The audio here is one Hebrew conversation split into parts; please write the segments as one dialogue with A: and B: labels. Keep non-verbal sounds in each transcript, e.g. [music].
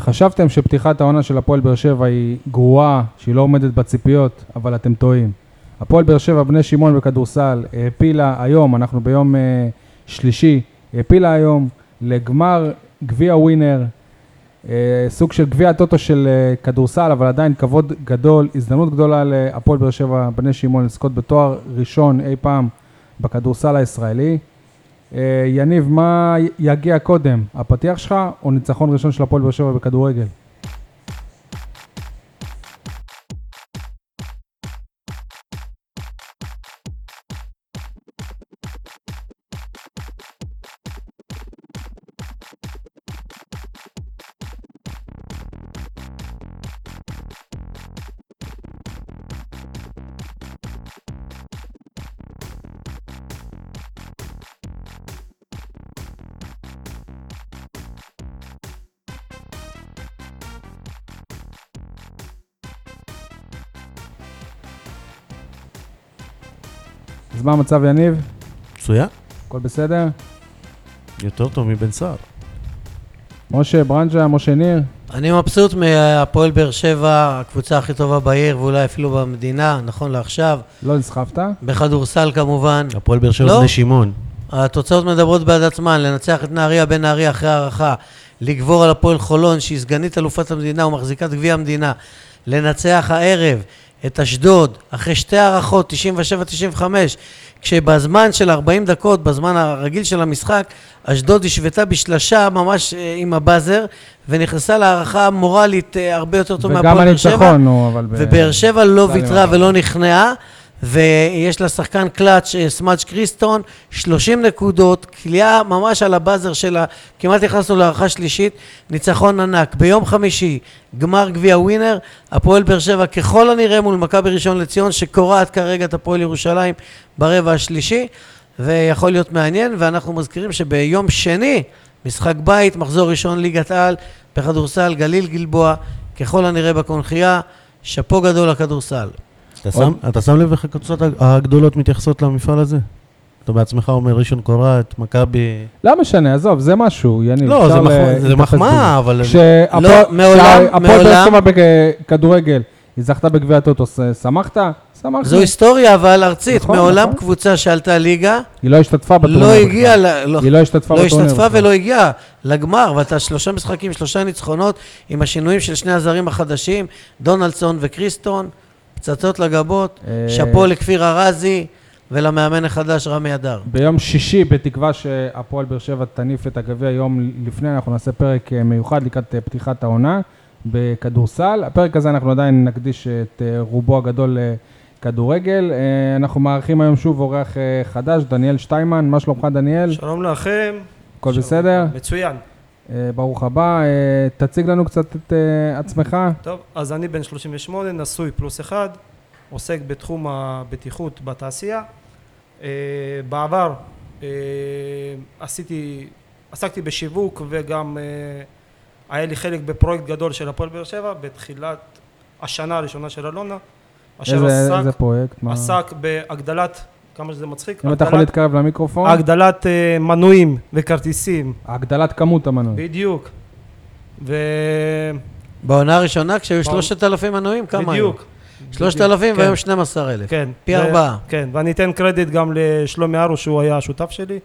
A: חשבתם שפתיחת העונה של הפועל באר שבע היא גרועה, שהיא לא עומדת בציפיות, אבל אתם טועים. הפועל באר שבע, בני שמעון בכדורסל, העפילה היום, אנחנו ביום אה, שלישי, העפילה היום לגמר גביע ווינר, אה, סוג של גביע הטוטו של אה, כדורסל, אבל עדיין כבוד גדול, הזדמנות גדולה להפועל באר שבע, בני שמעון, לזכות בתואר ראשון אי פעם בכדורסל הישראלי. אה, יניב, מה י- יגיע קודם, הפתיח שלך או ניצחון ראשון של הפועל באר שבע בכדורגל? אז מה המצב, יניב?
B: מצוין,
A: הכל בסדר?
B: יותר טוב מבן סער.
A: משה ברנז'ה, משה ניר,
C: אני מבסוט מהפועל באר שבע, הקבוצה הכי טובה בעיר ואולי אפילו במדינה, נכון לעכשיו.
A: לא נסחפת?
C: בכדורסל כמובן.
B: הפועל באר שבע
C: לא.
B: בני שמעון.
C: התוצאות מדברות בעד עצמן, לנצח את נהריה בנהריה אחרי הערכה, לגבור על הפועל חולון שהיא סגנית אלופת המדינה ומחזיקת גביע המדינה, לנצח הערב את אשדוד אחרי שתי הערכות, 97-95, כשבזמן של 40 דקות, בזמן הרגיל של המשחק, אשדוד השוותה בשלשה ממש אה, עם הבאזר ונכנסה להערכה מורלית אה, הרבה יותר טוב
A: וגם
C: מהפועל באר שבע.
A: הניצחון, נו, אבל... ב-
C: ובאר שבע לא
A: בסדר,
C: ויתרה
A: אבל-
C: ולא נכנעה, ויש לה שחקן קלאץ', אה, סמאץ' קריסטון, 30 נקודות, כליאה ממש על הבאזר שלה, כמעט נכנסנו להערכה שלישית, ניצחון ענק. ביום חמישי, גמר גביע ווינר, הפועל באר שבע ככל הנראה מול מכבי ראשון לציון, שקורעת כרגע את הפועל ירושלים ברבע השלישי, ויכול להיות מעניין, ואנחנו מזכירים שביום שני, משחק בית, מחזור ראשון ליגת על, בכדורסל, גליל גלבוע, ככל הנראה בקונכייה, שאפו גדול לכדורסל.
B: אתה שם- אתה שם לב איך הקבוצות הגדולות מתייחסות למפעל הזה? אתה בעצמך אומר ראשון קורת, מכבי...
A: לא משנה, עזוב, זה משהו, יניב.
B: לא, זה
A: אפשר
B: מח-
A: ל-
B: זה
A: להתאפס
B: מחמאה,
A: בזה.
B: אבל-
A: כשהפועל-
C: נכון, לא, מעולם-
A: כשהפועל באר
C: מעולם-
A: שבע בכדורגל, היא זכתה בגביע הטוטו, ס- שמחת? שמחת.
C: זו היסטוריה אבל ארצית,
A: אוקיי. נכון,
C: מעולם
A: נכון.
C: קבוצה שעלתה ליגה,
A: היא לא השתתפה בטורניר.
C: לא
A: בכלל.
C: הגיעה, ל- לא-
A: היא לא השתתפה
C: לא
A: בטורניר.
C: השתתפה
A: בכלל.
C: ולא הגיעה לגמר, ואתה שלושה משחקים, שלושה ניצחונות, עם השינויים של שני הזרים החדשים, דונלדסון וקריסטון, פצצות לגבות,
A: אה,
C: שאפו לכפיר ארזי ולמאמן החדש רמי אדר.
A: ביום שישי, בתקווה שהפועל באר שבע תניף את הגביע יום לפני, אנחנו נעשה פרק אה, מיוחד לקראת אה, פתיחת העונה בכדורסל. הפרק הזה אנחנו עדיין נקדיש את אה, רובו הגדול לכדורגל. אה, אנחנו מארחים היום שוב אורח אה, חדש, דניאל שטיימן. מה שלומך, דניאל?
D: שלום לכם.
A: הכל
D: שלום.
A: בסדר?
D: מצוין.
A: אה, ברוך הבא. אה, תציג לנו קצת את אה, עצמך.
D: טוב, אז אני בן 38, נשוי פלוס אחד, עוסק בתחום הבטיחות בתעשייה. אה, בעבר אה, עשיתי, עסקתי בשיווק וגם אה, היה לי חלק בפרויקט גדול של הפועל באר שבע בתחילת השנה הראשונה של אלונה, אשר
A: איזה
D: עסק,
A: איזה פרויקט? מה-
D: עסק בהגדלת, כמה שזה מצחיק,
A: אם אתה יכול
D: הגדלת-
A: להתקרב למיקרופון.
D: הגדלת אה, מנויים וכרטיסים,
A: הגדלת כמות המנוי.
D: בדיוק. ו...
C: בעונה הראשונה, כשהיו
D: בעונה-
C: 3,000 מנויים, כמה היו?
D: בדיוק.
C: 3,000
D: כן,
C: והיום 12,000.
D: כן.
C: פי
D: ו-
C: ארבעה.
D: כן, ואני אתן קרדיט גם לשלומי ארו שהוא היה השותף שלי.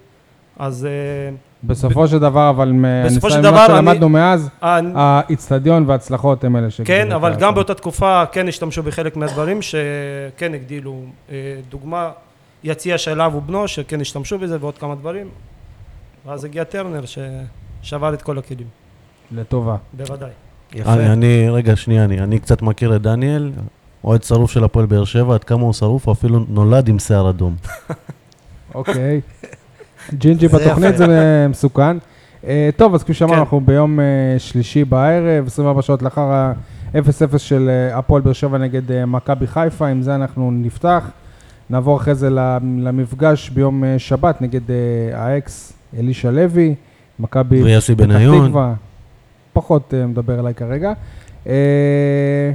D: אז אה,
A: בסופו של דבר, אבל אה, מ-
D: בסופו של
A: ממה
D: דבר, אני-
A: שלמדנו מאז,
D: אה,
A: האיצטדיון וההצלחות הם אלה שגילו.
D: כן,
A: את
D: אבל
A: ה-
C: אה,
D: גם באותה תקופה כן השתמשו בחלק מהדברים שכן הגדילו. אה, דוגמה, יציע של אב ובנו שכן השתמשו בזה ועוד כמה דברים. ואז הגיע טרנר ששבר את כל הכלים, [laughs]
A: לטובה.
D: בוודאי.
C: יפה.
B: אני, אני, רגע, שנייה, אני, אני קצת מכיר את דניאל, אוהד שרוף של הפועל באר שבע, עד כמה הוא שרוף, הוא אפילו נולד עם שיער אדום.
A: אוקיי. ג'ינג'י
C: זה
A: בתוכנית
C: יפה.
A: זה אה, מסוכן. אה, טוב, אז כפי שאמרנו,
D: כן.
A: אנחנו ביום אה, שלישי בערב, 24 שעות לאחר ה-0-0 של אה, הפועל באר שבע נגד אה, מכבי חיפה, עם זה אנחנו נפתח. נעבור אחרי זה ל- למפגש ביום אה, שבת נגד אה, האקס אלישע לוי, מכבי
B: ויוסי
A: פתח
B: בניון,
A: תקווה, פחות אה, מדבר אליי כרגע. אה,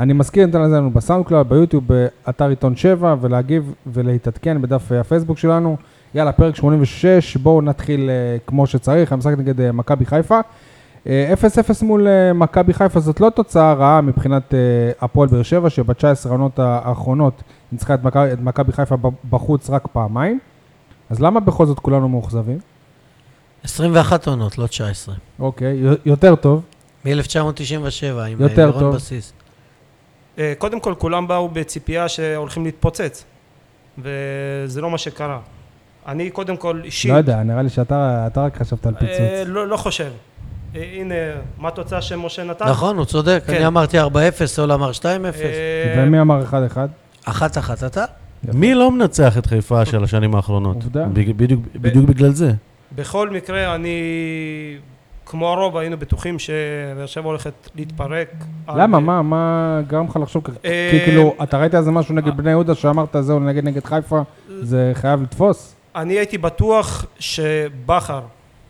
A: אני מזכיר, ניתן לזה לנו בסאונד קלאב, ביוטיוב, באתר עיתון 7, ולהגיב ולהתעדכן בדף אה, הפייסבוק שלנו. יאללה, פרק 86, בואו נתחיל אה, כמו שצריך, המשחק נגד אה, מכבי חיפה. אה, 0-0 מול אה, מכבי חיפה זאת לא תוצאה רעה מבחינת אה, הפועל באר שבע, שב-19 העונות האחרונות ניצחה את מכבי- את מכבי חיפה ב- בחוץ רק פעמיים. אז למה בכל זאת כולנו מאוכזבים?
C: 21 עונות, לא 19.
A: אוקיי, י- יותר טוב.
C: מ-1997, עם
A: יותר
C: אה, לירון
A: טוב.
C: בסיס.
D: אה, קודם כל, כולם באו בציפייה שהולכים להתפוצץ, וזה לא מה שקרה. אני קודם כל אישית...
A: לא יודע, נראה לי שאתה אתה רק חשבת על
D: אה,
A: פיצוץ.
D: לא, לא חושב. אה, הנה, מה התוצאה שמשה נתן?
C: נכון, הוא צודק.
D: כן.
C: אני אמרתי 4-0, סול אמר 2-0.
D: אה,
A: ומי אמר 1-1?
C: 1-1 אתה?
B: מי לא מנצח את חיפה של השנים האחרונות?
A: עובדה.
B: בג- בדיוק- בדיוק בגלל זה.
D: בכל מקרה, אני, כמו הרוב, היינו בטוחים שבאר שבע הולכת להתפרק. על-
A: למה? מה, מה גרם לך לחשוב ככה?
D: אה,
A: כי כאילו, אתה ראית איזה משהו נגד בני יהודה שאמרת, זהו, נגד נגד חיפה,
D: אה,
A: זה חייב לתפוס?
D: אני הייתי בטוח שבכר,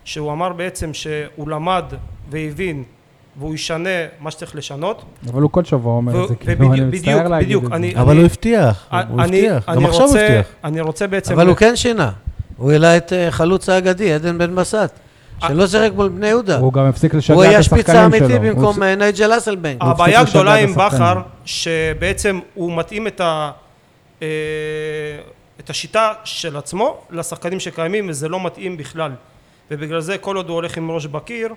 D: שהוא אמר בעצם שהוא למד והבין והוא ישנה מה שצריך לשנות.
A: אבל הוא כל שבוע אומר את זה,
D: ו-
A: כאילו, אני
D: ובדיוק-
A: מצטער
D: בדיוק,
A: להגיד
D: בדיוק,
A: את זה.
D: אני-
B: אבל הוא הבטיח, הוא
D: אני-
B: הבטיח,
D: אני
B: גם עכשיו הוא
D: רוצה-
B: הבטיח.
D: אני רוצה בעצם...
C: אבל הוא כן שינה. הוא העלה את אה, חלוץ האגדי, עדן בן בסט,
D: אה,
C: שלא שיחק מול בני יהודה.
A: הוא גם הפסיק לשגע
C: הוא
A: את
C: היה
A: השחקנים
C: שפיץ
A: שלו.
C: האמיתי
A: הוא
C: במקום
A: הפסיק-
C: אה, נייג'ל אסלבנק.
A: הוא הפסיק
D: הבעיה
A: לשגע
D: הגדולה
A: את
D: עם
A: השחקנים.
D: בכר, שבעצם הוא מתאים את ה... אה, את השיטה של עצמו לשחקנים שקיימים וזה לא מתאים בכלל ובגלל זה כל עוד הוא הולך עם ראש בקיר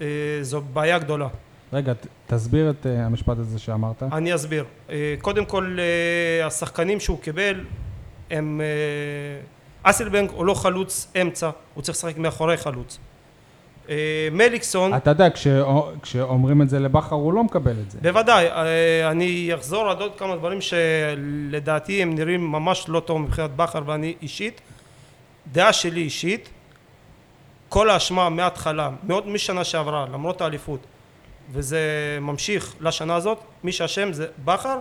D: אה, זו בעיה גדולה
A: רגע, ת- תסביר את אה, המשפט הזה שאמרת.
D: אני אסביר. אה, קודם כל, אה, השחקנים שהוא קיבל הם... אה, אסלבנק הוא לא חלוץ אמצע, הוא צריך לשחק מאחורי חלוץ. אה, מליקסון,
A: אתה יודע, כשאו- כשאומרים את זה לבכר, הוא לא מקבל את זה.
D: בוודאי, אה, אני אחזור עד עוד כמה דברים שלדעתי הם נראים ממש לא טוב מבחינת בכר ואני אישית, דעה שלי אישית, כל האשמה מההתחלה, מאוד משנה שעברה, למרות האליפות, וזה ממשיך לשנה הזאת, מי שאשם זה בכר,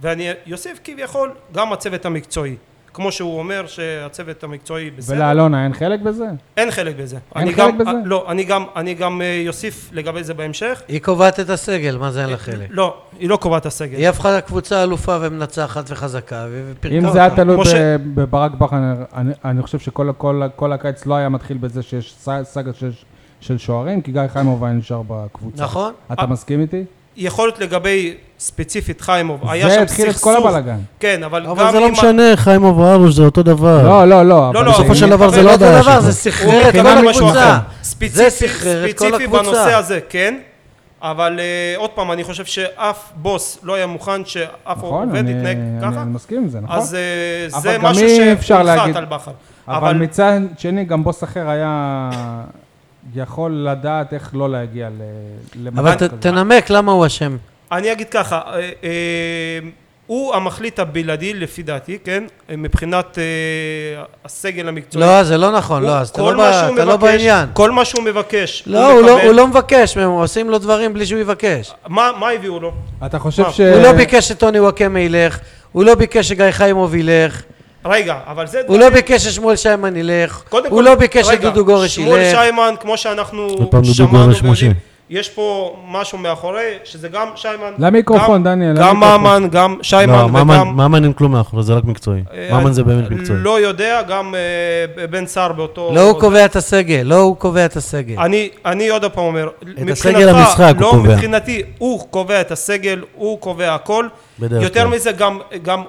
D: ואני אוסיף כביכול גם הצוות המקצועי, כמו שהוא אומר שהצוות המקצועי בסדר.
A: ולאלונה אין חלק בזה?
D: אין חלק בזה.
A: אין
D: אני
A: חלק
D: גם,
A: בזה?
D: לא, אני גם, אני גם אה, אוסיף לגבי זה בהמשך.
C: היא קובעת את הסגל, מה זה אין לה חלק?
D: לא, היא לא קובעת את הסגל.
C: היא הפכה לקבוצה אלופה ומנצחת וחזקה, ו-
A: אם
C: ופירקה
A: זה היה
C: אותה.
A: תלוי
D: כמו
A: ב-
D: ש-
A: בברק בכר, אני- אני חושב שכל כל- כל הקיץ לא היה מתחיל בזה שיש ס- סאגה שיש- של שוערים, כי גיא חיימוב היה נשאר בקבוצה.
C: נכון.
D: אה-
A: אתה מסכים איתי?
D: יכול להיות לגבי ספציפית חיימוב, היה
A: זה
D: שם סכסוך.
A: התחיל את כל הבלגן.
D: כן, אבל גם אם...
B: אבל זה לא משנה, חיים אברארוש זה אותו דבר.
A: לא, לא, לא. אבל
D: לא,
A: זה-
B: בסופו של דבר זה
D: אבל
B: לא
C: אותו
B: הבעיה
C: דבר,
B: שלך.
C: זה סחרר את
A: מבחינה
C: כל
A: משהו
C: הקבוצה.
A: אחר.
C: זה
D: ספציפי,
C: סחרר את כל
D: ספציפי
C: הקבוצה.
D: בנושא הזה, כן. אבל אה, עוד פעם, אני חושב שאף בוס לא היה מוכן שאף
A: נכון,
D: עובד
A: אני-
D: יתנהג
A: אני
D: ככה,
A: אני מסכים עם זה, נכון.
D: אז אה,
A: אבל
D: זה
A: גם
D: משהו
A: אי אפשר להגיד-
D: שהונחת על בכר.
A: אבל
D: אבל
A: מצד שני, גם בוס אחר היה יכול לדעת איך לא להגיע ל-
C: אבל
A: למצב
C: ת-
A: כזה.
C: תנמק למה הוא אשם.
D: אני אגיד ככה, אה, אה, הוא המחליט הבלעדי לפי דעתי, כן? מבחינת אה, הסגל המקצועי.
C: לא, זה לא נכון,
D: הוא-
C: לא, אז אתה
D: כל
C: לא
D: מה
C: ב-
D: שהוא
C: אתה לא
D: מבקש-
C: בעניין.
D: כל מה שהוא מבקש,
C: לא, הוא לא-
D: מקבל.
C: הוא לא מבקש מהם, עושים לו דברים בלי שהוא יבקש.
D: מה, מה הביאו לו?
A: אתה חושב
D: אה,
A: ש...
C: הוא לא ביקש שטוני וואקמה ילך, הוא לא ביקש שגיא חיימוב ילך,
D: רגע, אבל זה...
C: הוא לא ביקש ששמואל שיימן ילך,
D: קודם
C: הוא
D: כל,
C: לא ביקש
D: רגע,
C: שדודו גורש
D: שמואל
C: ילך.
D: שיימן, כמו שאנחנו
B: עוד פעם דודו
D: שמענו
B: גורש,
D: ויודעים,
B: משה.
D: יש פה משהו מאחורי, שזה גם שיימן...
A: למיקרופון,
D: גם-
A: דניאל,
D: גם
A: למיקרופון.
D: ממן, גם שיימן
B: לא, ממן-
D: וגם...
B: ממן אין כלום מאחורי, זה רק מקצועי.
D: אה,
B: ממן זה באמת מקצועי.
D: לא יודע, גם אה, בן סער באותו...
C: לא הוא קובע את הסגל, לא הוא קובע את הסגל.
D: אני, אני עוד פעם אומר, מבחינתך,
B: כן. הסגל המשחק הוא
D: לא,
B: קובע.
D: מבחינתי, הוא קובע את הסגל, הוא קובע הכל.
B: בדרך
D: יותר
B: כלל.
D: מזה, גם, גם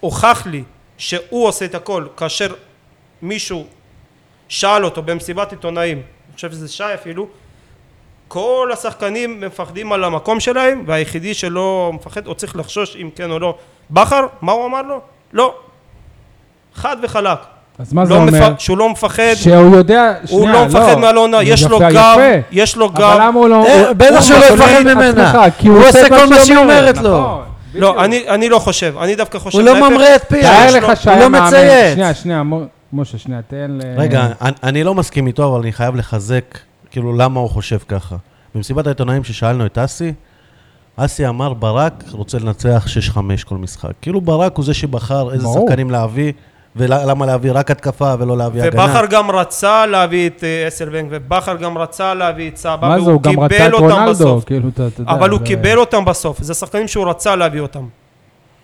D: הוכח לי שהוא עושה את הכל, כאשר מישהו שאל אותו במסיבת עיתונאים, אני חושב שזה שי אפילו, כל השחקנים מפחדים על המקום שלהם, והיחידי שלא מפחד, או צריך לחשוש אם כן או לא. בכר, מה הוא אמר לו? לא. חד וחלק.
A: אז מה זה
D: לא
A: אומר?
D: מפ... שהוא לא מפחד,
A: שהוא יודע...
D: הוא
A: שנייה,
D: לא מפחד מאלונה, יש לו
A: יפה,
D: גב,
A: יפה.
D: יש לו גב.
A: אבל למה הוא לא...
C: אה,
A: הוא-
C: בטח
A: הוא
C: שהוא לא
A: מחזיר
C: יפחד ממנה.
A: עצמך, כי
C: הוא עושה כל מה שהיא אומרת לו.
A: נכון, בדיוק.
D: לא, אני, אני לא חושב, אני דווקא חושב...
C: הוא לא
D: להפך.
C: ממרה את פיו,
A: תאר
D: יש לו-
A: לך שהיה
C: הוא לא
A: מאמן...
C: מציית.
A: שנייה, שנייה, מו- משה, שנייה, תן ל...
B: רגע, אני- אני לא מסכים איתו, אבל אני חייב לחזק, כאילו, למה הוא חושב ככה. במסיבת העיתונאים ששאלנו את אסי, אסי אמר, ברק רוצה לנצח 6-5 כל משחק. כאילו, ברק הוא זה שבחר איזה
A: ברור.
B: שחקנים להביא, ולמה להביא רק התקפה ולא להביא הגנה.
D: ובכר גם רצה להביא את אה, אסלבנק, ובכר גם רצה להביא את סבא,
A: מה זה, הוא גם רצה את
D: קיבל אותם
A: רונלדו,
D: בסוף.
A: כאילו, אתה אתה יודע...
D: אבל הוא
A: זה-
D: קיבל אותם בסוף, זה שחקנים שהוא רצה להביא אותם.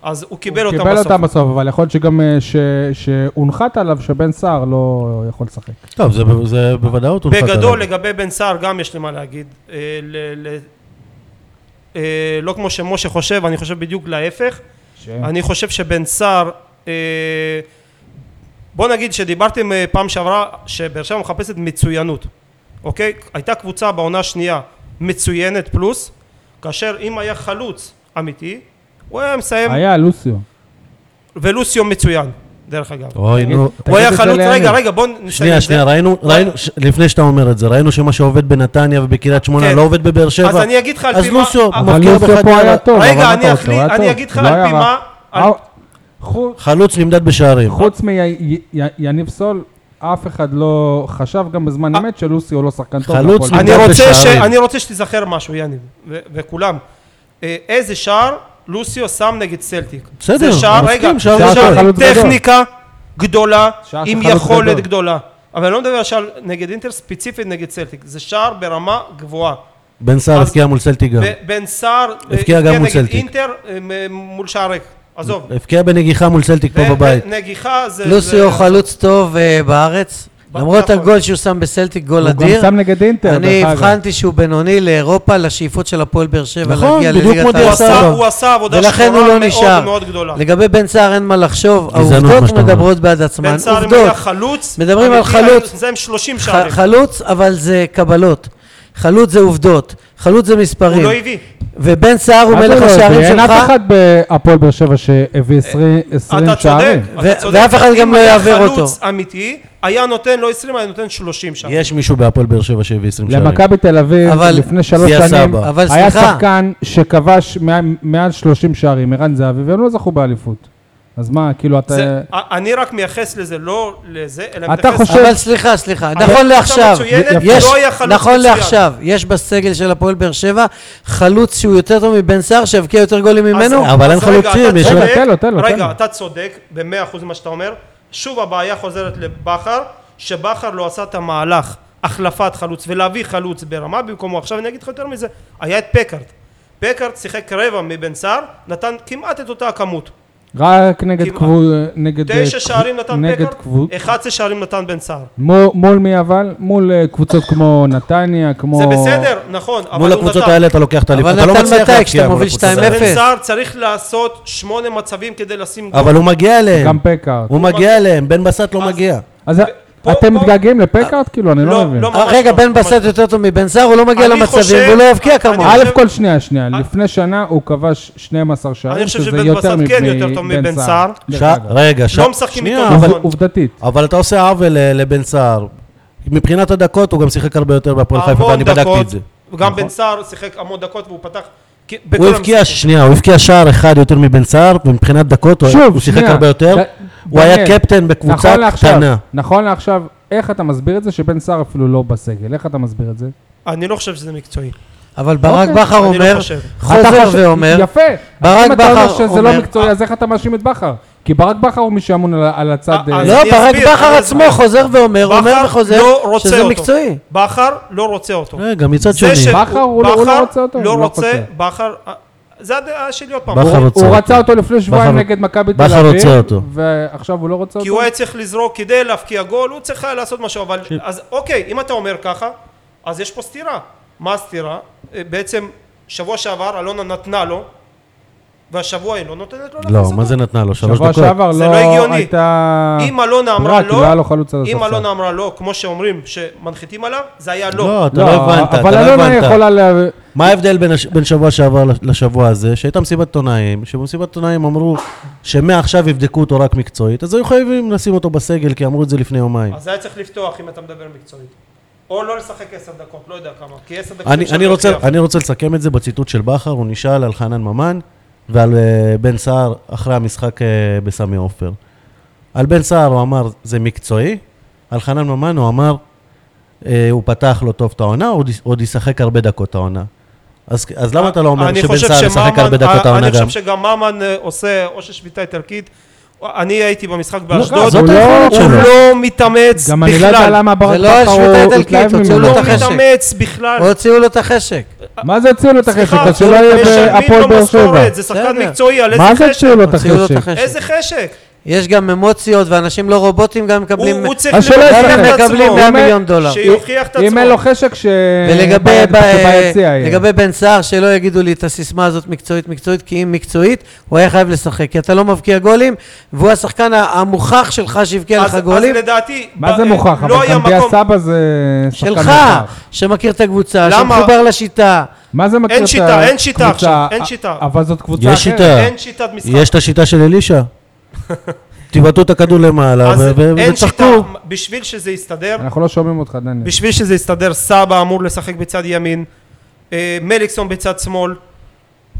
D: אז הוא קיבל אותם
A: קיבל
D: בסוף.
A: אותם בסוף, אבל יכול להיות שגם אה, ש- שהונחת עליו שבן סער לא יכול לשחק.
B: טוב, זה ב- זה בוודאות הוא נחת
D: בגדול,
B: עליו.
D: לגבי בן סער גם יש לי מה להגיד. אה, ל- ל- אה, לא כמו שמשה חושב, אני חושב בדיוק להפך. אני חושב שבן סער, אה, בוא נגיד שדיברתם אה, פעם שעברה שבאר שבע מחפשת מצוינות, אוקיי? הייתה קבוצה בעונה השנייה מצוינת פלוס, כאשר אם היה חלוץ אמיתי, הוא היה מסיים,
A: היה לוסיו.
D: ולוסיו מצוין, דרך אגב.
B: אוי, נו.
A: תגיד
D: הוא היה
A: את זה
D: חלוץ,
A: ליניב.
D: רגע, רגע, בוא נסיים.
B: שנייה,
D: את זה.
B: שנייה, ראינו,
D: אה,
B: ראינו, ש- לפני שאתה אומר את זה, ראינו שמה שעובד בנתניה ובקריית שמונה
D: כן.
B: לא עובד בבאר שבע.
D: אז אני אגיד לך על
B: אז
D: פי
B: לוסיו,
D: מה... אה,
A: אבל
B: מפקיע
A: לוסיו
B: בחדרה.
A: פה היה טוב,
D: רגע,
A: אבל מה
D: אני
A: אתה רוצה?
D: אחליט-
A: הוא היה
D: אני
A: טוב.
D: אגיד לך
A: לא
D: על
A: היה
D: פי
A: רע.
D: מה- על-
A: אה, חו-
B: חלוץ נמדד בשערים.
A: חוץ מיניב סול, אף אחד לא חשב גם בזמן
D: אה-
A: אמת שלוסיו לא שחקן טוב.
B: חלוץ
A: להפועל.
D: אני
B: נמדד
D: רוצה, ש...
B: בשערים.
D: אני רוצה שתיזכר משהו, יניב, ו- וכולם. אה, איזה שער לוסיו שם נגד סלטיק.
B: בסדר,
D: זה שער,
B: אני
D: רגע,
B: מסכים,
D: זה
B: שער
A: גדול.
D: שער
A: שער
D: עם
A: חלוץ גדול.
D: טכניקה גדולה,
A: שער של
D: עם
A: חלוץ
D: יכולת
A: גדול.
D: גדולה. אבל אני לא מדבר על שער נגד אינטר, ספציפית נגד סלטיק. זה שער ברמה גבוהה.
B: בן סער
D: אז-
B: הבקיע מול סלטי גם.
D: ו- בן סער, אה,
B: הבקיע גם מול
D: נגד
B: סלטיק.
D: אינטר אה, מ- מול שער ריק. עזוב.
B: הבקיע בנגיחה מול סלטיק פה
D: ו-
B: בבית.
D: נגיחה זה...
C: לוסיו
D: זה-
C: חלוץ טוב אה, בארץ,
D: ב-
C: למרות
D: נכון.
C: הגול שהוא שם בסלטיק, גול
A: הוא גם
C: אדיר.
A: שם נגד אינטר,
C: אני
A: דרך אגב.
C: הבחנתי שהוא בינוני לאירופה, לשאיפות של הפועל באר שבע
B: נכון,
C: להגיע
B: בדיוק
C: לליגת
B: כמו
D: הוא
B: דיה
C: העל.
B: סבא.
D: עשה- הוא עשה עבודה
C: ולכן הוא
D: שחורה
C: לא
D: מאוד
C: נשאר.
D: מאוד גדולה.
C: לגבי בן סער אין מה לחשוב,
B: גזענות, מה
C: העובדות
B: שאתה אומר.
C: מדברות בעד עצמן.
D: בן סער אם
C: עובדות.
D: היה חלוץ,
C: מדברים על
D: אמיתי, היה-
C: חלוץ.
D: זה עם 30
C: ח-
D: שערים,
C: חלוץ, אבל זה קבלות. חלוץ זה עובדות, חלוץ זה
D: הוא לא
C: מספרים.
D: הביא.
C: ובן סער הוא
A: מה זה
C: מלך
A: לא הביא?
C: השערים
A: אין אף
C: שלך,
A: אחד בהפועל באר שבע שהביא 20
D: אתה צודק,
A: שערים.
D: אתה
C: ו-
D: צודק.
C: ואף אחד גם
D: אם
C: לא
D: היה
C: יעביר אותו.
D: חלוץ אמיתי, היה נותן לא 20, היה נותן 30 שערים.
B: יש מישהו בהפועל באר שבע שהביא 20 שערים.
A: למכבי תל אביב,
C: אבל-
A: לפני שלוש
B: זיה
A: שנים,
B: סבא.
C: אבל
A: היה
C: סליחה.
A: שחקן שכבש מע- מעל 30 שערים, ערן זהבי, והם לא זכו באליפות. אז מה, כאילו, אתה...
D: זה- א- אני רק מייחס לזה, לא לזה, אלא
A: אתה
D: מתייחס...
A: חושב-
C: אבל סליחה, סליחה,
D: אבל
C: נכון
D: קבוצה
C: לעכשיו,
D: מצוינת,
C: יש,
D: לא היה חלוץ
C: נכון
D: מצוין.
C: לעכשיו, יש בסגל של הפועל באר שבע חלוץ שהוא יותר טוב מבן סער, שהבקיע יותר גולים
D: אז-
C: ממנו,
B: אבל אין
D: אז רגע,
B: חלוצים,
D: אתה
B: יש-
D: צודק,
A: רגע, תן לו, תן לו, תן לו.
D: רגע, אתה צודק ב-100% מה שאתה אומר. שוב הבעיה חוזרת לבכר, שבכר לא עשה את המהלך החלפת חלוץ ולהביא חלוץ ברמה במקומו. עכשיו אני אגיד לך יותר מזה, היה את פקארט. פקארט שיחק רבע מבן סער, נתן כמעט את אותה הכמות.
A: רק נגד
D: כמעט.
A: קבוצ... נגד... אה,
D: תשע שערים נתן
A: נגד
D: פקארט,
A: קבוצ...
D: 11 שערים נתן בן סער.
A: מול, מול מי אבל? מול אה, קבוצות כמו נתניה, כמו...
D: זה בסדר, נכון, אבל
B: מול
D: הוא
B: הקבוצות
D: נתן.
B: האלה אתה לוקח את האליפות.
C: אבל
B: אתה לא
C: נתן
B: מצליח
C: מתי?
B: להבקיע
C: כשאתה
B: מול
C: מוביל
B: הקבוצות
C: 2-0.
B: האלה.
D: בן סער צריך לעשות שמונה מצבים כדי לשים גול.
B: אבל הוא מגיע אליהם.
A: גם פקארט.
B: הוא מגיע אליהם, בן בסט לא
D: אז-
B: מגיע.
A: אז
D: פה-
A: אתם
D: פה-
A: מתגעגעים לפקארט? כאילו, אני לא
D: לא,
A: מבין.
D: לא. ממש
C: רגע,
D: לא,
C: בן
D: ממש
C: בסט
D: לא.
C: יותר טוב מבן סער, הוא לא מגיע
D: אני
C: למצבים
D: חושב-
C: והוא לא יבקיע
D: אני-
C: כמוהו.
A: א'
D: חושב-
A: כל, שנייה, שנייה.
D: אה.
A: לפני שנה הוא כבש 12 שערים,
D: אני חושב
A: שזה
D: שבן
A: יותר
D: בסט כן יותר טוב
A: מבן
D: מבן
A: סער.
D: סער.
A: דרך
B: שע-
A: אגב.
B: רגע, שע-
D: משחקים
B: שנייה,
D: איתו.
B: אבל-
A: עובד-
D: נכון.
A: עובדתית.
B: אבל אתה עושה עוול אה, לבן סער. מבחינת הדקות הוא גם שיחק הרבה יותר בהפועל חיפה,
D: המון
B: ואני בדקתי
D: דקות,
B: את זה.
D: גם בן סער שיחק המון דקות והוא פתח... כי- [laughs]
B: הוא
D: בכל
B: הבקיע,
D: המשחקים.
B: שנייה, הוא הבקיע שער אחד יותר מבן סער, ומבחינת דקות הוא-
A: שוב,
B: הוא שיחק
A: שנייה.
B: הרבה יותר.
A: ד-
B: הוא היה
A: דניאל,
B: קפטן בקבוצה
A: נכון לעכשיו-
B: קטנה.
A: נכון לעכשיו, איך אתה מסביר את זה שבן סער אפילו לא בסגל? איך אתה מסביר את זה?
D: אני לא חושב שזה מקצועי.
C: אבל ברק
A: אוקיי.
C: בכר
D: אני לא
C: אומר,
D: חושב.
A: אתה
C: חוזר
A: חושב-
C: ואומר,
A: יפה.
C: ברק
A: אם אתה אומר
C: בכר
A: שזה לא
C: אומר-
A: מקצועי, אז איך אתה מאשים את בכר? כי ברק בכר הוא מי שאמון על- על הצד...
D: אה,
A: אה,
D: אז
C: לא,
D: אני
C: ברק
D: אסביר,
C: בכר
D: אני
C: עצמו
D: אסביר.
C: חוזר ואומר, אומר
D: בכר
C: וחוזר,
D: לא רוצה
C: שזה
D: אותו.
C: מקצועי.
D: בכר לא רוצה אותו.
B: רגע, אה, מצד
D: זה
B: שני,
D: שהוא-
A: בכר הוא לא- הוא לא
D: בכר
A: רוצה אותו,
D: לא
A: הוא לא
D: רוצה,
A: חושב.
D: בכר... אה, זה הדעה שלי עוד פעם.
B: בכר
D: הוא-
B: רוצה
A: הוא
B: אותו.
A: רצה אותו לפני שבועיים
B: בכר-
A: נגד מכבי תל
B: בכר
A: אביב,
B: רוצה אותו.
A: ועכשיו הוא לא רוצה
D: כי
A: אותו?
D: הוא היה צריך לזרוק כדי להבקיע גול, הוא צריך היה לעשות משהו, אבל... אז אוקיי, אם אתה אומר ככה, אז יש פה סתירה. מה הסתירה? אה, בעצם, שבוע שעבר אלונה נתנה לו, והשבוע היא לא נותנת לו
B: לא,
D: להכניס
B: מה זה נתנה לו? שלוש
A: שבוע
B: דקות.
A: שעבר
D: זה לא
A: לא
D: הגיוני.
A: הייתה...
D: אם אלונה אמרה
A: ברירה, כי לא היה לו
D: לא,
A: חלוץ על
D: אם
A: הספסל.
D: אלונה אמרה לא, כמו שאומרים שמנחיתים עליו, זה היה
B: לא,
D: לא.
B: אתה לא הבנת, אתה
A: אבל
B: לא
A: אלונה
B: הבנת.
A: יכולה... לה-
B: מה ההבדל בין, הש... בין שבוע שעבר לש- לשבוע הזה, שהייתה מסיבת עיתונאים, שבמסיבת עיתונאים אמרו שמעכשיו יבדקו אותו רק מקצועית, אז היו חייבים לשים אותו בסגל, כי אמרו את זה לפני יומיים.
D: אז היה צריך לפתוח אם אתה מדבר מקצועית. או לא לשחק עשר דקות, לא יודע כמה. כי עשר דקות
B: אני,
D: אפשר
B: אני, רוצה,
D: להוכיח.
B: אני רוצה לסכם את זה בציטוט של בכר, הוא נשאל על חנן ממן ועל אה, בן סער אחרי המשחק אה, בסמי עופר. על בן סער הוא אמר, זה מקצועי, על חנן ממן הוא אמר, אה, הוא פתח לא טוב את העונה, עוד, יש- עוד ישחק הרבה דקות העונה. אז, אז למה אתה לא אומר
D: אני
B: שבן
D: חושב
B: סער ישחק
D: שממן- אה,
B: הרבה דקות העונה
D: אני
B: גם?
D: חושב שגם ממן אה, עושה או ששביתה איטלקית, אני הייתי במשחק
A: לא,
D: באשדוד,
A: זאת
D: הוא
A: היכולת
D: הוא
A: שלו.
D: לא מתאמץ
A: גם אני לא יודע
D: בכלל.
A: למה ברק
C: לא
A: בכר
C: השווית את
A: הוא
C: אלקין,
A: התלהב
C: תוציאו
D: הוא
A: ממנו.
C: לו
D: לא
C: את החשק.
D: מתאמץ בכלל.
C: הוציאו לו את החשק.
A: מה זה הוציאו לו את החשק?
D: סליחה,
A: אז שלא יהיה
D: משלמים
A: בהפועל
D: לו
A: באר שבע.
D: משכורת, זה שחקן
C: בסדר.
D: מקצועי, על
A: מה זה
D: איזה חשק?
A: הוציאו לו את
C: הוציאו לו את
A: החשק?
C: החשק.
D: איזה חשק?
C: יש גם אמוציות, ואנשים לא רובוטים גם מקבלים...
D: הוא הוא צריך
A: אז שלא ישחק.
D: להוכיח את
C: מקבלים
D: עצמו.
C: 100
A: אם-
C: מיליון דולר.
D: שיוכיח את עצמו.
A: אם אין לו חשק, ש...
C: ולגבי
A: ב-
C: ב-
A: שביציע יהיה.
C: לגבי בן סער, שלא יגידו לי את הסיסמה הזאת מקצועית מקצועית, כי אם מקצועית, הוא היה חייב לשחק. כי אתה לא מבקיע גולים, והוא השחקן ה- המוכח שלך שהבקיע לך
D: אז-
C: גולים.
D: אז לדעתי...
A: מה
D: ב-
A: זה מוכח?
D: לא
A: אבל
D: היה
A: גם דיה
D: מקום.
A: סבא זה שחקן
C: שלך,
A: מוכח.
C: שמכיר את הקבוצה,
D: למה?
C: שמחובר לשיטה.
A: מה זה מכיר את
D: שיטה, אין שיטה
A: הקבוצה?
D: עכשיו, אין שיטה.
A: אבל זאת קבוצה
B: יש
A: אחרת.
B: שיטה.
D: אין שיטת משחק.
B: יש את השיטה של
D: [laughs]
B: אלישע. תבעטו את הכדור למעלה
D: אז
B: ו- ו-
D: אין שיטה.
B: ותשחקו.
D: בשביל שזה יסתדר,
A: אנחנו לא שומעים אותך, דניאל.
D: בשביל שזה יסתדר, סבא אמור לשחק בצד ימין, אה, מליקסון בצד שמאל,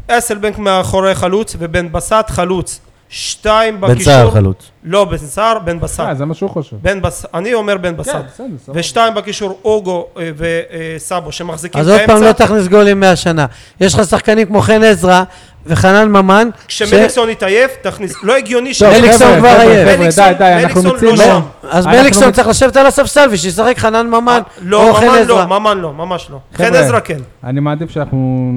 D: אסלבנק מאחורי חלוץ, ובן בסט חלוץ. שתיים בקישור.
B: בן סער חלוץ.
D: לא, בן סער, בן בסט.
A: אה, זה מה שהוא חושב.
D: בן בס... אני אומר בן בסט.
A: כן, בסדר, סבבה.
D: ושתיים בקישור, אוגו אה, וסאבו, שמחזיקים
C: אז
D: את
C: עוד פעם לא
D: האמצע.
C: תכניס גולים מהשנה. יש לך שחקנים כמו חן עזרא וחנן ממן,
D: כשמליקסון יתעייף, תכניס. לא הגיוני ש...
A: טוב,
C: מליקסון
A: חבר'ה,
C: כבר
A: חבר'ה,
C: עייף.
A: חבר'ה, די,
D: מליקסון-
A: די, אנחנו
D: מליקסון
A: מציעים...
D: לא
A: לא.
D: שם.
C: אז
A: אנחנו
C: מליקסון
A: מציעים-
C: צריך לשבת על הספסל ושישחק חנן ממן או
D: לא,
C: חן
D: ממן
C: עזרא.
D: לא, ממן לא, ממש לא.
A: חבר'ה,
D: חן עזרא כן.
A: אני מעדיף שאנחנו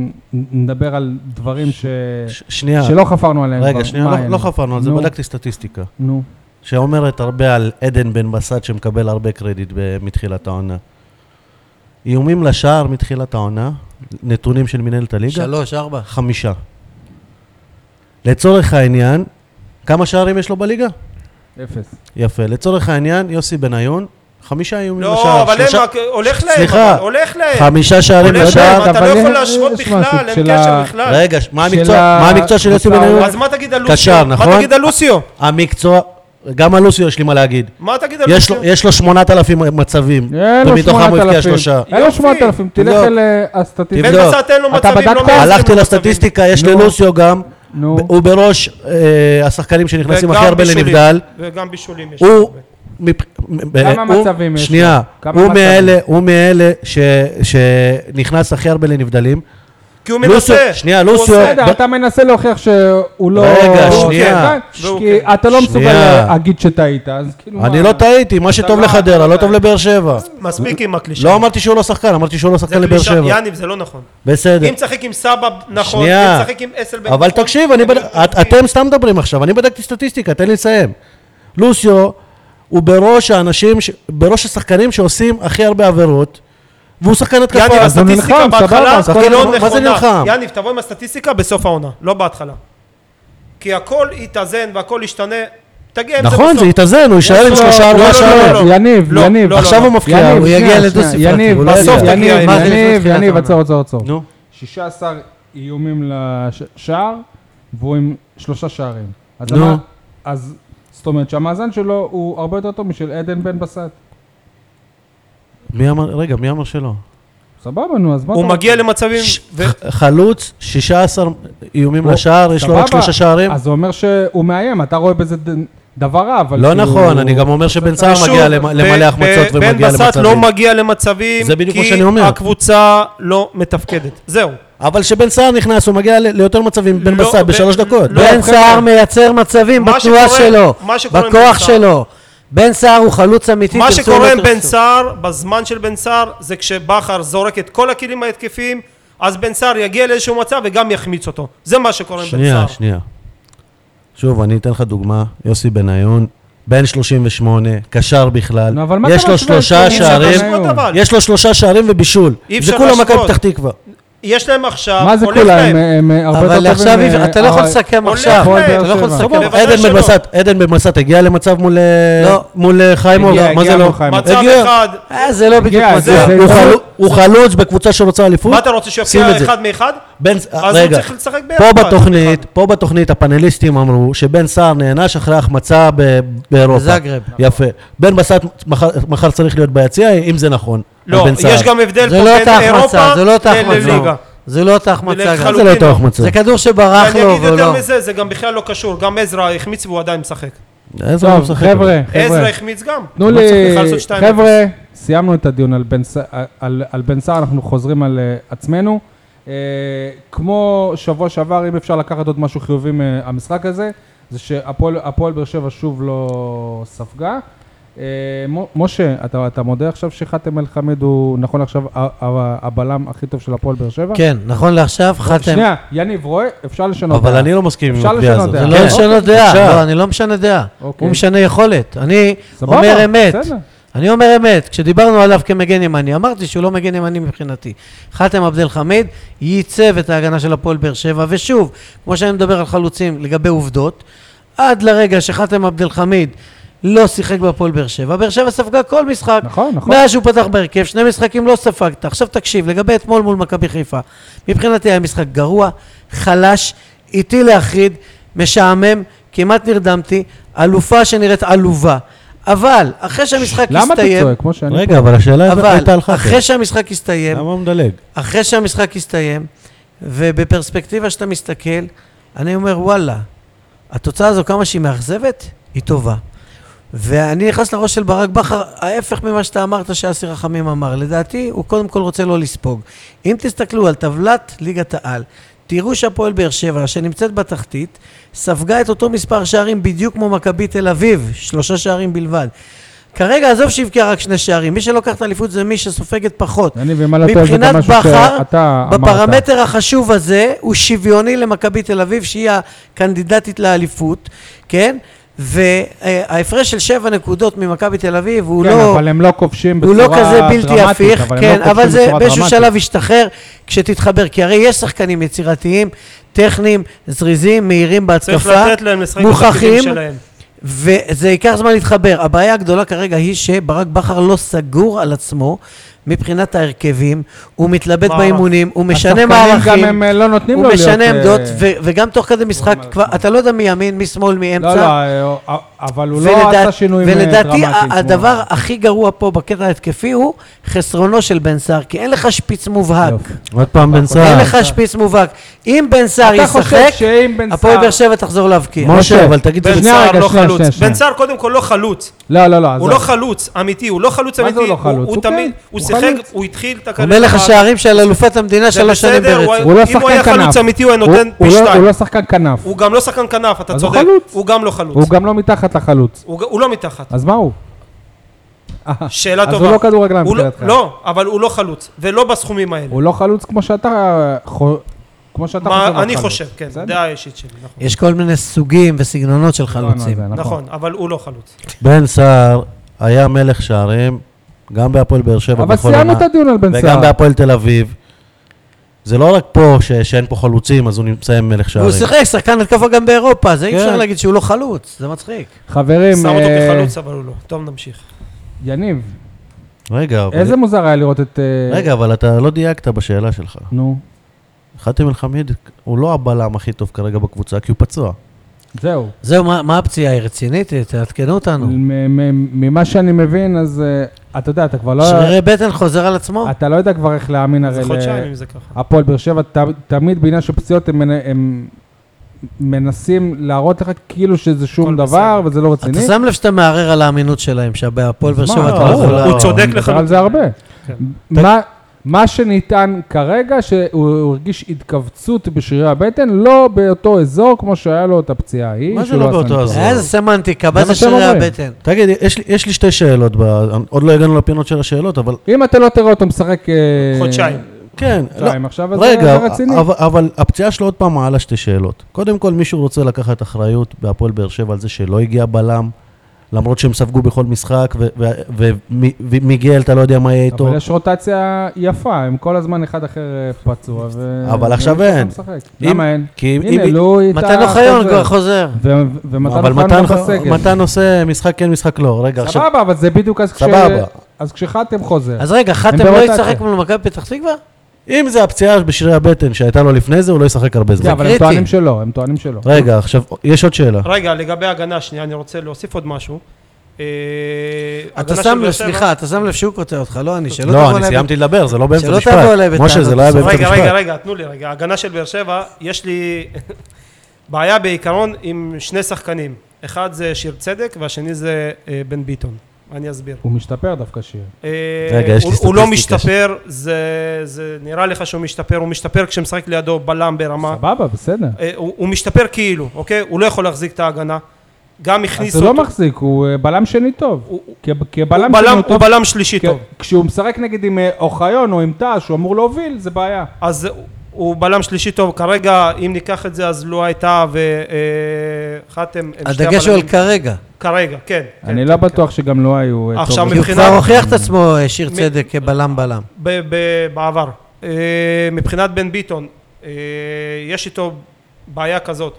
A: נדבר על דברים ש...
B: ש- שנייה,
A: שלא חפרנו עליהם כבר.
B: רגע, שנייה,
A: מה
B: לא-
A: היה?
B: לא חפרנו על זה,
A: נו,
B: בדקתי סטטיסטיקה.
A: נו.
B: שאומרת הרבה על עדן בן בסט שמקבל הרבה קרדיט ב- מתחילת העונה. איומים לשער מתחילת העונה, נתונים של מנהלת הליגה,
C: שלוש, ארבע.
B: חמישה. לצורך העניין, כמה שערים יש לו בליגה?
A: אפס.
B: יפה. לצורך העניין, יוסי בניון, חמישה איומים לשער.
D: לא, אבל הם,
B: שלושה-
D: רק- הולך להם,
B: סליחה.
D: אבל, הולך להם.
B: חמישה שערים
D: הולך
B: לשער.
D: להם, אתה
A: אבל
D: לא
A: יש-
D: יכול להשוות
A: יש משהו
D: בכלל, אין
A: של
D: קשר
A: ה-
D: בכלל.
B: רגע, ש- מה
A: של
B: המקצוע-
A: ה-
B: מה המקצוע של יוסי
A: של ה-
B: בניון?
D: אז מה תגיד על לוסיו?
B: קשר, נכון?
D: מה תגיד על לוסיו?
B: המקצוע, גם על לוסיו יש לי מה להגיד.
D: מה תגיד על
B: יש
D: לוסיו?
B: לו- יש לו 8,000 מצבים,
A: אין לו
B: ומתוכם הוא הבקיע
A: 8,000.
B: שלושה.
A: אין לו
D: יופי.
A: 8,000, תלך
B: תבדוק.
A: אל אה,
D: בן
A: הסטטיסטיקה.
B: תבדוק.
D: בסט אין לו
A: אתה
D: מצבים, לא
A: בדקת?
D: מייצרים
B: הלכתי
D: לו מצבים.
B: לסטטיסטיקה, יש
A: נו.
B: ללוסיו גם,
A: נו.
B: ב- הוא בראש אה, השחקנים שנכנסים
D: וגם
B: הכי הרבה
D: בישולים.
B: לנבדל.
D: וגם בישולים יש.
B: הוא...
D: הרבה.
B: מפ- ב-
A: כמה
B: הוא-
A: מצבים יש לו?
B: שנייה,
A: כמה
B: הוא
A: מצבים?
B: מאלה, הוא מאלה ש- שנכנס הכי הרבה לנבדלים.
D: כי הוא
B: לוסיו-
D: מנסה.
B: שנייה,
D: הוא
B: לוסיו-
D: עושה.
A: בסדר,
B: ב-
A: אתה מנסה להוכיח שהוא לא...
B: רגע,
A: הוא
B: שנייה.
A: כן,
D: והוא
A: כי
D: כן.
A: אתה לא מסוגל
B: שנייה.
A: להגיד שטעית, אז כאילו...
B: אני
A: מה?
B: לא טעיתי, מה שטוב
A: לא-
B: לחדרה, לא טוב לבאר שבע.
D: מספיק עם הקלישה.
B: לא אמרתי שהוא לא שחקן, אמרתי שהוא לא
D: זה
B: שחקן לבאר
D: קלישה.
B: שבע.
D: יניב, זה לא נכון.
B: בסדר.
D: אם תשחק עם סבא, נכון.
B: שנייה.
D: אם תשחק עם אסלבנק.
B: אבל
D: נכון.
B: תקשיב, אני בד... את, אתם סתם מדברים עכשיו, אני בדקתי סטטיסטיקה, תן לי לסיים. לוסיו הוא בראש האנשים, ש... בראש השחקנים שעושים הכי הרבה עבירות, והוא שחקן התקפה.
D: יניב,
A: אז הוא
D: הסטטיסטיקה
A: נלחם, סבבה,
D: בהתחלה
A: אז כל
D: היא לא
B: הזמן- מה זה
D: נכונה.
B: נלחם?
D: יניב, תבוא עם הסטטיסטיקה בסוף העונה, לא בהתחלה. כי הכל יתאזן והכל ישתנה. תגיע עם זה
B: נכון, זה
D: בסוף.
B: יתאזן, הוא יישאר עם
D: לו-
B: שלושה
D: לא,
B: ארבעה
D: לא, לא,
B: שערים.
D: לא, לא.
A: יניב,
D: לא,
A: יניב,
D: לא, לא,
B: עכשיו
D: לא.
B: הוא מפקיע,
A: יניב,
B: הוא
A: שנייה,
C: יגיע
A: שנייה,
C: לדו-ספרתי,
A: יניב,
B: הוא לא
A: בסוף
B: יגיע.
A: יניב,
C: מה זה
A: יניב,
C: לפני תחילת
A: יניב,
C: העונה?
A: עצור, עצור,
D: לא.
A: עצור.
B: נו,
A: 16 איומים לשער, והוא עם שלושה שערים. אז
B: נו.
A: אמר- אז זאת אומרת שהמאזן שלו הוא הרבה יותר טוב משל עדן בן בסט.
B: מי אמר, רגע, מי אמר שלא?
A: סבבה, נו, אז מה
D: הוא
A: אתה-
D: מגיע למצבים...
B: ש-
D: ו-
B: ח- חלוץ, 16 איומים
A: הוא-
B: לשער, יש לו רק
A: סבבה.
B: שלושה שערים.
A: אז זה אומר שהוא מאיים, אתה רואה בזה ד- דבר רע, אבל...
B: לא
A: כאילו-
B: נכון, אני גם אומר שבן סער
D: ושוב,
B: מגיע למ-
D: ב-
B: למלא החמצות
D: ב-
B: ומגיע
D: בן בסט לא
B: למצבים.
D: מגיע למצבים,
B: זה בדיוק מה שאני אומר.
D: כי הקבוצה לא מתפקדת. זהו.
B: אבל כשבן סער נכנס, הוא מגיע ל- ליותר מצבים מבן
D: לא,
B: בסט
D: ב-
B: בשלוש דקות.
D: לא,
C: בן
D: חבר'ה.
C: סער מייצר מצבים
D: מה
C: בתנועה
D: שקורה-
C: שלו,
D: מה שקורה עם בן
C: בכוח
D: סער.
C: שלו. בן סער הוא חלוץ אמיתי,
D: מה
C: תרצו או
D: שקורה
C: לא
D: עם בן
C: תרצו.
D: סער, בזמן של בן סער, זה כשבכר זורק את כל הכלים ההתקפיים, אז בן סער יגיע לאיזשהו מצב וגם יחמיץ אותו. זה מה שקורה עם בן סער.
B: שנייה, שנייה. שוב, אני אתן לך דוגמה. יוסי בניון, בן 38, קשר בכלל.
A: נו, אבל מה אתה
B: יש לו
A: משווה את
B: שלושה
A: זה?
B: שערים.
D: להשוות, אבל.
B: יש לו שלושה שערים ובישול.
D: אי אפשר
B: זה כולה מכבי
D: להשוות.
B: פתח תקווה.
D: יש להם עכשיו,
A: מה זה
D: הולך
A: כולה,
D: להם.
A: הם- הם אה, הרבה יותר טובים...
C: אבל עכשיו אי- אתה לא יכול
A: אה,
C: לסכם
D: הולך
C: עכשיו.
A: הפועל
D: להם.
A: באר
C: אתה לא יכול
A: שבע.
C: לסכם.
D: בוודאי
B: עדן בן
D: שלא.
B: בסט, עדן בן בסט הגיע למצב מול אה,
C: לא.
B: מול אה, חיימוב.
A: הגיע,
B: מה
A: הגיע
B: זה לא?
A: מול חיימוב.
D: מצב
B: הגיע.
D: אחד,
C: אה, זה לא בדיוק
A: הגיע,
C: מה
A: זה-
C: זה.
B: הוא
A: זה-
B: חלו- הוא חלוץ בקבוצה שרוצה אליפות?
D: מה אתה רוצה
B: שים את
D: שיופיע
B: זה.
D: אחד מאחד?
B: בן,
D: אז הוא
B: רגע,
D: צריך לשחק
B: פה
D: ביחד.
B: בתוכנית,
C: נכון.
B: פה בתוכנית הפאנליסטים אמרו שבן סער נענש אחרי החמצה ב- באירופה.
C: בזאגרב.
B: יפה. בן בסט מחר- מחר צריך להיות ביציע, אם זה נכון.
D: לא,
B: על בן סער.
D: יש גם הבדל
C: זה
D: פה
C: לא
D: בין
C: אותה החמצה,
D: אירופה
C: זה לא אותה
D: לליגה.
C: החמצה. זה לא אותה החמצה.
B: מה
C: גם.
D: לחלוטין.
B: זה לא אותו
D: לא.
B: החמצה?
C: זה כדור שברח
D: ואני
C: לו
D: אגיד
C: והוא
D: יותר
C: לא...
D: מזה, זה גם בכלל לא קשור, גם עזרא החמיץ והוא עדיין משחק.
B: איזה הוא
A: טוב,
B: משחק?
A: חבר'ה,
D: עזרא
A: חבר'ה.
D: החמיץ גם.
A: תנו
D: לא
A: לי...
D: צריך בכלל לעשות 2-0.
A: חבר'ה, סיימנו את הדיון על בן ס- על- על בן סער, אנחנו חוזרים על אה, עצמנו. אה, כמו שבוע שעבר, אם אפשר לקחת עוד משהו חיובי מהמשחק הזה, זה שהפועל הפועל באר שבע שוב לא ספגה. אה, מו- משה, אתה, אתה מודה עכשיו שחאתם אל-חמיד הוא נכון עכשיו ה- ה- הבלם הכי טוב של הפועל באר שבע?
C: כן, נכון לעכשיו, חתם.
A: שנייה, יניב רואה, אפשר לשנות.
B: אבל
A: דעה.
B: אני לא מסכים עם
A: אפשר
B: הקביעה
A: לשנות
B: הזאת.
A: דעה.
C: לא
A: כן.
C: משנה
A: אוקיי,
C: דעה,
B: אפשר.
C: לא, אני לא משנה דעה.
A: אוקיי.
D: כן.
C: הוא משנה יכולת. אני
A: סבבה,
C: אומר אמת.
A: בסדר.
C: אני אומר אמת. כשדיברנו עליו כמגן ימני, אמרתי שהוא לא מגן ימני מבחינתי. חאתם עבד אל חמיד ייצב את ההגנה של הפועל באר שבע, ושוב, כמו שאני מדבר על חלוצים לגבי עובדות, עד לרגע שחאתם עבד אל חמיד לא שיחק בהפועל באר שבע, באר שבע ספגה כל משחק.
A: נכון, נכון.
C: מאז שהוא פתח בהרכב, שני משחקים לא ספגת. עכשיו תקשיב, לגבי אתמול מול מכבי חיפה, מבחינתי היה משחק גרוע, חלש, איטי להחריד, משעמם, כמעט נרדמתי, אלופה שנראית עלובה. אבל, אחרי שהמשחק
A: למה אתה
C: הסתיים...
A: צועק? כמו שאני...
B: רגע, אבל השאלה הייתה
C: אבל,
B: על חתם.
C: אחרי שהמשחק הסתיים,
B: למה הוא מדלג?
C: אחרי שהמשחק הסתיים, ובפרספקטיבה שאתה מסתכל, אני אומר, וואלה, התוצאה הזו, כמה שהיא מאכזבת, היא טובה. ואני נכנס לראש של ברק בכר, ההפך ממה שאתה אמרת שאסי רחמים אמר. לדעתי, הוא קודם כל רוצה לא לספוג. אם תסתכלו על טבלת ליגת העל, תראו שהפועל באר שבע, שנמצאת בתחתית, ספגה את אותו מספר שערים בדיוק כמו מכבי תל אביב, שלושה שערים בלבד. כרגע, עזוב שהבקיע רק שני שערים, מי שלוקח את האליפות זה מי שסופגת פחות.
A: יניב, אם אני לא טועה, זה גם
C: מבחינת
A: משהו
C: בכר,
A: שאתה אמרת.
C: בפרמטר החשוב הזה, הוא שוויוני למכבי תל אביב, שהיא הקנדידטית לאליפות, כן? וההפרש של שבע נקודות ממכבי תל אביב הוא
A: כן,
C: לא...
A: אבל הם לא כובשים בצורה
C: הוא לא
A: דרמטית.
C: כזה בלתי הפיך,
A: אבל הם
C: כן,
A: לא
C: אבל
A: כובשים
C: זה
A: בצורה
C: באיזשהו
A: דרמטית.
C: שלב ישתחרר כשתתחבר, כי הרי יש שחקנים יצירתיים, טכניים, זריזים, מהירים
D: צריך
C: בהתקפה,
D: לתת להם לשחק
C: מוכחים,
D: בתפקידים שלהם.
C: וזה ייקח זמן להתחבר. הבעיה הגדולה כרגע היא שברק בכר לא סגור על עצמו מבחינת ההרכבים, הוא מתלבט
D: מערך.
C: באימונים, הוא משנה
A: השחקנים
C: מערכים.
A: גם הם אה, לא נותנים לו
C: הוא
A: להיות...
C: משנה
A: אה,
C: עמדות, ו- וגם תוך כדי משחק,
A: על
C: כבר-
A: עצמו.
C: אתה לא יודע מימין,
A: לא,
C: משמאל,
A: לא,
C: מאמצע.
A: אה, אה, אבל הוא לא
C: ולדעת-
A: עשה שינויים אה,
C: ולדעתי
A: דרמטיים.
C: ה-
A: כמו-
C: הדבר הכי גרוע פה בקטע ההתקפי הוא חסרונו של בן סער, כי אין לך שפיץ מובהק.
A: יופי.
B: עוד פעם בן
C: אין
B: סער.
C: לך שפיץ מובהק. אם בן סער
A: אתה חושב
C: ישחק,
A: שאם בן
C: הפועל באר
A: סער...
C: שבע תחזור להבקיע.
B: משה, אבל תגיד,
D: בן
A: שנייה,
D: סער
A: רגע,
D: לא
A: שנייה, שנייה,
D: חלוץ.
A: שנייה.
D: בן סער קודם כל לא חלוץ.
A: לא, לא, לא,
D: הוא לא
A: עזוב.
D: חלוץ אמיתי, הוא לא חלוץ
A: מה זה
D: אמיתי.
A: הוא לא חלוץ?
D: הוא
A: הוא
D: תמיד,
A: כן,
D: הוא
A: הוא
D: שיחק,
A: חלוץ.
D: הוא התחיל את
C: אומר לך שערים של אלופת המדינה
D: זה
C: שלוש שנים
D: בסדר,
C: ברצף.
A: הוא לא
D: אם הוא היה
A: שחקן
D: חלוץ
A: כנף.
D: אמיתי הוא היה
A: הוא-
D: נותן
A: הוא
D: פי
A: לא-
D: שתיים.
A: הוא לא שחקן כנף.
D: הוא גם לא שחקן כנף, אתה
A: אז הוא
D: צודק.
A: חלוץ.
D: הוא גם לא חלוץ.
A: הוא גם לא מתחת לחלוץ.
D: הוא ג- הוא לא מתחת.
A: אז מה הוא?
D: שאלה
A: אז
D: טובה.
A: הוא לא כדורגלן
D: הוא לא-
A: מבחינתך.
D: לא, אבל הוא לא חלוץ, ולא בסכומים האלה.
A: הוא לא חלוץ כמו שאתה... אה, חו- כמו שאתה חושב.
D: מה
A: על
D: אני
A: חלוץ.
D: חושב, כן,
A: בסדר?
D: דעה אישית שלי, נכון.
C: יש כל מיני סוגים וסגנונות של
A: דיברנו על
C: חלוצים.
A: זה,
D: נכון, אבל הוא לא חלוץ.
B: בן סער היה מלך שערים, גם בהפועל באר שבע
A: אבל
B: בכל
A: סיימנו
B: עונה,
A: את הדיון על בן
B: וגם
A: סער.
B: בהפועל תל אביב. זה לא רק פה ש- שאין פה חלוצים, אז הוא נמצא עם מלך שערים.
C: הוא שיחק שחקן התקפה גם באירופה, זה אי
B: כן.
C: אפשר להגיד שהוא לא חלוץ, זה מצחיק.
A: חברים,
D: שם אותו
A: אה,
D: כחלוץ, אבל הוא לא. טוב, נמשיך.
A: יניב,
B: רגע, אבל-
A: איזה מוזר היה לראות את... אה,
B: רגע, אבל אתה לא דייקת בשאלה שלך.
A: נו,
B: חאתם אל-חמיד הוא לא הבלם הכי טוב כרגע בקבוצה, כי הוא פצוע.
A: זהו.
C: זהו, מה מה הפציעה היא רצינית? תעדכנו אותנו.
A: מ- מ- ממה שאני מבין, אז אה, אתה יודע, אתה כבר לא...
C: שרירי בטן חוזר על עצמו?
A: אתה לא יודע כבר איך להאמין הרי
D: זה
A: ל-
D: חודשיים אם זה ככה.
A: הפועל באר שבע, ת- תמיד בעניין של פציעות הם מנ- הם מנסים להראות לך כאילו שזה שום
D: הכל
A: דבר וזה לא רציני.
C: אתה שם לב שאתה מערער על האמינות שלהם, שהפועל באר
A: מה,
C: שבע אתה
A: לא,
C: לא יכול...
A: לא,
B: לא.
D: הוא צודק
A: אני מדבר על
D: לחלוטין.
A: זה הרבה.
D: כן.
A: מה- מה שנטען כרגע, שהוא הוא הרגיש התכווצות בשרירי הבטן, לא באותו אזור כמו שהיה לו את הפציעה ההיא.
B: מה זה
A: שהוא
B: לא
A: עשה
B: באותו
A: ניתוח.
B: אזור?
C: איזה סמנטיקה,
A: זה
C: מה
A: מה
C: זה
A: שהם
C: שרירי
A: אומרים.
C: הבטן?
B: תגיד, יש לי- יש לי שתי שאלות, ב- עוד לא הגענו לפינות של השאלות, אבל
A: אם אתה לא תראה אותו משחק... אה,
D: חודשיים.
B: כן. לא,
A: חודשיים עכשיו, אז
B: רגע,
A: זה רציני.
B: אבל- אבל הפציעה שלו עוד פעם מעלה שתי שאלות. קודם כל, מישהו רוצה לקחת אחריות בהפועל באר שבע על זה שלא הגיע בלם, למרות שהם ספגו בכל משחק, ו- ו- ו- מ- ו- מיגל, אתה לא יודע מה יהיה איתו.
A: אבל יש רוטציה יפה, הם כל הזמן אחד אחר אה, פצוע. ו-
B: אבל עכשיו
A: ומישהו
B: אין.
A: משחק.
B: אם-
A: למה אין?
B: כי אם-
A: הנה,
B: אם-
A: לו איתה...
C: מתן אוחיון כבר חוזר.
B: אבל
A: ומתן
B: מתן
A: אוחיון גם
B: ח-
A: בסגל.
B: מתן עושה משחק כן, משחק לא. רגע, עכשיו...
A: סבבה, אבל זה בדיוק אז כש...
B: סבבה.
A: אז כשחתם חוזר.
C: אז רגע, חתם לא
A: ברוטציה.
C: ישחק מול מכבי פתח תקווה?
B: אם זה הפציעה בשרירי הבטן שהייתה לו לפני זה, הוא לא ישחק הרבה
A: כן,
B: זמן.
A: אבל הם
C: קריטי.
A: טוענים שלא, הם טוענים שלא.
B: רגע, עכשיו, יש עוד שאלה.
D: רגע, לגבי ההגנה, שנייה, אני רוצה להוסיף עוד משהו. אה,
C: אתה
D: הגנה של
C: שם
D: באר
C: לב,
D: שבע-
C: סליחה, אתה שם לב שהוא קוטע אותך, לא אני, שלא
B: לא,
C: תבוא
B: אני
C: אליי
B: סיימתי לדבר, זה לא באמצע
C: שלא
B: משפט.
C: תבוא אליי בטענות.
B: משה, זה לא היה
C: רגע,
B: באמצע
D: רגע, רגע,
B: משפט.
D: רגע, תנו לי רגע. ההגנה של באר שבע, יש לי [laughs] בעיה בעיקרון עם שני שחקנים. אחד זה שיר צדק והשני זה אה, בן ביטון. אני אסביר.
A: הוא משתפר דווקא שיר.
D: אה,
B: רגע, יש לי
D: הוא- הוא לא
B: סטטיסטיקה.
D: משתפר, זה, זה נראה לך שהוא משתפר, הוא משתפר כשמשחק לידו בלם ברמה,
A: סבבה, בסדר.
D: אה, הוא, הוא משתפר כאילו, אוקיי? הוא לא יכול להחזיק את ההגנה. גם
A: אז
D: הכניס
A: זה לא
D: אותו,
A: מחזיק, הוא אה, בלם שני טוב.
D: הוא-
A: כי- כי
D: הוא
A: הבלם שני
D: בלם,
A: הוא
D: הוא
A: טוב.
D: בלם שלישי
A: כי-
D: טוב.
A: כשהוא משחק נגיד עם אה, אוחיון או עם תא שהוא אמור להוביל, זה בעיה.
D: אז הוא- הוא בלם שלישי טוב, כרגע אם ניקח את זה אז לא הייתה אה, וחתם,
C: הדגש הוא על כרגע.
D: כרגע, כן. כן,
A: אני לא
D: כן,
A: בטוח שגם לא היו אה,
D: עכשיו
A: טוב.
C: כי הוא
D: מבחינת-
C: כבר הוכיח את עצמו, אה, שיר
D: מ-
C: צדק, כבלם בלם.
D: ב- ב- בעבר. אה, מבחינת בן ביטון, אה, יש איתו בעיה כזאת.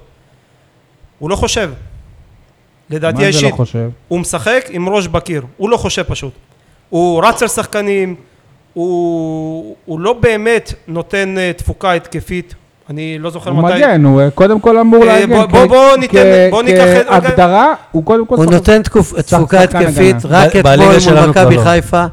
D: הוא לא חושב. לדעתי
A: מה זה
D: האישית,
A: לא חושב?
D: הוא משחק עם ראש בקיר, הוא לא חושב פשוט. הוא רץ על שחקנים, הוא, הוא לא באמת נותן אה, תפוקה התקפית. אני לא זוכר
A: הוא
D: מתי...
A: מגן, הוא אה, קודם כל אמור
D: אה,
A: להגן.
D: בוא- בוא-
A: כ-
D: בוא ניתן-
A: כ-
D: בוא ניקח את- רגע.
A: כהגדרה, הוא קודם כל...
C: הוא
A: שחקן-
C: נותן תקופ- תפוקה
A: שחקן
C: התקפית,
A: הגנה.
C: רק
B: ב-
C: אתמול
B: בליגה
C: מול
B: שלנו כבר
C: מכבי
B: לא.
C: חיפה,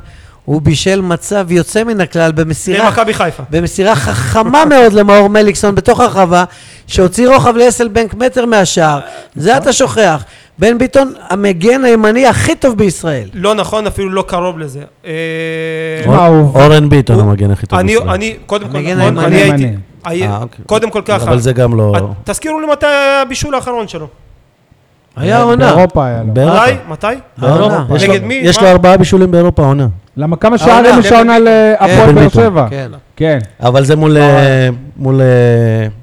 C: הוא בישל מצב יוצא מן הכלל במסירה
D: למכבי חיפה.
C: במסירה חכמה מאוד למאור מליקסון בתוך הרחבה, שהוציא רוחב לאסלבנק מטר מהשער, זה אתה שוכח. בן ביטון, המגן הימני הכי טוב בישראל.
D: לא נכון, אפילו לא קרוב לזה. אה,
A: מה, הוא-
B: אורן ביטון המגן הכי טוב
D: אני,
B: בישראל.
D: אני, קודם כל,
C: המגן
D: נכון, אני
A: הימני.
D: הייתי,
B: אה,
D: הי-
B: אוקיי.
D: קודם כל ככה,
B: אבל זה גם לא...
D: את- תזכירו לי מתי היה הבישול האחרון שלו.
C: היה עונה.
A: באירופה היה לו.
B: באירופה.
D: מתי? מתי?
B: באירופה.
C: העונה.
B: יש לו-
D: נגד מי?
B: יש
D: מה?
B: לו ארבעה בישולים באירופה עונה.
A: למה כמה שערים
C: העונה,
D: לא, כן.
A: יש העונה להפועל
B: בן
A: באר
B: ביטון.
A: שבע?
C: כן.
A: כן.
B: אבל זה
D: לא,
B: מול... אה, מול... אה,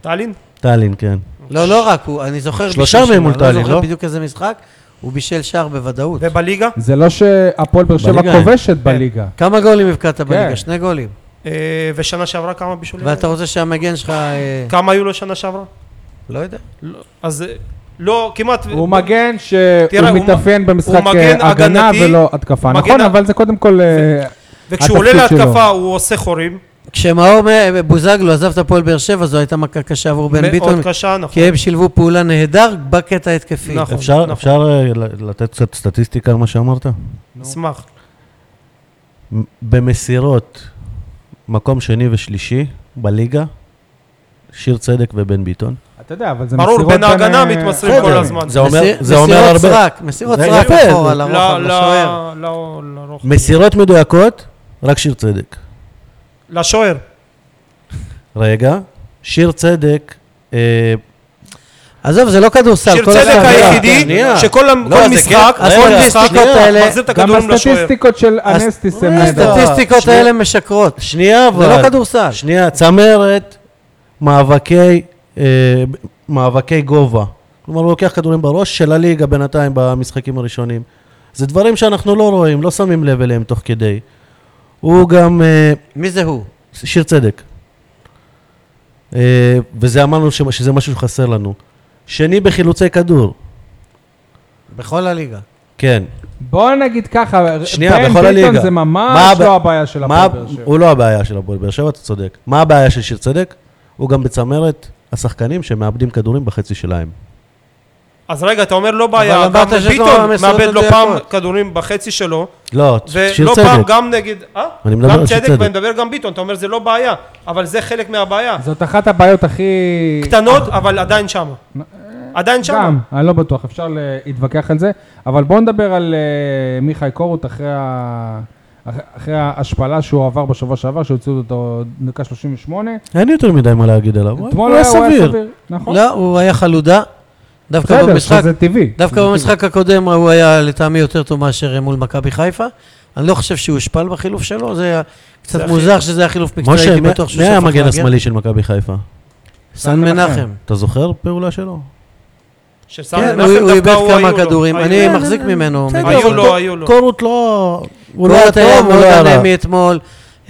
D: טאלין?
B: טאלין, כן.
C: לא, לא רק, הוא- אני זוכר...
B: שלושה
C: בישול
B: מהם
C: שלו,
B: מול
C: אני
B: טאלין,
C: לא זוכר
B: לא?
C: בדיוק איזה משחק, הוא בישל שער בוודאות.
D: ובליגה?
A: זה לא שהפועל באר שבע
B: בליגה אין.
A: כובשת
C: כן.
A: בליגה.
C: כמה גולים הבקעת בליגה?
A: כן.
C: שני גולים.
D: אה, ושנה שעברה כמה בישולים?
C: ואתה רוצה שהמגן שלך... אה,
D: כמה היו לו שנה שעברה?
C: לא יודע.
D: לא, אז אה, לא, כמעט...
A: הוא מגן שהוא
D: הוא מ-
A: מתאפיין במשחק
D: הוא מגן
A: אה, הגנה
D: הגנתי,
A: ולא התקפה.
D: מגן
A: נכון,
D: ה-
A: אבל זה קודם כל... אה,
D: וכשהוא עולה
A: התפקיד שלו.
D: להתקפה הוא עושה חורים.
C: כשמאור מ- בוזגלו עזב את הפועל באר שבע, זו הייתה מכה קשה עבור בן ביטון, כן.
D: מאוד קשה, נכון.
C: כי הם שילבו פעולה נהדר בקטע ההתקפי.
D: נכון.
B: אפשר אפשר, אה, ל- לתת קצת סטטיסטיקה על מה שאמרת?
D: אשמח.
B: מ- במסירות, מקום שני ושלישי בליגה, שיר צדק ובן ביטון.
A: אתה יודע, אבל זה
D: ברור,
A: מסירות
D: בין ההגנה
A: אה,
D: מתמסרים
A: אה,
D: כל
A: כן.
D: הזמן.
B: זה אומר
C: מסיר-
B: זה אומר
C: מסירות
B: הרבה.
C: סרק, מסירות
B: זה
C: סרק
B: יפה.
C: אחורה,
D: לא,
C: לרוחב, לשוער.
D: לא, לא, לרוחב.
B: מסירות מדויקות, רק שיר צדק.
D: לשוער.
B: רגע, שיר צדק, אה,
C: עזוב, זה לא כדורסל.
D: שיר
C: כל
D: צדק
C: השאר-
D: היחידי,
B: שנייה.
D: שכל
B: לא, זה
D: כל משחק,
B: כן,
D: כל
B: רגע,
D: משחק,
C: הסטטיסטיקות האלה-
D: מחזיר את
A: גם
D: הכדור לא לשוער.
A: הסטטיסטיקות של
C: הס-
A: אנסטיס
B: אה,
A: הם לא- נהדר.
C: אה, הסטטיסטיקות
B: שנייה.
C: האלה משקרות.
B: שנייה אבל.
C: זה לא כדורסל.
B: שנייה, צמרת, מאבקי, אה, מאבקי גובה. כלומר, הוא לוקח כדורים בראש של הליגה בינתיים במשחקים הראשונים. זה דברים שאנחנו לא רואים, לא שמים לב אליהם תוך כדי. הוא גם אה,
C: מי זה הוא?
B: שיר צדק. אה, וזה אמרנו ש- שזה משהו שחסר לנו. שני בחילוצי כדור,
C: בכל הליגה.
B: כן.
A: בוא נגיד ככה,
B: שנייה,
A: בן
B: בכל הליגה.
A: ביטון זה
B: מה
A: ממש
B: הב-
A: לא הבעיה של
B: מה,
A: הפועל באר שבע.
B: הוא לא הבעיה של הפועל באר שבע, אתה צודק. מה הבעיה של שיר צדק? הוא גם בצמרת השחקנים שמאבדים כדורים בחצי שלהם.
D: אז רגע, אתה אומר לא בעיה, גם
C: אמרת שיש לו
D: ביטון
C: מסירות
D: מאבד לא פעם
C: מדויקות.
D: כדורים בחצי שלו,
B: לא, שיר
D: ולא פעם
B: צדק.
D: גם נגד, אה?
B: אני מדבר
D: גם
B: על שיר
D: צדק
B: צדק.
D: ואני מדבר גם ביטון, אתה אומר זה לא בעיה, אבל זה חלק מהבעיה.
A: זאת אחת הבעיות הכי...
D: קטנות, אבל עדיין שמה. עדיין שמה.
A: גם, אני לא בטוח, אפשר להתווכח על זה, אבל בואו נדבר על אה, מיכאי קורות אחרי ה- אח- אחרי ההשפלה שהוא עבר בשבוע שעבר, שהוציאו אותו דקה 38.
B: אין יותר מדי מה להגיד עליו.
A: אתמול היה- הוא היה סביר. נכון.
C: לא, הוא היה חלודה. דווקא
A: בסדר,
C: במשחק
A: שזה טבעי.
C: דווקא במשחק הקודם הוא היה לטעמי יותר טוב מאשר מול מכבי חיפה. אני לא חושב שהוא הושפל בחילוף שלו, זה היה קצת מוזר שזה היה חילוף מקצועי,
B: משה,
C: הייתי
B: מי-
C: בטוח שהוא
B: מי היה
C: שפך
B: המגן
C: להגיע.
B: השמאלי של מכבי חיפה?
C: סן מנחם.
B: אתה זוכר פעולה שלו?
D: שסן
C: כן,
D: מנחם
C: הוא הוא
D: דווקא
C: איבד
D: הוא,
C: כמה
D: היו לו.
C: כדורים,
D: היו
C: אני
D: לו.
C: מחזיק ממנו.
B: כן, אה, בסדר,
C: מגן
D: היו
B: אבל
D: לו,
B: קור-
D: היו לו.
B: קורות לא... הוא לא היה
C: קורת היה
B: טוב, הוא
C: מאוד
B: לא היה רע.
C: אנמי אתמול,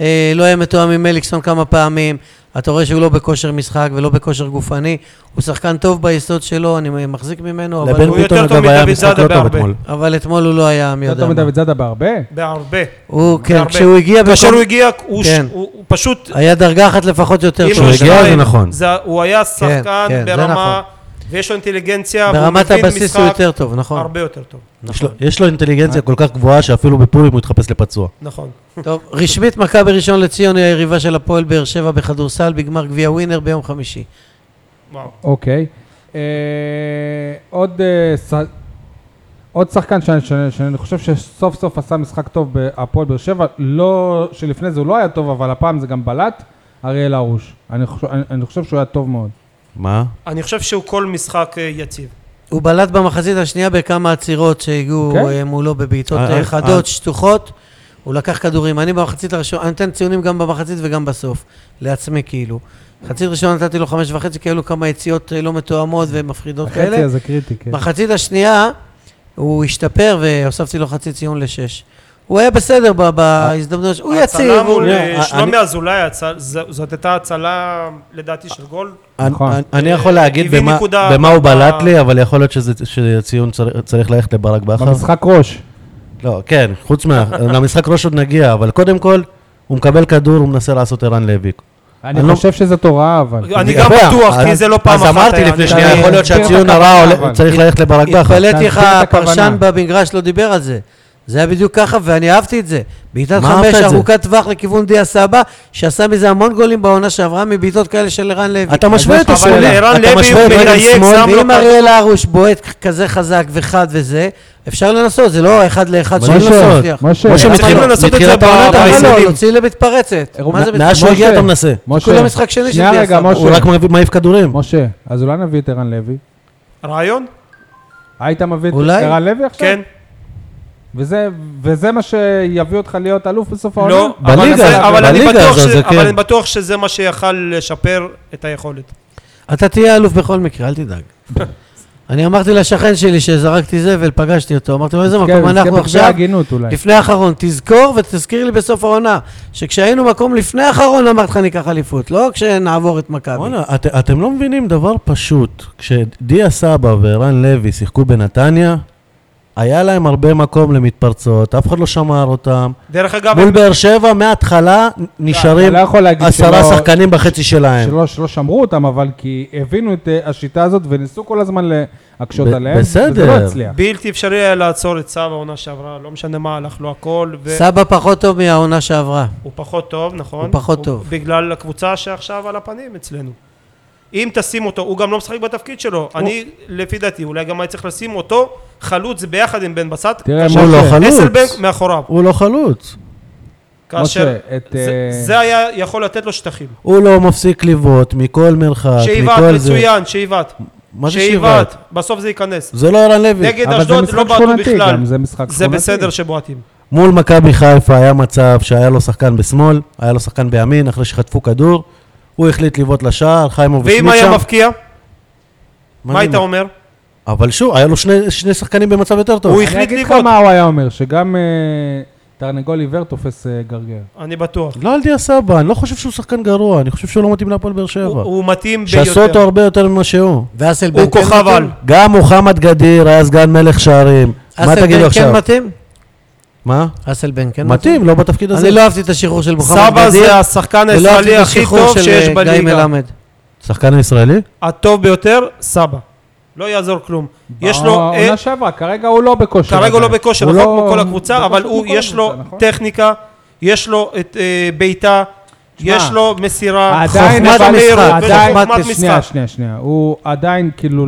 C: אה, לא היה מתואם עם מליקסון כמה פעמים, אתה רואה שהוא לא בכושר משחק ולא בכושר גופני, הוא שחקן טוב ביסוד שלו, אני מחזיק ממנו, אבל
B: לבן
C: הוא-
D: יותר
B: ביטון
D: טוב
B: אגב היה
D: מדוד
B: משחק
D: זאדה
B: לא טוב
D: בהרבה.
B: אתמול.
C: אבל אתמול הוא לא היה מי
A: יותר
C: יודע
A: טוב
C: מה.
A: מדוד זאדה בהרבה.
D: בהרבה.
C: הוא, כן,
D: בהרבה.
C: כשהוא הגיע,
D: כאשר
C: בכל-
D: הוא הגיע, הוא ש-
C: כן.
D: הוא הוא פשוט...
C: היה דרגה אחת לפחות יותר
D: אם
C: טוב.
B: כשהוא
D: לא
B: הגיע, זה
D: שניים,
B: נכון.
D: זה- הוא היה שחקן
C: כן, זה
D: ברמה, ויש לו אינטליגנציה, והוא
C: ברמת
D: מבין
C: הבסיס הוא
D: משחק
C: יותר טוב, נכון.
D: הרבה יותר טוב.
B: יש לו- יש לו אינטליגנציה כל כך גבוהה שאפילו בפורים הוא התחפש לפצוע.
D: נכון.
C: טוב, רשמית מכבי ראשון לציון היא היריבה של הפועל באר שבע בכדורסל בגמר גביע ווינר ביום חמישי.
D: וואו.
A: אוקיי. אה, עוד אה, ס- עוד שחקן שאני, שאני, שאני חושב שסוף סוף עשה משחק טוב בהפועל באר שבע, לא, שלפני זה הוא לא היה טוב, אבל הפעם זה גם בלט, אריאל הרוש. אני חושב, אני, אני חושב שהוא היה טוב מאוד.
B: מה?
D: אני חושב שהוא כל משחק אה, יציב.
C: הוא בלט במחצית השנייה בכמה עצירות שהגיעו
A: אוקיי.
C: אה, מולו בבעיטות
B: אה,
C: אה,
B: אה,
C: חדות,
B: אה.
C: שטוחות. הוא לקח כדורים. אני במחצית הראשונה, אני נותן ציונים גם במחצית וגם בסוף. לעצמי כאילו. מחצית ראשונה נתתי לו חמש וחצי, כי היו לו כמה יציאות אה, לא מתואמות ומפחידות כאלה.
A: החצי הזה קריטי, כן.
C: מחצית השנייה, הוא השתפר והוספתי לו חצי ציון לשש. הוא היה בסדר ב- בהזדמנות, הוא יציב.
D: הצלה
C: הוא- לא,
D: מול אה,
B: אני-
D: שלומי אזולאי, הצל- ז- זאת הייתה הצלה לדעתי של גול.
B: אני-
A: נכון.
B: אני- אני יכול להגיד
D: הביא
B: במה-
D: נקודה
B: במה
D: ב-
B: הוא בלט לי, אבל יכול להיות שזה- שהציון צר- צריך ללכת לברק בכר.
A: במשחק ראש.
B: לא, כן, חוץ מה... למשחק ראש עוד נגיע, אבל קודם כל, הוא מקבל כדור, הוא מנסה לעשות ערן לוי.
A: אני
B: אני לא-
A: חושב שזאת הוראה, אבל...
D: אני
B: יודע,
D: גם בטוח,
B: אז-
D: כי זה לא פעם אחת
B: אז אמרתי
D: היה,
B: לפני
D: אני-
B: שנייה, יכול להיות
A: אני מכיר את
B: שהציון
A: הכוונה,
B: הרע
A: אבל-
B: עולה- צריך ללכת לברק בכר.
C: התפלאתי איך
A: תסביר את
C: הפרשן
A: הכוונה.
C: במגרש לא דיבר על זה. זה היה בדיוק ככה, ואני אהבתי את זה. בעיטת
B: מה אהבת
C: חמש
B: את זה?
C: ארוכת טווח לכיוון דיה סבא, שעשה מזה המון גולים בעונה שעברה מבעיטות כאלה של ערן לוי.
B: אתה משווה את
D: אבל
B: השאלה.
D: ערן
B: אתה
D: לוי
B: משווה את רגל
D: מדייק,
B: שמאל.
D: שם לו
C: ואם
D: כדור.
C: אריאל הרוש בועט כזה חזק וחד וזה, אפשר לנסות, זה לא אחד לאחד
B: מה
C: שהוא
B: לנסות?
C: לא מצליח.
A: משה, אה,
B: משה
D: צריכים
B: מתחיל-
D: לנסות את
B: מתחילת
D: זה
B: העונה אתה
C: למה
D: אבל
B: מנסה.
C: לא?
D: מסיימים.
C: להוציא לבתפרצת.
B: אה,
C: מה זה
B: מאז שהוא הגיע אתה מנסה.
A: משה,
C: כולה משחק שני של
A: שנייה
C: דיה
A: רגע,
C: סבא.
A: משה,
B: הוא רק מביא- מעיף כדורים.
A: משה, אז אולי נביא את ערן לוי?
D: רעיון?
A: היית מביא את
C: אולי?
A: ערן לוי עכשיו?
D: כן.
A: וזה, וזה מה שיביא אותך להיות אלוף בסוף העונה?
D: לא,
B: העונה?
D: אבל
B: בליגה
D: זה-
B: הזאת,
D: אבל אני
B: בליגה
D: בטוח
B: הזאת,
D: ש-
B: זה כן.
D: אבל אני בטוח שזה מה שיכל לשפר את היכולת.
C: אתה תהיה אלוף בכל מקרה, אל
B: [laughs]
C: תדאג. אני אמרתי לשכן שלי שזרקתי זבל, פגשתי אותו, אמרתי לו, איזה
A: כן,
C: מקום אנחנו
A: זה בגביע
C: עכשיו?
A: הגינות אולי.
C: לפני האחרון, תזכור ותזכיר לי בסוף העונה, שכשהיינו מקום לפני האחרון אמרתי לך ניקח אליפות, לא כשנעבור את מכבי.
B: בואנה, את, אתם לא מבינים דבר פשוט. כשדיה סבא וערן לוי שיחקו בנתניה, היה להם הרבה מקום למתפרצות, אף אחד לא שמר אותם.
D: דרך אגב,
B: מול באר שבע מההתחלה נשארים
A: אתה לא יכול להגיד
B: עשרה
A: שלא-
B: שחקנים בחצי שלהם.
A: שלא, שלא שמרו אותם, אבל כי הבינו את אה, השיטה הזאת וניסו כל הזמן להקשות
B: ב-
A: עליהם, וזה
B: בסדר.
A: לא הצליח.
D: בלתי אפשרי היה לעצור את סבא העונה שעברה, לא משנה מה, הלך לו הכל, והוא
C: סבא פחות טוב מהעונה שעברה.
D: פחות טוב, נכון?
C: הוא פחות טוב.
D: בגלל הקבוצה שעכשיו על הפנים אצלנו. אם תשים אותו, הוא גם לא משחק בתפקיד שלו. אני, לפי דעתי, אולי גם היה צריך לשים אותו חלוץ ביחד עם בן בסט.
A: תראה,
D: כאשר
B: הוא לא
D: אסלבנק
B: חלוץ.
D: מאחוריו.
B: הוא לא חלוץ.
D: כאשר
A: משה, את,
D: זה-
A: אה,
D: זה היה יכול לתת לו שטחים.
B: הוא לא מפסיק לבעוט מכל מרחק,
D: שאיבת,
B: מכל זה.
D: מצוין, שאיבת.
B: מה זה
D: שאיבת,
B: שאיבת?
D: בסוף זה ייכנס.
B: זה לא ערן לוי.
D: נגד
A: אבל זה
D: אשדוד
A: משחק
D: לא בעטו
A: שכונתי
D: בכלל.
A: גם, זה משחק
D: זה
A: שכונתי.
D: בסדר שבועטים.
B: מול מכבי חיפה היה מצב שהיה לו שחקן בשמאל, היה לו שחקן בימין, אחרי שחטפו כדור, הוא החליט לבעוט לשער, חיימוב
D: ואם
B: השמיט
D: היה
B: שם.
D: מפקיע,
B: זה
D: מה היית אומר?
B: אבל שוב, היה לו שני, שני שחקנים במצב יותר טוב. הוא...
D: הוא
A: אני
D: החליט
A: אגיד לך
D: לבעוט.
A: מה הוא היה אומר, שגם אה, תרנגול עיוור תופס אה, גרגר.
D: אני בטוח.
B: לא על דיה סבא, אני לא חושב שהוא שחקן גרוע, אני חושב שהוא לא מתאים להפועל באר
D: הוא
B: שבע.
D: הוא מתאים
B: שעשו אותו
D: ביותר.
B: הרבה יותר ממה שהוא.
C: ואסל
D: הוא כוכב על.
B: גם מוחמד גדיר היה סגן מלך שערים. מה
C: אסל
B: תגידו
C: בן כן
B: עכשיו?
C: מתאים?
B: מה?
C: אסל בן כן
B: מתאים, לא בתפקיד הזה.
C: אני לא אהבתי את השחרור של מוחמד
D: סבא
C: גדיר,
D: זה השחקן
C: ולא אהבתי
D: הישראלי
C: את
D: הכי
C: השחרור
D: טוב
C: של
D: שיש
C: אה, גיא
D: בליגה.
C: מלמד.
B: שחקן ישראלי?
D: הטוב ביותר, סבא. לא יעזור כלום. יש לו... אה,
A: העונה שעברה, כרגע הוא לא בכושר.
D: כרגע הוא לא
A: עדיין.
D: בכושר,
A: הוא
D: נכון
A: לא-
D: כמו כל
A: הוא
D: הקבוצה,
A: לא
D: אבל
A: פשוט
D: הוא,
A: כמו כל
D: יש לו
A: הקבוצה, נכון?
D: טכניקה, יש לו את אה, בעיטה,
A: שמע,
D: יש לו מסירה,
A: עדיין,
C: חוכמת
A: אבל-
C: המשחק,
D: מהירות
A: עדיין-
D: וחוכמת
A: שנייה,
D: משחק.
A: שנייה, שנייה. הוא עדיין, כאילו,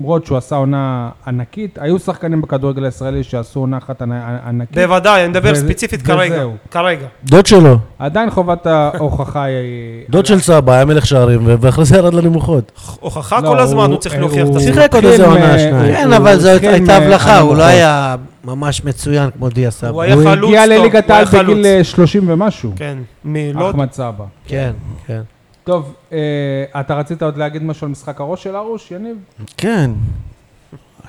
A: למרות שהוא עשה עונה ענקית, היו שחקנים בכדורגל הישראלי שעשו עונה אחת ענ- ענקית.
D: בוודאי, אני מדבר
A: וזה-
D: ספציפית
A: וזהו.
D: כרגע. כרגע.
B: דוד שלו.
A: עדיין חובת ההוכחה היא...
B: דוד של סבא היה מלך שערים, ו- ואחרי זה ירד לנמוכות.
D: הוכחה
A: לא,
D: כל הזמן, הוא צריך להוכיח את עצמו.
B: שיחק עוד איזה
A: התחיל
B: עונה,
A: מ-
B: שניים.
C: כן,
A: הוא
C: אבל זו
A: התחיל
C: הייתה
A: מ-
C: הבלחה, הוא לא
A: הנמוכות.
C: היה ממש מצוין כמו דיה
D: הוא
C: סבא.
D: היה חלוץ טוב,
A: הוא הגיע לליגת
D: הוא היה
A: העל בגיל
D: חלוץ.
A: אה, 30 ומשהו,
D: כן, מלוד.
A: אחמד סבא.
C: כן, כן.
A: טוב, אה, אתה רצית עוד להגיד משהו על משחק הראש של הרוש, יניב?
C: אה,
B: כן.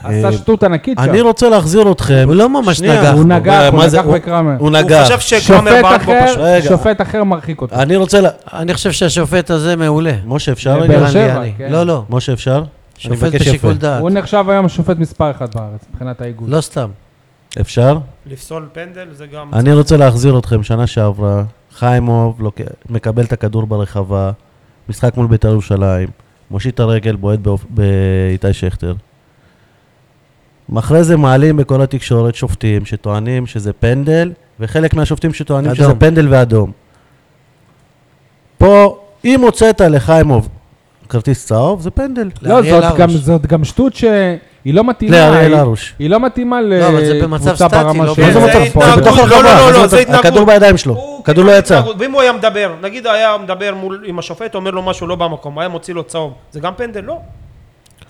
A: עשה שטות ענקית שם.
B: אני רוצה להחזיר אתכם.
C: הוא לא ממש
B: שנייה,
C: נגח.
A: הוא נגח, אה,
B: מה
A: הוא
B: זה-
A: נגח בקרמר.
B: הוא
D: הוא
B: נגח.
D: חשב שקרמר
A: שופט
D: בעט בו פשוט.
A: אחר,
B: רגע.
A: שופט אחר מרחיק אותו.
B: אני רוצה... לה-
C: אני חושב שהשופט הזה מעולה.
B: משה, אפשר
A: באר
B: רגע?
C: ערן
A: שבע,
C: ליאני.
A: כן.
C: לא, לא.
B: משה, אפשר? אני
C: שופט
B: מבקש יפה.
C: בשיקול דעת.
A: הוא נחשב היום השופט מספר אחת בארץ, מבחינת האיגוד.
C: לא סתם.
B: אפשר?
D: לפסול פנדל זה גם...
B: אני רוצה להחזיר אתכם, שנה שעברה, חיימוב לוק... מקבל את הכדור ברחבה, משחק מול בית"ר ירושלים, מושיט את הרגל, בועט באופ- באיתי שכטר. אחרי זה מעלים בכל התקשורת שופטים שטוענים שזה פנדל, וחלק מהשופטים שטוענים
C: אדום.
B: שזה פנדל ואדום. פה, אם הוצאת לחיימוב כרטיס צהוב, זה פנדל.
A: לא,
C: לאריאל
A: זאת
C: הרוש.
A: גם, זאת גם שטות ש... היא לא מתאימה,
B: לאריאל
A: היא-
B: הרוש.
A: היא לא מתאימה
C: לא, אבל זה במצב
A: לקבוצה
C: סטטי,
A: ברמה
C: לא
A: של... אה,
C: במצב-
B: איזה
D: זה
B: מצב? פה,
D: התנהגות.
B: בתוך
D: לא,
B: הרחבה,
D: לא, לא,
B: עזוב
D: לא,
B: אותה.
D: זה התנהגות.
B: הכדור בידיים שלו,
D: הוא
B: הכדור לא
D: כאילו
B: יצא.
D: התנהגות, ואם הוא היה מדבר, נגיד היה מדבר מול, עם השופט, אומר לו משהו לא במקום, היה מוציא לו צהוב, זה גם פנדל? לא.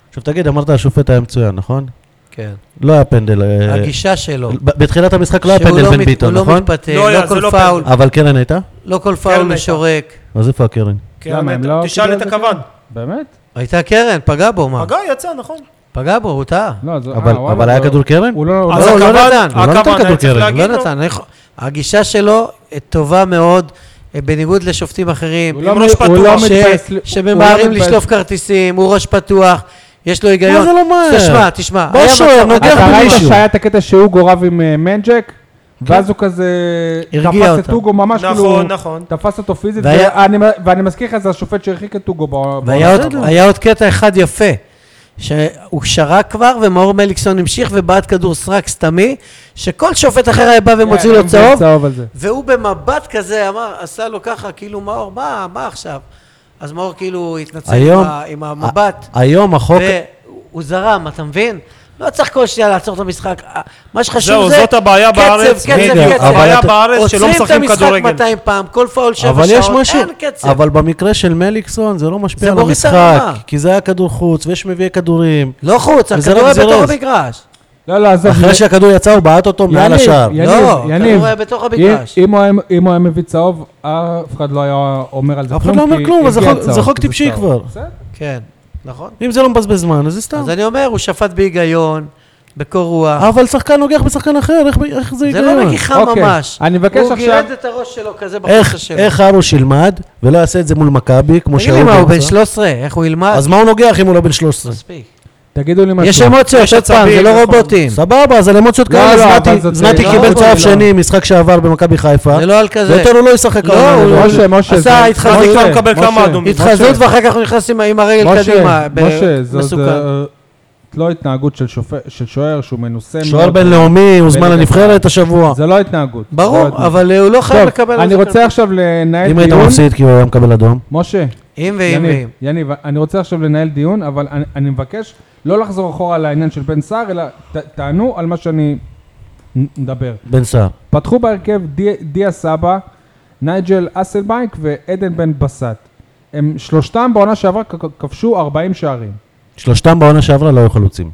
B: עכשיו תגיד, אמרת השופט היה מצוין, נכון?
C: כן.
B: לא היה פנדל. אה,
C: הגישה שלו.
B: ב- בתחילת המשחק לא היה
C: שהוא
B: פנדל
C: לא
B: בין
C: מת- הוא
B: ביטון,
C: לא
B: נכון?
C: מתפתה,
D: לא היה,
C: לא
D: זה
C: כל
D: לא
C: פאול,
B: אבל קרן הייתה?
C: לא כל
D: קרן
C: פאול
D: הייתה.
C: משורק.
B: אז איפה הקרן?
D: כן,
A: למה, הם לא...
D: תשאל
A: קיבלו
D: את
A: זה?
D: הכוון.
A: באמת?
C: הייתה קרן, פגע בו, מה?
D: פגע, יצא, נכון.
C: פגע בו, הוא טעה.
A: לא, זה...
B: אבל-
A: אה, וואלה,
B: אבל היה
A: זה-
B: כדור קרן?
A: הוא לא... הוא
D: אז
A: לא-
C: לא, הוא לא
D: הכוון-
C: נתן,
B: הוא לא נתן
D: הכוון,
B: כדור
D: היה צריך
B: קרן,
D: להגיד
C: לא
D: לו.
C: נתן, אני יכול- הגישה שלו אה, טובה מאוד, אה, בניגוד לשופטים אחרים.
A: הוא לא
D: עם ראש
A: מ- הוא לא
C: ש-
A: מתבאס- הוא לא
C: שממהרים
A: מתבאס.
C: לשלוף כרטיסים, הוא ראש פתוח, יש לו היגיון.
B: מה זה לא מהר?
C: תשמע, תשמע.
B: בוא
C: היה
B: שוער,
C: מצב-
B: נוגח
C: אתה
A: אתה ראית
B: במישהו.
A: שהיה את הקטע שהוא גורב עם אה, מנג'ק? ואז הוא כזה...
C: כן. הרגיע
A: תפס את
C: אותם.
A: טוגו ממש
D: נכון,
A: כאילו...
D: נכון.
A: תפס אותו פיזית,
C: והיה-
A: ואני- ואני מזכיר לך, זה השופט שהרחיק את טוגו. ב-
C: והיה
A: בעונה.
C: עוד, היה עוד קטע אחד יפה, שהוא שרק כבר ומאור מליקסון המשיך ובעט כדור סרק סתמי, שכל שופט אחר היה בא ומוציא
A: כן,
C: לו
A: גם
C: צהוב,
A: צהוב על זה.
C: והוא במבט כזה אמר, עשה לו ככה, כאילו מאור, מה, מה עכשיו? אז מאור כאילו התנצל
B: לא. היום- אה, אוקיי.
C: עם, ה- עם המבט,
B: ה- היום החוק...
C: והוא זרם, אתה מבין? לא צריך כל שנייה לעצור את המשחק. ה- מה שחשוב
D: זהו,
C: זה
D: זאת הבעיה בארץ.
C: קצב,
B: רגע,
C: קצב,
B: אבל
C: קצב.
B: הבעיה
D: בארץ שלא
C: עוצרים את
D: משחקים
C: המשחק
D: כדורגל.
C: 200 פעם, כל פאול 7 שעות,
B: אבל יש משהו,
C: אין קצב.
B: אבל במקרה של מליקסון זה לא
C: זה
B: משפיע על
C: מוריד את
B: המשחק,
C: הרמה.
B: כי זה היה כדור חוץ ויש מביאי כדורים.
C: לא חוץ,
B: וזה
C: הכדור
B: רק
C: היה בתוך
B: זירוז.
C: המגרש.
A: לא, לא, עזוב.
B: אחרי שהכדור יצא הוא בעט אותו מעל
A: יניב,
B: השער.
A: יניב,
C: לא,
A: יניב.
C: הכדור היה בתוך המגרש.
A: אם- אם הוא היה- אם הוא היה מביא צהוב, אף אחד לא היה אומר על זה
B: אף אחד
A: כלום.
B: לא אומר
A: כי
B: כלום, אבל זה
A: הגיע
B: חוק- זה
A: צהוב,
B: חוק טיפשי
A: צהוב.
B: כבר.
A: בסדר.
C: כן, נכון.
B: אם זה לא מבזבז זמן אז זה סתם.
C: אז אני אומר, הוא שפט בהיגיון, בקור רוח.
B: אבל שחקן נוגח בשחקן אחר, איך- איך זה
C: זה
B: יקרה?
C: לא נגיחה
A: אוקיי,
C: ממש.
A: אני מבקש
C: הוא
A: עכשיו-
C: גירד את הראש שלו כזה בחוץ
B: איך,
C: שלו.
B: איך ארוש ילמד ולא יעשה את זה מול מכבי, כמו
C: תגיד לי מה, הוא
B: עושה?
C: בן 13, איך הוא ילמד?
B: אז מה הוא נוגח אם הוא לא בן 13?
C: מספיק.
A: תגידו לי משהו.
C: יש אמוציות,
D: יש
C: עוד פעם,
D: עצבים,
C: זה לא
D: נכון.
C: רובוטים.
B: סבבה, אז על אמוציות
A: לא, לא,
B: כאלה, זנתי-
A: אבל זאת-
B: זנתי
C: לא,
B: קיבל
C: לא,
B: צהוב
C: לא.
B: שני, משחק שעבר במכבי
A: אה?
B: חיפה,
C: זה לא על כזה.
B: ויותר הוא לא ישחק
C: לא,
B: העונה,
C: הוא
B: לא,
A: משה, משה.
C: עשה
A: זה-
C: התחזות,
A: משה,
D: הוא מקבל
A: משה,
D: כמה אדומים.
C: התחזות
A: משה,
C: ואחר כך הוא נכנס עם- עם הרגל קדימה. ב-
A: משה, אה, זו-
C: מסוכן.
A: זו- זאת לא התנהגות של שופט- של שוער שהוא מנוסה.
B: שוער
A: מאוד.
B: בינלאומי, הוזמן
A: בליגה.
B: לנבחרת השבוע.
A: זה לא התנהגות. זה לא
C: ברור,
A: התנהגות.
C: אבל הוא לא חייב לקבל...
A: טוב,
C: על
A: אני
C: זה
A: רוצה
C: כרטיס.
A: עכשיו לנהל
B: אם היית
A: דיון.
B: מפסיד כי הוא היה מקבל אדום.
A: משה,
C: אם ואם ואם.
A: יניב, יניב, אני רוצה עכשיו לנהל דיון, אבל אני- אני מבקש לא לחזור אחורה על העניין של בן סער, אלא ת- תענו על מה שאני נ- מדבר.
B: בן סער.
A: פתחו בהרכב די- דיה סבא, נייג'ל אסלבייק ועדן בן בסט. הם שלושתם בעונה שעברה כ- כבשו 40 שערים.
B: שלושתם בעונה שעברה לא היו חלוצים.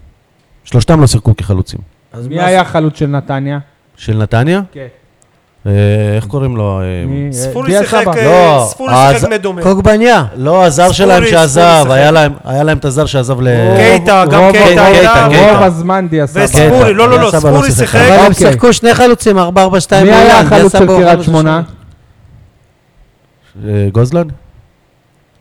B: שלושתם לא שיחקו כחלוצים.
C: אז
A: מי
C: מה-
A: היה החלוץ של נתניה?
B: של נתניה?
A: כן.
B: אה, איך קוראים לו? אה,
A: מי-
D: ספורי
A: דיה
D: שיחק,
A: סבא.
D: אה,
B: לא,
D: ספורי
B: אז-
D: שיחק מדומה.
C: קוגבניה.
B: לא, הזר
D: ספורי,
B: שלהם שעזב,
D: ספורי
B: היה
D: שיחק.
B: להם- היה להם את הזר שעזב
A: רוב-
B: ל...
D: אה, קייטה, גם
A: רוב-
D: קייטה
A: רוב-
B: הייתה,
A: רוב
B: קייטה.
A: הזמן דיה סבא.
D: וספורי,
B: קטע,
D: לא, לא, לא,
B: סבא לא
D: ספורי
B: שיחק.
D: שיחק.
C: אבל הם
A: אוקיי.
C: שיחקו שני חלוצים, 4-4-2
A: כן. מי היה
C: בהולנד,
A: החלוץ
C: יסבו
A: של
C: הוא
A: קריית
C: חלוץ
A: שמונה?
C: השני.
B: אה, גוזלן?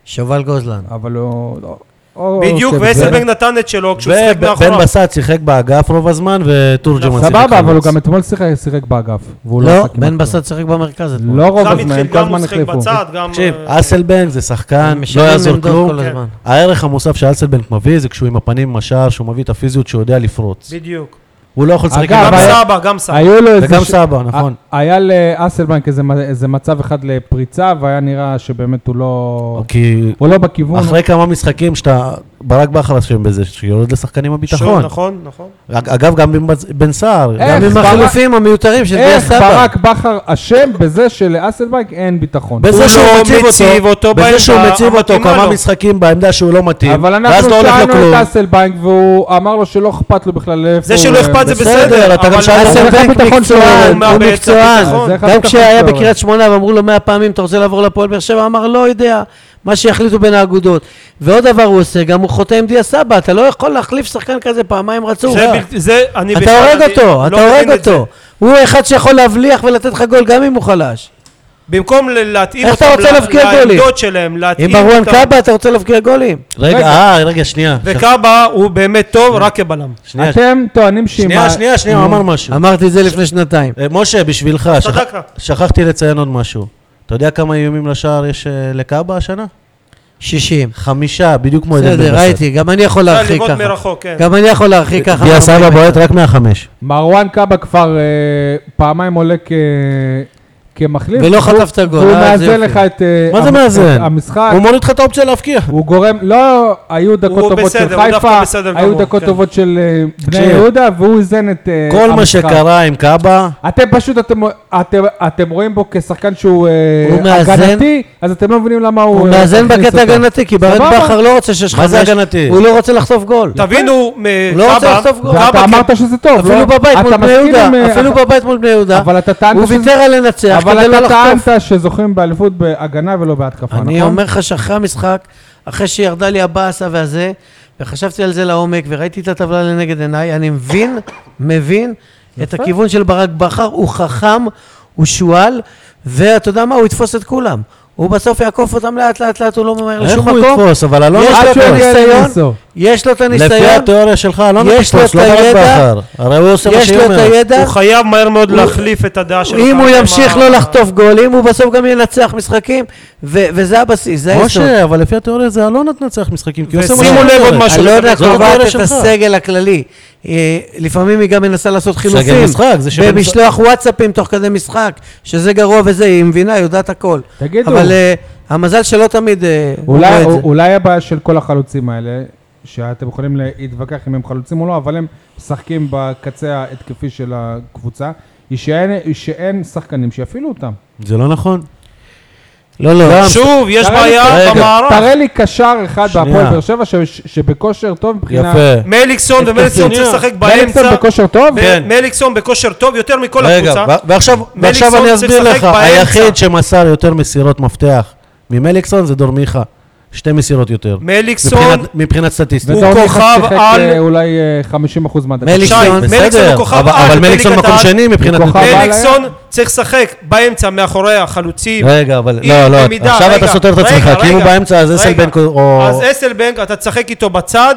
C: שובל גוזלן.
A: אבל הוא... לא- או-
D: בדיוק,
A: אוקיי,
D: ואסלבנג נתן את שלו כשהוא שיחק
B: ובן
D: מאחוריו. נכון.
B: בסט שיחק באגף רוב הזמן, ותורג'מן שיחק
A: סבבה, אבל הוא
B: חלוץ.
A: גם אתמול שיחק- שיחק באגף. והוא לא
C: לא,
A: שיחק עם
C: בן
A: אף אחד.
C: בסט שיחק במרכז אתמול.
A: לא רוב
D: גם
A: הזמן, הם
D: התחיל,
A: כל
D: גם הוא
A: הזמן
D: שיחק
A: החליפו.
D: בצד, גם...
B: תקשיב,
D: אה,
B: אסלבנג זה שחקן,
C: הם
B: לא
C: משנים
B: יעזור
C: עמדות
B: כלום.
C: כל הזמן.
B: הערך המוסף שאסלבנג מביא זה כשהוא עם הפנים עם השער, שהוא מביא את הפיזיות שהוא יודע לפרוץ.
D: בדיוק.
B: הוא לא יכול לשחק
A: אגב,
B: עם
D: גם
A: אבל-
B: הבעיה.
D: סבא, גם סבא.
A: היו לו איזה...
B: וגם
A: ש-
B: סבא, נכון.
A: ה- היה לאסלבנק איזה מ- איזה מצב אחד לפריצה, והיה נראה שבאמת הוא לא...
B: כי
A: הוא לא בכיוון.
B: אוקיי. אחרי כמה משחקים שאתה, ברק בכר אשם בזה, שיורד לשחקנים
D: שוב,
B: הביטחון.
D: נכון, נכון.
B: אג- אגב, גם בן בצ- בן סער.
A: איך?
B: גם
C: גם עם
A: ברק-
C: החילופים המיותרים של דיה
A: איך
C: סבא.
A: ברק בכר אשם בזה שלאסלבנק אין ביטחון?
B: בזה
D: הוא
B: שהוא
D: לא
B: מציב
D: מציב
B: אותו,
D: אותו
B: בזה
D: בעמדה
B: שהוא מציב אותו
D: המתאימה
B: כמה
D: לו.
B: משחקים בעמדה שהוא לא מתאים,
A: אבל
B: ואז
A: אנחנו
B: לא הולך לו
A: שאלנו
B: כלום.
A: את אסלבנק והוא אמר לו שלא אכפת לו בכלל איפה
D: זה
A: הוא... אה,
D: שלא אכפת זה
A: בסדר.
D: בסדר,
B: אתה גם
D: אבל
B: שאלת-
A: אז אין לך
C: אסלבנק
A: ביטחון שלו,
C: מקצוען,
D: הוא נכון.
C: הוא
D: מאבד את
C: מקצוען.
D: הביטחון.
A: אז איך
C: גם
A: הביטחון
C: כשהיה
A: שלו?
C: בקריית שמונה ואמרו לו מאה פעמים, אתה רוצה לעבור לפועל באר שבע? אמר, לא יודע, מה שיחליטו בין האגודות. ועוד דבר הוא עושה, גם הוא חוטא עם דיה סבא, אתה לא יכול להחליף שחקן כזה פעמיים רצוף.
D: זה בלתי- זה, אני
C: אתה
D: בכלל,
C: הורג
D: אני
C: אותו,
D: לא
C: אתה
D: מבין
C: הורג
D: את זה.
C: אותו. הוא אחד שיכול להבליח ולתת לך גול גם אם הוא חלש.
D: במקום ל- להתאים
C: איך
D: אותם
C: אתה רוצה
D: ל-
C: להבקיע גולים?
D: לעמדות שלהם,
C: עם
D: להתאים
C: מרואן
D: אותם.
C: קאבה אתה רוצה להבקיע גולים?
B: רגע,
A: רגע.
B: אה, רגע, שנייה.
D: וקאבה הוא באמת
C: כן.
D: טוב רק כבלם.
B: שנייה,
A: אתם טוענים שעם... ה-
B: שנייה, שנייה, שנייה, הוא אמר משהו.
C: אמרתי את זה לפני שנתיים.
B: אה, משה, בשבילך, שכח-
D: צדקת.
B: שכחתי לציין עוד משהו. אתה יודע כמה איומים לשער יש אה, לקאבה השנה?
C: 60.
B: חמישה, בדיוק כמו עדן בן
C: בסדר, ראיתי, גם אני יכול
D: לא אפשר
C: להרחיק
D: לראות
C: ככה.
D: מרחוק, כן.
C: גם אני יכול להרחיק ככה.
B: דיה סבא
C: מהארבעים.
B: בועט רק מהחמש.
A: מרואן קאבה כבר אה, פעמיים עולה כ... כמחליף.
C: ולא
A: הוא-
C: חטפת גול,
A: הוא
C: אה, זה
A: מאזן
C: יופי.
A: לך את... אה,
B: מה זה
A: המ-
B: מאזן?
A: את המשחק.
B: הוא מוריד לך את האופציה להבקיע.
A: הוא גורם, לא, היו דקות
D: הוא
A: טובות
D: בסדר,
A: של
D: הוא
A: חיפה,
D: דווקא בסדר
A: היו
D: גמור,
A: דקות
D: כן.
A: טובות של אה, בני
B: תקשיב.
A: יהודה, והוא איזן את אה,
B: כל מה
A: המשחק.
B: שקרה עם קאבה,
A: אתם פשוט, אתם, אתם, אתם רואים בו כשחקן שהוא אה,
C: הוא מאזן-
A: הגנתי, אז אתם לא מבינים למה הוא...
C: הוא
A: אה,
C: מאזן
A: מכניס
C: בקטע
A: אותו.
C: הגנתי, כי ברן
A: סבבה.
C: בכר לא רוצה שש חמש.
B: מה זה הגנתי?
C: הוא לא רוצה לחטוף גול.
D: תבינו,
C: הוא לא רוצה
D: קאבה-
C: לחטוף גול.
D: קאבה
A: ואתה
D: כן-
A: אמרת שזה טוב,
C: אפילו
A: לא?
C: בבית
A: אתה
C: מול בני
A: מסכים
C: יהודה,
A: עם, אה,
C: אפילו
A: אתה-
C: בבני בני יהודה,
A: אבל אתה טענת
C: הוא
A: שזה-
C: ויתר על לנצח כדי
A: אבל
C: לא
A: אתה
C: לחטוף.
A: טענת שזוכים באליפות בהגנה ולא בהתקפה, נכון?
C: אני אומר לך שאחרי המשחק, אחרי שירדה לי הבאסה והזה, וחשבתי על זה לעומק, וראיתי את הטבלה לנגד עיניי, אני מבין, מבין, את הכיוון של ברק בכר, הוא חכם, הוא שועל, ואתה יודע מה, הוא יתפוס את כולם. הוא בסוף יעקוף אותם לאט לאט לאט, הוא לא ממהר
B: איך
C: לשום
B: הוא
C: מקום.
B: יתפוס? אבל אלון
C: יש לו
A: עד
C: את
A: שהוא
B: יתפוס.
A: יגיע
C: הניסיון,
A: לניסו.
C: יש לו את
B: לפי
C: הניסיון,
B: התיאוריה שלך, אלון
C: יש לו
B: יתפוס,
C: את
B: לא ברק
C: הידע,
B: בכר. הרי הוא עושה מה
C: יש
B: שהיא
C: לו את
B: אומרת.
C: הידע.
D: הוא חייב מהר מאוד
C: הוא-
D: להחליף את הדעה שלך.
C: אם הוא
D: עם
C: ימשיך
D: ה-
C: לא לחטוף גולים, הוא בסוף גם ינצח משחקים, ו- וזה הבסיס, זה היסוד.
B: משה, אבל לפי התיאוריה זה אלונה תנצח משחקים, כי הוא עושה מה
D: ושימו
B: שהיא
D: לב עוד
B: אומרת.
D: משהו.
C: אני לא יודע,
B: זאת
C: קובעת
B: התיאוריה
C: את
B: שלך.
C: הסגל הכללי. אה, לפעמים היא גם מנסה לעשות חילופים.
B: משחק, זה שבמשחק-
C: במשלוח וואטסאפים תוך כדי משחק, שזה גרוע וזה, היא מבינה, יודעת הכל.
A: תגידו.
C: אבל אה, המזל שלא תמיד... אה, הוא רואה
A: אולי,
C: את זה.
A: אולי הבעיה של כל החלוצים האלה, שאתם יכולים להתווכח אם הם חלוצים או לא, אבל הם משחקים בקצה ההתקפי של הקבוצה, היא שאין, שאין שחקנים שיפעילו אותם.
B: זה לא נכון.
C: לא, לא.
D: שוב, יש
A: תראה לי-
D: בעיה
B: רגע,
D: במערך.
A: תראה לי קשר אחד
B: שנייה.
A: בהפועל באר שבע ש- ש- שבכושר טוב מבחינה...
B: יפה.
D: מליקסון ומליקסון
B: שנייה.
D: צריך לשחק
A: באמצע
D: באמצע.
A: בכושר טוב?
B: כן.
D: מ- מליקסון בכושר טוב יותר מכל
B: רגע,
D: הקבוצה.
B: ו- ועכשיו-
D: מליקסון
B: ועכשיו אני
D: צריך
B: אסביר
D: לשחק
B: לך,
D: באמצע.
B: היחיד שמסר יותר מסירות מפתח ממליקסון זה דור מיכה. שתי מסירות יותר.
D: מליקסון,
B: מבחינת- מבחינת סטטיסטית.
A: וזהו, מיכה
D: כוכב
A: שיחק,
D: על-
A: אה, אולי אה, 50% מהדקות.
C: מליקסון-
D: שי, מליקסון
B: בסדר,
D: הוא כוכב
B: אבל-
D: על
B: אבל מליקסון
D: בליגת
B: מקום
D: העל.
B: שני מבחינת...
A: הוא כוכב
B: נתונים.
A: על.
D: מליקסון צריך לשחק באמצע מאחורי החלוצים.
B: רגע, אבל
D: אם
B: לא, לא,
D: במידה-
B: עכשיו
D: רגע,
B: אתה סותר את
D: רגע,
B: עצמך, כי אם הוא
D: רגע,
B: באמצע אז
D: רגע.
B: אסלבנק או...
D: אז אסלבנק, אתה תשחק איתו בצד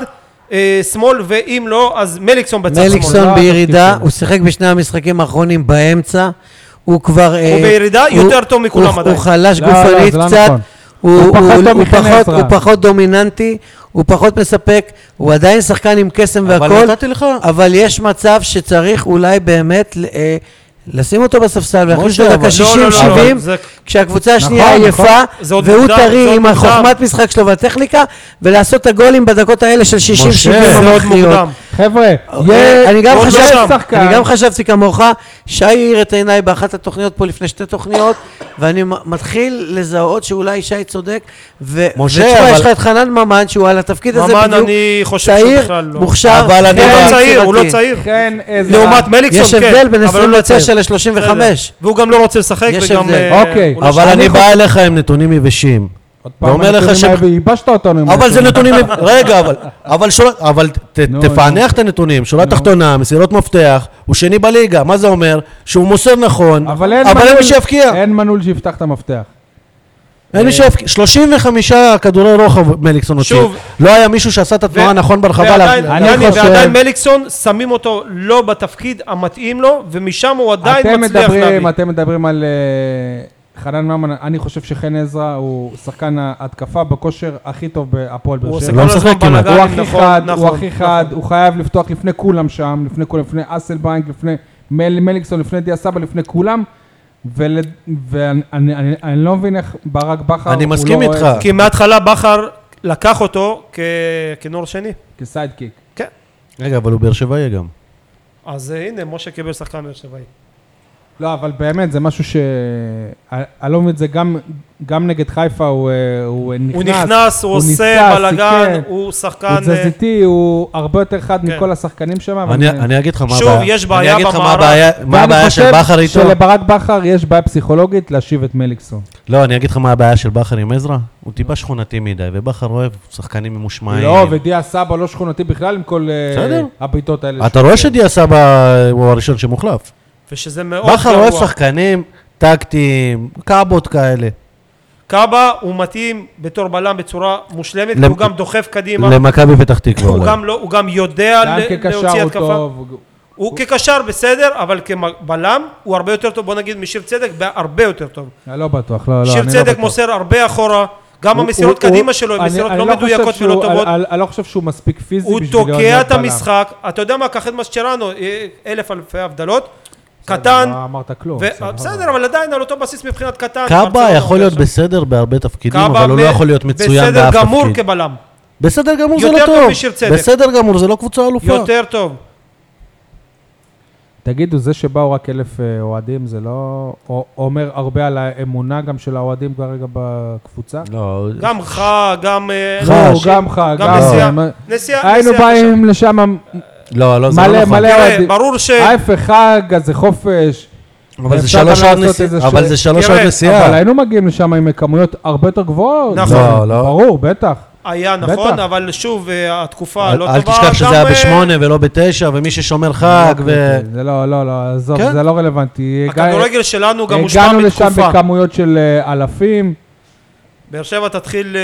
D: אה, שמאל, ואם לא, אז מליקסון בצד שמאל.
A: לא
C: מליקסון
A: התפקיד
C: בירידה,
A: שלו.
C: הוא שיחק בשני המשחקים האחרונים באמצע, הוא כבר... אה,
D: הוא בירידה יותר טוב מכולם
C: הוא-
D: עדיין.
C: הוא חלש
A: לא, לא, זה
C: גופנית
A: לא
C: קצת,
A: נכון.
C: הוא
A: הוא פחות
C: הוא-
A: טוב
C: הוא
A: מחן
C: פחות-
A: עזרא.
C: הוא פחות דומיננטי, הוא פחות מספק, הוא עדיין שחקן עם קסם
B: אבל
C: והכל,
B: נתתי לך...
C: אבל יש מצב שצריך אולי באמת אה, לשים אותו בספסל ולהכניס
B: משה,
C: אותו
B: אבל-
C: דקה
B: לא,
C: 60-70,
D: לא, לא, לא, זה-
C: כשהקבוצה השנייה
A: נכון,
C: עייפה,
A: נכון.
D: זה עוד
C: והוא
D: מוקדם, זה
C: טרי
D: עוד
C: עם
D: מוקדם.
C: החוכמת משחק שלו והטכניקה, ולעשות את הגולים בדקות האלה של 60-70
B: משה,
D: זה מאוד
C: המכריעות.
D: מוקדם.
A: חבר'ה,
C: אה, אני גם
D: עוד לא
C: חשבתי-
D: שם.
A: שחקן.
C: אני גם חשבתי כמוך, שי האיר את עיניי באחת התוכניות פה לפני שתי תוכניות, ואני מ- מתחיל לזהות שאולי שי צודק, ו-
B: משה,
C: ותשמע,
B: אבל-
C: יש לך את חנן ממן, שהוא על התפקיד הזה
D: ממן,
C: בדיוק,
D: אני חושב שהוא
C: צעיר,
D: בכלל לא.
C: מוכשר, כן,
B: אבל אני-
D: הוא
B: אה,
D: לא צעיר, הוא לא
C: יצירתי.
D: צעיר.
A: חן עזרא.
D: לעומת מליקסון,
C: יש
D: כן.
C: הבדל בין
D: אבל הוא לא
C: 29
D: צעיר.
C: ל-35.
D: בסדר. והוא גם לא רוצה לשחק,
C: יש
D: וגם...
C: הבדל.
D: אה,
A: אוקיי.
D: הוא לא
B: אבל
D: שם.
B: אני בא אליך עם נתונים יבשים.
A: עוד פעם,
B: ואומר לך
A: הנתונים
B: ש-
A: האלה, ייבשת אותנו. עם
B: אבל זה
A: [laughs] הנתונים.
B: נתונים... רגע, אבל... אבל שורה... אבל ת-
A: נו,
B: תפענח את הנתונים. שורה תחתונה, מסירות מפתח, הוא שני בליגה. מה זה אומר? שהוא מוסר נכון,
A: אבל אין
B: אבל אין מי
A: מנעול-
B: שיפקיע.
A: אין אה. מנעול שיפתח את המפתח.
B: אין מי שיפקיע. 35 כדורי רוחב מליקסון הוציא.
D: שוב.
B: לא היה מישהו שעשה את התנועה נכון ברחבה.
D: ועדיין-
B: לה-
A: אני
D: ועדיין-
A: חושב-
D: ועדיין מליקסון, שמים אותו לא בתפקיד המתאים לו, ומשם הוא עדיין
A: אתם
D: מצליח להביא.
A: מדברים, אתם מדברים על אה, חנן ממן, אני חושב שחן עזרא הוא שחקן ההתקפה בכושר הכי טוב בהפועל
D: הוא
A: באר
D: עושה
A: שבע.
B: לא
D: כל הזמן
B: משחק כמעט.
A: הוא הכי
D: בלאגנים, נכון,
A: חד, הוא
D: נכון,
A: הכי
D: נכון.
A: חד, הוא חייב לפתוח לפני כולם שם, לפני כולם, לפני אסלבנק, לפני מל- מליקסון, לפני דיה סבא, לפני כולם. ול- ואני אני- אני- אני לא מבין איך ברק בכר,
B: אני
A: הוא
B: מסכים
A: לא רואה
B: איתך.
A: את זה
D: כי מההתחלה בכר לקח אותו כ- כנור שני.
A: כסיידקיק.
D: כן.
B: רגע, אבל הוא באר שבעי גם.
D: אז אה, הנה, משה קיבל שחקן באר שבעי.
A: לא, אבל באמת, זה משהו ש... אני אני לא מבין את זה, גם, גם נגד חיפה הוא, אה, הוא נכנס,
D: הוא נכנס, הוא עושה
A: ניסה,
D: בלאגן,
A: סיכן,
D: הוא
A: הוא
D: שחקן... אה,
A: תזזיתי, הוא הרבה יותר חד
D: כן.
A: מכל השחקנים שם. אבל-
B: אני אני אגיד לך מה
D: שוב,
B: הבעיה.
D: יש בעיה
B: אני אגיד לך מה
D: במערך.
B: הבעיה- מה
A: ואני
B: הבעיה של
A: חושב
B: בכר איתו.
A: שלברק בכר יש בעיה פסיכולוגית להשיב את מליקסון.
B: לא, אני אגיד לך מה הבעיה של בכר עם עזרא, הוא טיפה שכונתי מדי, ובכר אוהב שחקנים ממושמעים.
A: לא, ודיה סבא לא שכונתי בכלל עם כל אה,
B: בסדר.
A: הבעיטות האלה.
B: אתה רואה שדיה סבא הוא הראשון שמוחלף.
D: ושזה מאוד גרוע.
B: בכר אוהב שחקנים טקטיים, קאבות כאלה.
D: קאבה הוא מתאים בתור בלם בצורה מושלמת,
B: למ-
D: הוא גם דוחף קדימה,
B: למכבי פתח תקווה.
D: הוא
B: אולי.
D: גם לא, הוא גם יודע
A: גם
D: ל-
A: כקשר
D: להוציא
A: הוא
D: התקפה.
A: טוב. הוא-
D: הוא כקשר בסדר, אבל כבלם הוא הרבה יותר טוב, בוא נגיד משיר צדק, הרבה יותר טוב.
A: אני לא בטוח, לא, לא,
D: שיר
A: אני לא
D: צדק
A: בטוח.
D: מוסר הרבה אחורה, גם
A: הוא-
D: המסירות
A: הוא-
D: קדימה שלו הן
A: אני-
D: מסירות
A: אני
D: לא
A: חושב
D: מדויקות
A: שהוא-
D: ולא טובות.
A: אני- אני לא חושב שהוא מספיק פיזי
D: הוא
A: בשביל להיות
D: תוקע את
A: בלם.
D: המשחק, אתה יודע מה, קח את מסצ'רנו, אה, אלף אלפי הבדלות, קטן,
A: לא אמרת כלום.
D: ו- אה,
A: סבבה.
D: בסדר, אבל עדיין על אותו בסיס מבחינת קטן.
B: קאבה
D: ברצלונה
B: יכול להיות
D: עכשיו.
B: בסדר בהרבה תפקידים,
D: קאבה
B: אבל הוא לא
D: ב-
B: יכול להיות מצוין באף
D: בסדר גמור
B: תפקיד.
D: כבלם.
B: בסדר גמור זה
D: יותר
B: לא
D: טוב
B: טוב.
D: משיר צדק.
B: בסדר גמור זה לא קבוצה אלופה.
D: יותר טוב.
A: תגידו, זה שבאו רק אלף אה, אוהדים, זה לא א- אומר הרבה על האמונה גם של האוהדים כרגע בקבוצה?
B: לא,
D: גם חג, גם... אה,
B: חג,
A: לא,
B: אנשים-
A: גם חג,
D: גם אה. נסיעה.
A: גם-
D: נסיעה.
A: אה, היינו
D: נסיעה קשה.
A: באים לשם
B: לא, לא, זה
A: מלא
B: לא נכון.
A: מלא
D: תראה,
A: אוהדים.
D: ברור ש...
A: ההפך חג, אז זה חופש.
B: אבל זה
A: אפשר
B: שלוש
A: גם
B: שעות
A: לעשות
B: נסיעה.
A: איזה
B: אבל
A: ש-
B: זה שלוש
D: תראה,
B: שעות
A: אבל
B: נסיעה.
A: היינו מגיעים לשם עם כמויות הרבה יותר גבוהות.
D: נכון.
B: לא, לא.
A: ברור, בטח.
D: היה נכון,
A: בטח.
D: אבל שוב, אה, התקופה
B: אל
D: לא טובה.
B: אל תשכח שזה
D: גם,
B: היה
D: אה,
B: בשמונה ולא בתשע, ומי ששומר חג ו...
A: זה לא, לא, לא, עזוב,
B: כן.
A: זה לא רלוונטי. הגע-
D: הכדורגל שלנו גם מושפע
A: הגענו לשם
D: מתקופה.
A: בכמויות של אה, אלפים.
D: באר שבע תתחיל אה,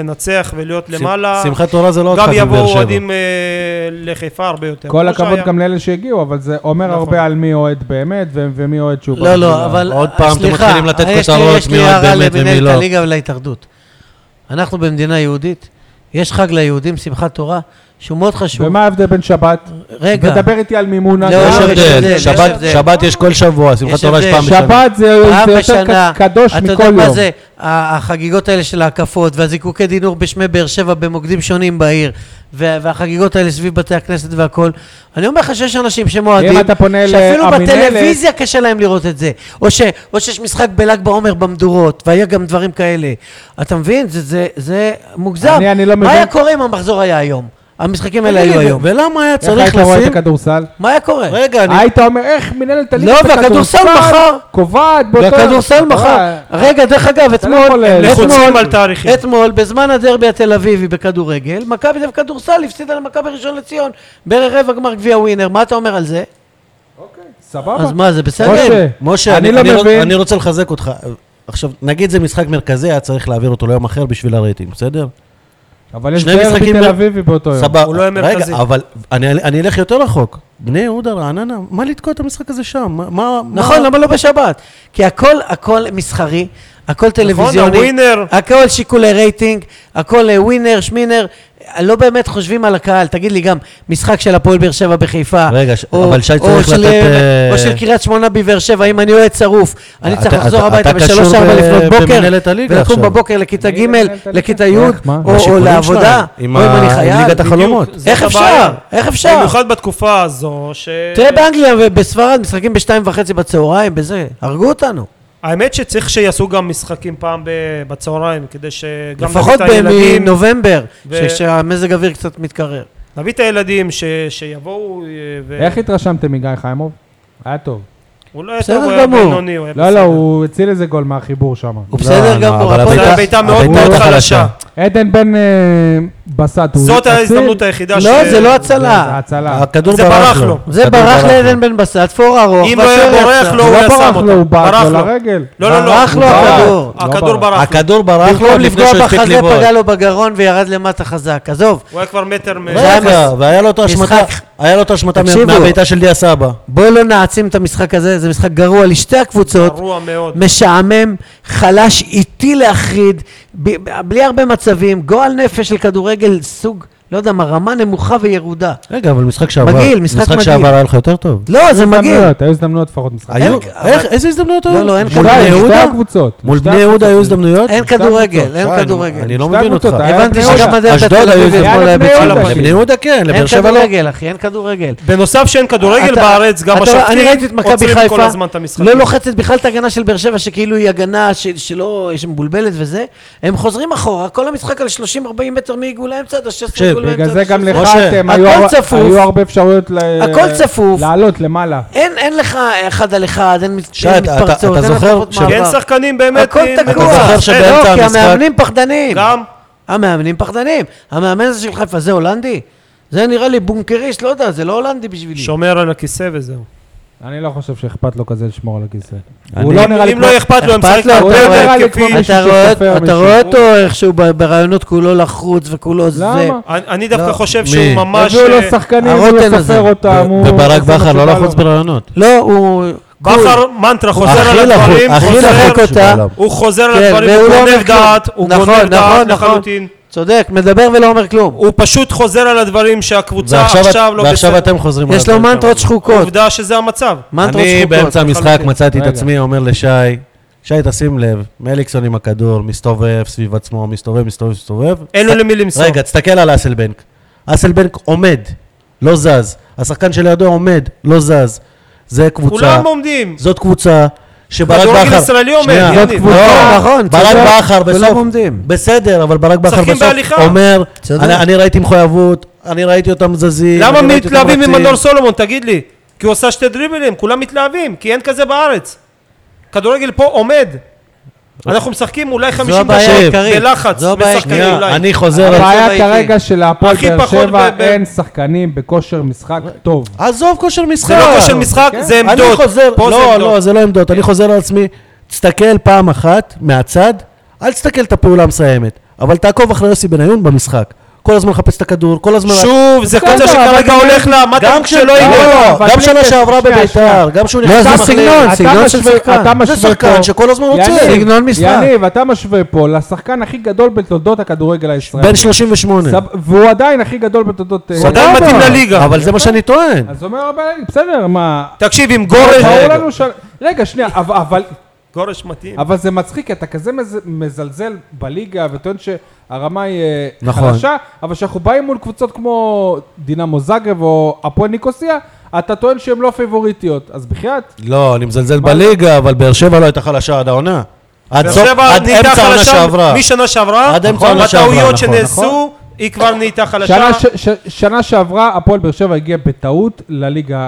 D: לנצח ולהיות
B: ש-
D: למעלה.
B: שמחת תורה זה לא רק
D: גם
B: חג בבאר
D: יבואו
B: שבע.
D: אוהדים אה, לחיפה הרבה יותר.
A: כל
D: כמו
A: הכבוד
D: שהיה. אה,
A: גם לאלה שהגיעו, אבל זה אומר
D: נכון.
A: הרבה על מי אוהד באמת ו- ומי אוהד שהוא...
C: לא,
A: בשביל ה-
C: לא, אבל...
B: עוד פעם, אתם
C: סליחה,
B: מתחילים לתת
C: יש לי-
B: כותרות
C: יש לי
B: מי אוהד
C: הערה
B: באמת ומי
C: למנהלת
B: לא.
C: הליגה ולהתאחדות. אנחנו במדינה יהודית, יש חג ליהודים, שמחת תורה, שהוא מאוד חשוב.
A: ומה ההבדל בין שבת?
C: רגע,
A: ודבר איתי על מימונה.
C: לא,
B: יש
D: אה,
A: גם.
C: יש הבדל,
B: הבדל,
C: יש
B: שבת-
C: הבדל.
B: שבת יש כל שבוע, שמחת
C: יש
B: תורה יש
C: הבדל.
B: פעם בשנה.
A: שבת זה
C: פעם
A: זה יותר
C: בשנה,
A: ק- קדוש מכל יום.
C: אתה יודע מה זה ה- החגיגות האלה של ההקפות, והזיקוקי דינור בשמי באר שבע במוקדים שונים בעיר, וה- והחגיגות האלה סביב בתי הכנסת והכל. אני אומר לך שיש אנשים שמועדים,
A: אם אתה פונה
C: שאפילו
A: למינהלת-
C: בטלוויזיה קשה להם לראות את זה. או, ש, או שיש משחק בל"ג בעומר במדורות, והיה גם דברים כאלה. אתה מבין? זה, זה, זה מוגזם.
A: אני- אני לא
C: מה
A: מבין.
C: היה קורה אם המחזור היה היום? המשחקים האלה היו היום.
B: ולמה היה
A: איך היית
B: צריך
A: רואה
B: לשים...
A: את הכדורסל?
C: מה היה קורה?
B: רגע, אני...
A: היית אומר, איך מנהלת הליגה
C: לא, והכדורסל מחר.
A: קובעת באותו...
C: והכדורסל מחר.
A: אה,
C: רגע, דרך אגב,
A: לא יכול
C: אתמול,
A: לחוצים
C: אתמול,
D: על תאריכים.
C: אתמול, בזמן הדרבי התל אביבי בכדורגל, מכבי תל אביב כדורסל הפסידה למכבי ראשון לציון, בערך רבע גמר גביע ווינר, מה אתה אומר על זה?
A: סבבה.
C: אז מה, זה בסדר?
A: משה,
B: אוקיי. משה,
A: אני
B: אני,
A: לא
B: אני, רוצ-
A: מבין.
B: אני רוצה לחזק אותך. עכשיו, נגיד זה משחק מרכזי, היה צריך להעביר אותו ליום אחר בשביל הרייטינג, בסדר?
A: אבל יש
B: שני
A: דרבי
B: משחקים
A: תל
B: ב-
A: אביבי באותו יום.
B: סבבה.
D: הוא לא היה מרכזי.
B: רגע, אבל אני, אני אלך יותר רחוק. בני יהודה, רעננה, מה לתקוע את המשחק הזה שם? מה- מה...
C: נכון,
B: מה...
C: למה לא בשבת? כי הכל, הכל מסחרי, הכל
D: נכון,
C: טלוויזיוני,
D: הווינר.
C: הכל שיקולי רייטינג, הכל אה, ווינר, שמינר, אה, לא באמת חושבים על הקהל, תגיד לי גם, משחק של הפועל באר שבע בחיפה.
B: רגע, ש...
C: או-
B: אבל שי
C: או
B: צריך
C: של-
B: לתת... אה,
C: או של קריית שמונה בבאר שבע, אם אני אוהד שרוף, אני
B: אתה-
C: צריך לחזור
B: אתה-
C: הביתה
B: אתה
C: בשלוש
B: קשור
C: ארבע
B: ב-
C: לפנות בוקר,
B: במנהלת הליגה
C: ולקום
B: עכשיו.
C: בכוקר לכיתה
A: אני
C: ג',
A: מנהלת הליגה.
C: לכיתה י',
A: איך, מה?
C: או- או
B: השיקולים
C: לעבודה, או
B: שלהם, עם
C: אם
B: ה-
C: אני
B: עם
C: חייל.
B: ליגת החלומות.
D: בדיוק,
C: איך
D: זאת
C: אפשר?
D: הבעיה.
C: איך אפשר?
D: במיוחד בתקופה הזו, ש...
C: תראה באנגליה ובספרד משחקים בשתיים וחצי בצהריים, בזה, הרגו אותנו.
D: האמת שצריך שיעשו גם משחקים פעם ב- בצהריים, כדי שגם
C: לפחות
D: נביא את הילדים,
C: בנובמבר,
D: ו-
C: ש- שהמזג אוויר קצת מתקרר.
D: נביא את הילדים ש- שיבואו, אה, ו...
A: איך התרשמתם מגיא חיימוב? היה טוב.
D: הוא לא היה
C: בסדר
D: טוב, הוא היה
C: גמור.
D: בינוני, הוא היה
A: לא, לא,
D: בסדר.
A: הוא הציל איזה גול מהחיבור שם.
C: הוא
B: לא,
C: בסדר
B: לא,
C: גמור,
B: אבל
C: הפועל-
D: זו
B: הבעיטה-
D: הייתה מאוד
B: הבעיטה
D: מאוד חלשה.
A: עדן בן אה, בסט, הוא
D: זאת
A: הציל.
D: ההזדמנות היחידה
C: לא,
D: ש-
C: זה לא
A: זה- אה. זה
C: הצלה.
A: הצלה.
B: הכדור
D: זה ברח
B: ברח
D: לו.
B: לו.
C: זה
B: הכדור
C: ברח
B: לו.
C: לעדן בן בסט, פור ארוך,
D: אם לא
C: והשוער
D: היה בורח
C: יצא.
D: לו, הוא
A: לא
D: היה שם
A: ברח לו, הוא
D: אותו.
A: בעט לו
D: ברח לו.
A: לרגל.
D: לא, לא, לא.
C: ברח לו
D: הוא
C: הכדור.
A: לא
D: הכדור
A: ברח.
D: ברח לו.
B: הכדור ברח לו
C: במקום
B: עוד לא לפני
C: לפגוע
B: שהוא הספיק
C: בחזה
B: לבעוט.
C: פגע לו בגרון וירד למטה חזק, עזוב.
D: הוא היה כבר מטר מ...
C: זה היה
B: רגע,
C: מס-
B: והיה לו אותו השמטה,
C: משחק.
B: היה לו אותו השמטה
C: תקשיבו.
B: מהבעיטה של דיה סבא.
C: בואו לא נעצים את המשחק הזה, זה משחק גרוע לשתי הקבוצות.
D: גרוע מאוד.
C: משעמם, חלש, איטי להחריד, ב- בלי הרבה מצבים, גועל נפש של כדורגל סוג, לא יודע מה, רמה נמוכה וירודה.
B: רגע, אבל משחק שעבר,
C: מגעיל, משחק מגעיל.
B: משחק שעבר היה לך יותר טוב.
C: לא, זה מגעיל.
A: הזדמנויות, היו הזדמנויות לפחות משחק.
B: היו,
C: אבל-
B: איך, איזה הזדמנויות היו?
C: לא, לא, אין
B: מול
C: כדורגל.
B: בני
A: שתי- שתי
B: יהודה?
A: הקבוצות.
B: מול
A: שתי
B: בני יהודה
A: הקבוצות.
B: היו הזדמנויות?
C: אין
A: שתי
C: כדורגל,
A: הקבוצות.
C: אין
B: וואי,
C: כדורגל.
B: אני לא
A: שתי
B: מבין אותך.
A: הקבוצות, היה
C: הבנתי
A: בני
C: שגם
A: יהודה.
C: הדרבי
B: אשדוד
C: בתל
B: היו
C: אביב
B: זה.
C: אתמול היה
A: היה בני יהודה.
C: בצורה
B: לבני יהודה כן,
C: אין
B: לבאר שבע לא.
C: כדורגל, אחי, אין כדורגל.
D: בנוסף שאין כדורגל
C: אתה-
D: בארץ, גם
C: אתה- לא- אני ראיתי את
D: השופטים
C: מכבי
D: עוצרים
C: חיפה,
D: כל הזמן את המשחקים.
C: לא לוחצת בכלל את ההגנה של באר שבע, שכאילו היא הגנה של- שלא, שמבולבלת וזה, הם חוזרים אחורה, כל המשחק על 30-40 מטר מעיגול האמצע, עד ה-16
B: תקשיב,
C: עיגול האמצע.
A: בגלל זה
C: עד
A: גם
C: ה-
A: לך
B: משה,
A: אתם,
C: הכל
A: היו הר-
C: צפוף.
A: היו הרבה אפשרויות ל-
C: הכל צפוף.
A: לעלות למעלה.
C: אין, אין לך אחד על אחד, אין מת-
B: שי,
C: אין
B: אתה-
C: מתפרצות,
B: אתה- אתה
C: אין
B: זוכר
C: התקפות
B: ש-
D: כי אין
C: מעבר.
D: שחקנים כן באמת...
C: הכל
D: עם- אה, לא,
C: תקוע.
B: אתה זוכר שבאמצע
C: לא, כי
B: המשחק-
C: המאמנים פחדנים.
D: גם,
C: המאמנים פחדנים. המאמן הזה של חיפה, זה הולנדי? זה נראה לי בונקריסט, לא יודע, זה לא הולנדי בשבילי.
D: שומר על הכיסא וזהו.
A: אני לא חושב שאכפת לו כזה לשמור על הכיסא.
B: אני-
A: הוא לא נראה לי
D: אם
A: כמו-
D: לא אכפת לו, הם
C: אכפת
D: משחקים
C: לו,
D: הרבה
C: אתה רואה-
D: יותר
A: נראה לי
D: התקפי.
A: כמו מישהו
C: אתה רואה,
A: שצופה או
C: אתה
A: מישהו.
C: רואה אותו איכשהו ב- ברעיונות כולו לחוץ וכולו זה.
A: למה?
D: אני אני דווקא
C: לא.
D: חושב
B: מי?
D: שהוא ממש...
A: הביאו לו
D: אה,
A: שחקנים, הוא
C: הרוטן
A: לא
C: הזה.
A: סופר אותם. הוא-
B: וברק
A: עושה מה
B: בכר לא
A: שבא לו.
B: לחוץ ברעיונות.
C: לא, הוא...
D: בכר מנטרה, חוזר
B: הכי
D: על
B: לחוץ-
D: הדברים,
B: הכי
D: חוזר-
B: לחוץ
C: אותה.
B: בעולם.
D: הוא חוזר על
C: כן,
D: הדברים,
C: והוא
D: הוא
C: לא אומר
D: גונב
C: כלום.
D: דעת, הוא
C: נכון,
D: גונב
C: נכון,
D: דעת
C: נכון.
D: לחלוטין.
C: צודק, מדבר ולא אומר כלום.
D: הוא פשוט חוזר על הדברים שהקבוצה
B: ועכשיו,
D: עכשיו לא
B: ועכשיו אתם חוזרים
C: יש
B: על
C: לו
B: הדברים
C: מנטרות שחוקות.
D: עובדה שזה המצב.
C: מנטרות
B: אני
C: שחוקות.
B: באמצע המשחק
D: לחלוטין.
B: מצאתי את
A: רגע.
B: עצמי אומר לשי, שי תשים לב, מליקסון עם הכדור, מסתובב סביב עצמו, מסתובב, מסתובב, מסתובב. אה,
D: אין לו למי למסור.
B: רגע, תסתכל על אסלבנק. אסלבנק עומד, לא זז. השחקן שלידו עומד, לא זז. זה קבוצה,
D: כולם עומדים.
B: זאת קבוצה שברק
D: כדורגל
B: בכר...
D: ישראלי עומד,
B: שנייה.
D: יניב.
B: זאת
D: קבוצה,
B: לא,
C: נכון,
B: ברק
C: צודק,
B: בכר
C: כולם
B: בסוף...
C: עומדים.
B: בסדר, אבל ברק בכר
D: משחקים
B: בסוף
D: בהליכה.
B: אומר,
C: צודק.
B: אני אני ראיתי מחויבות, אני ראיתי אותם זזים,
D: למה
B: אני ראיתי אותם
D: מתלהבים
B: רצים."
D: ממנור סולומון, תגיד לי? כי הוא עושה שתי דריבלים, כולם מתלהבים, כי אין כזה בארץ. כדורגל פה עומד. אנחנו משחקים אולי 50
C: הבעיה
D: דקות
C: העיקרית.
D: בלחץ,
C: זו הבעיה
D: בשחקנים
B: שנייה,
D: אולי.
B: אני חוזר על
A: הבעיה
C: ראיתי.
A: כרגע שלהפועל
D: הכי
A: באר
D: פחות
A: שבע
D: ב- ב-
A: אין שחקנים בכושר משחק טוב.
B: עזוב כושר משחק.
D: זה לא כושר משחק,
A: כן.
D: זה
B: אני
D: עמדות.
B: חוזר,
D: פה זה
B: לא,
D: עמדות. כן.
B: לא, זה לא עמדות. אני חוזר על עצמי, תסתכל פעם אחת מהצד, אל תסתכל את הפעולה המסיימת, אבל תעקוב אחרי יוסי בניון במשחק. כל הזמן מחפש את הכדור, כל הזמן...
D: שוב, זה
A: בסדר,
D: קבוצה שכרגע
A: אבל-
D: הולך לה, מה אתה
B: גם
D: אומר שלא ילך?
A: לא,
B: לא,
A: אבל
B: גם
A: בלי
B: שנה
A: קשר,
B: שעברה
A: שנייה,
B: בביתר,
A: שנייה.
B: גם שהוא
C: לא,
B: נכנס...
C: זה
B: אחרי-
C: סגנון,
A: אתה
C: סגנון של
A: משווה-
C: שחקן.
A: אתה
B: זה
A: משווה
B: שחקן
A: פה-
B: שכל הזמן רוצה.
A: יניב,
C: סגנון משחק.
A: יניב, אתה משווה פה לשחקן הכי גדול בתולדות הכדורגל הישראלי.
B: בן 38.
A: סב- והוא עדיין הכי גדול בתולדות... אה,
D: הוא עדיין
B: סבבה.
D: מתאים לליגה.
B: אבל זה מה שאני טוען.
A: אז אומר הבעלים, בסדר, מה...
D: תקשיב, עם
A: ברור
D: גורש...
A: לנו ש... רגע, שנייה, אבל- אבל...
D: גורש מתאים.
A: אבל זה מצחיק, כי אתה כזה מז... מזלזל בליגה וטוען שהרמה היא אה,
B: נכון.
A: חלשה, אבל כשאנחנו באים מול קבוצות כמו דינמו זאגרב או הפועל ניקוסיה, אתה טוען שהן לא פייבוריטיות, אז בחייאת.
B: לא, אני מזלזל בליגה, אבל באר שבע לא הייתה חלשה עד העונה. עד
D: באר
B: סוף-
D: שבע
B: עד
D: נהייתה
B: אמצע העונה
D: חלשה
B: שעברה.
D: משנה שעברה,
B: עד אמצע העונה שעברה,
D: בטעויות
B: נכון, אה,
D: שנעשו, היא כבר נהייתה חלשה.
A: שנה, ש... ש... שנה שעברה הפועל באר שבע הגיע בטעות לליגה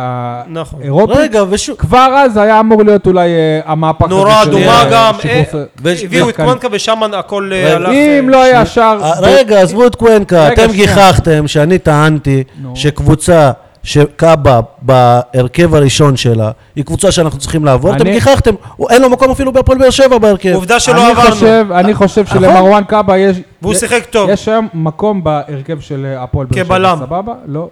D: נכון.
A: האירופית.
B: רגע, ושוב...
A: כבר אז היה אמור להיות אולי אה, המהפך הזה
D: נורה
A: של,
D: אדומה
A: אה,
D: גם,
A: שיקוף,
D: אה,
A: אה,
B: ויש-
D: הביאו את
A: שחקן.
D: קוונקה ושם הכל אה,
B: רגע,
D: הלך.
A: אם לא היה שער...
B: אה, רגע, עזבו את קוונקה,
A: רגע,
B: אתם
A: שנייה.
B: גיחכתם שאני טענתי
A: נו.
B: שקבוצה שקאבה בהרכב הראשון שלה, היא קבוצה שאנחנו צריכים לעבור, אתם
A: אני-
B: גיחכתם, הוא- אין לו מקום אפילו בהפועל באר שבע בהרכב.
D: עובדה שלא
A: אני
D: עברנו, נכון.
A: חושב, אני חושב שלמרואן קאבה יש...
D: והוא
A: יש-
D: שיחק טוב.
A: יש היום מקום בהרכב של אה, הפועל באר שבע,
D: כבלם.
A: סבבה? לא.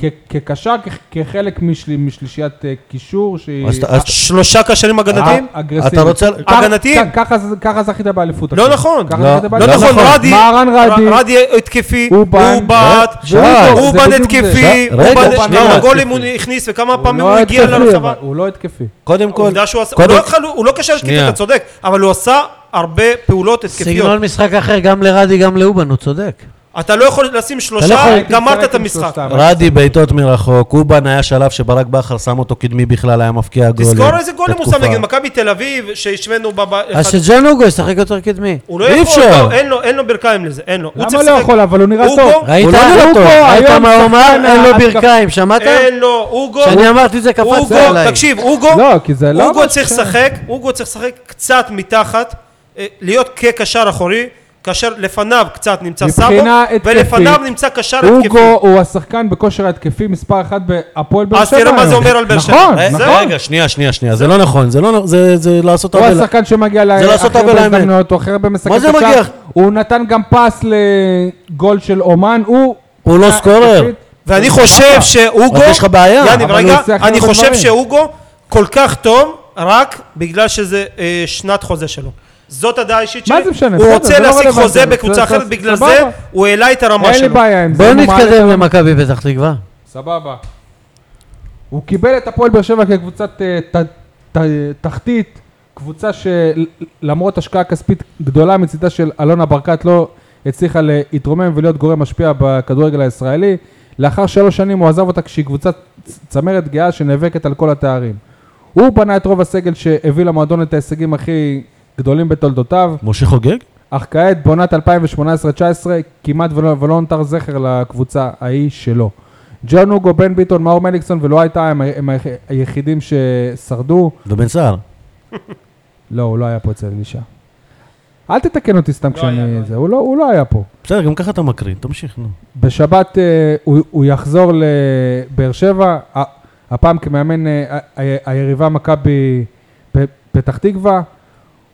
A: כ- כקשר, כ- כחלק משל- משלישיית אה, קישור שהיא...
B: אז ת- אז ת-
D: שלושה קשרים הגנתיים?
A: אה, אגרסיבית.
B: אתה רוצה-
A: כך-
D: הגנתיים?
A: כ- ככה זה- ככה זכית באליפות.
D: לא
A: עכשיו.
D: נכון.
A: ככה
B: לא-
A: זכית
B: לא
D: לא
A: באליפות.
D: נכון, רדי,
A: מהרן רדי.
D: ר- רדי התקפי, הוא
A: אובן.
D: בעט,
A: שי, זה
D: הוא בעט
A: בדיוק
D: התקפי,
B: זה.
D: הוא
B: רגע,
D: בעט-
B: שנייה,
D: כמה
B: שנייה.
D: גולים הוא הכניס וכמה פעמים
A: לא
D: הוא הגיע
A: התקפי,
D: לרחבה.
A: אבל הוא לא התקפי.
B: קודם כל,
D: עובדה שהוא עשה, הוא
B: קודם-
D: לא התחל- הוא לא קשר התקפי,
B: שנייה.
D: אתה צודק, אבל הוא עשה הרבה פעולות התקפיות.
C: סגנון משחק אחר גם לרדי, גם לאובן, הוא צודק.
D: אתה לא יכול לשים שלושה,
B: יכול-
D: גמרת את
A: הייתי
D: המשחק.
A: משחק עם לא שלושתם.
B: רדי בעיטות מרחוק, אובן היה שלב שברק בכר שם אותו קדמי בכלל, היה מבקיע גולים.
D: תזכור איזה גולים הוא שם
B: בתקופה.
D: נגד מכבי תל אביב, שהשווינו בבית.
C: אז שג'נוגו ישחק יותר קדמי.
D: הוא לא
B: אי
D: יכול,
B: אפשר.
D: לא, אין לו- אין לו ברכיים לזה, אין לו. הוא
A: למה
D: צריך
A: לא
D: לשחק-
A: יכול? אבל הוא נראה
D: הוא
A: טוב.
D: פה,
C: ראית?
B: הוא לא נראה טוב.
C: ראית
A: היום
C: מה הוא אמר?
A: שחקן
C: אין לו
A: ההתקפה.
C: ברכיים, שמעת?
D: אין לו, אוגו,
C: כשאני אמרתי את זה קפצת
D: אוגו,
C: עליי.
D: תקשיב, אוגו,
A: לא, כי זה לא...
D: אוגו
A: מה
D: צריך
A: ש-
D: לשחק, אוגו צריך לשחק קצת מתחת, אה, להיות כקשר אחורי, כאשר לפניו קצת נמצא סאבו,
A: מבחינה התקפית,
D: ולפניו נמצא קשר התקפי.
A: אוגו הוא השחקן בכושר ההתקפי מספר אחת בהפועל באר
D: אז
A: שבע.
D: תראה מה זה
A: לא היום.
D: אומר על באר שבע.
A: נכון,
D: אה, זה
A: נכון.
B: רגע, שנייה, שנייה, שנייה, זה לא נכון, זה לא נכון, זה- זה לעשות
A: הוא
B: עוול.
A: השחקן שמגיע לה-
B: לעשות
A: הכי הרבה
B: עוול לאמת.
A: הזדמנויות, הוא הכי הרבה משחקים.
B: מה זה מגיע?
A: הוא נתן גם פס לגול של אומן, הוא... אה, נכון.
B: הוא לא סקורר.
D: ואני חושב שאוגו,
B: אז יש לך בעיה,
D: יניב,
A: אבל הוא
D: רגע,
A: עושה אחרת
D: אני חושב
A: בדברים.
D: שאוגו כל כך טוב, רק בגלל שזה אה, שנת חוזה שלו. זאת הדעה האישית שלי.
A: מה זה משנה?
D: הוא
A: בסדר, זה
D: רוצה
A: לא
D: להשיג
A: רלוונטי,
D: חוזה
A: אבל זה-
D: בקבוצה אחרת,
A: זה-
D: בגלל
A: סבבה.
D: זה הוא העלה את הרמה
A: אין לי
D: שלו.
A: בעיה עם זה.
C: בואו
A: אם הוא מעלה את
C: נתקדם
A: הרמה-
C: למכבי פתח תקווה.
A: סבבה. הוא קיבל את הפועל באר שבע כקבוצת אה, ת- ת- תחתית, קבוצה שלמרות השקעה כספית גדולה מצידה של אלונה ברקת לא הצליחה להתרומם ולהיות גורם משפיע בכדורגל הישראלי. לאחר שלוש שנים הוא עזב אותה כשהיא קבוצת צ- צמרת גאה שנאבקת על כל התארים. הוא בנה את רוב הסגל שהביא למועדון את ההישגים הכי גדולים בתולדותיו.
B: משה חוגג?
A: אך כעת בעונת 2018-2019 כמעט ולא, ולא נותר זכר לקבוצה ההיא שלו. ג'ון הוגו, בן ביטון, מאור מליקסון ולא הייתה הם, ה- הם ה- היחידים ששרדו.
B: ובן סער.
A: לא, הוא לא היה פה אצל אלישע. אל תתקן אותי סתם כשאני...
D: היה, לא
A: זה, הוא, לא, הוא לא היה פה.
B: בסדר, גם ככה אתה מקריא, תמשיך, נו.
A: בשבת אה, הוא, הוא יחזור לבאר שבע, ה- הפעם כמאמן אה, ה- ה- היריבה מכבי פ- פתח תקווה.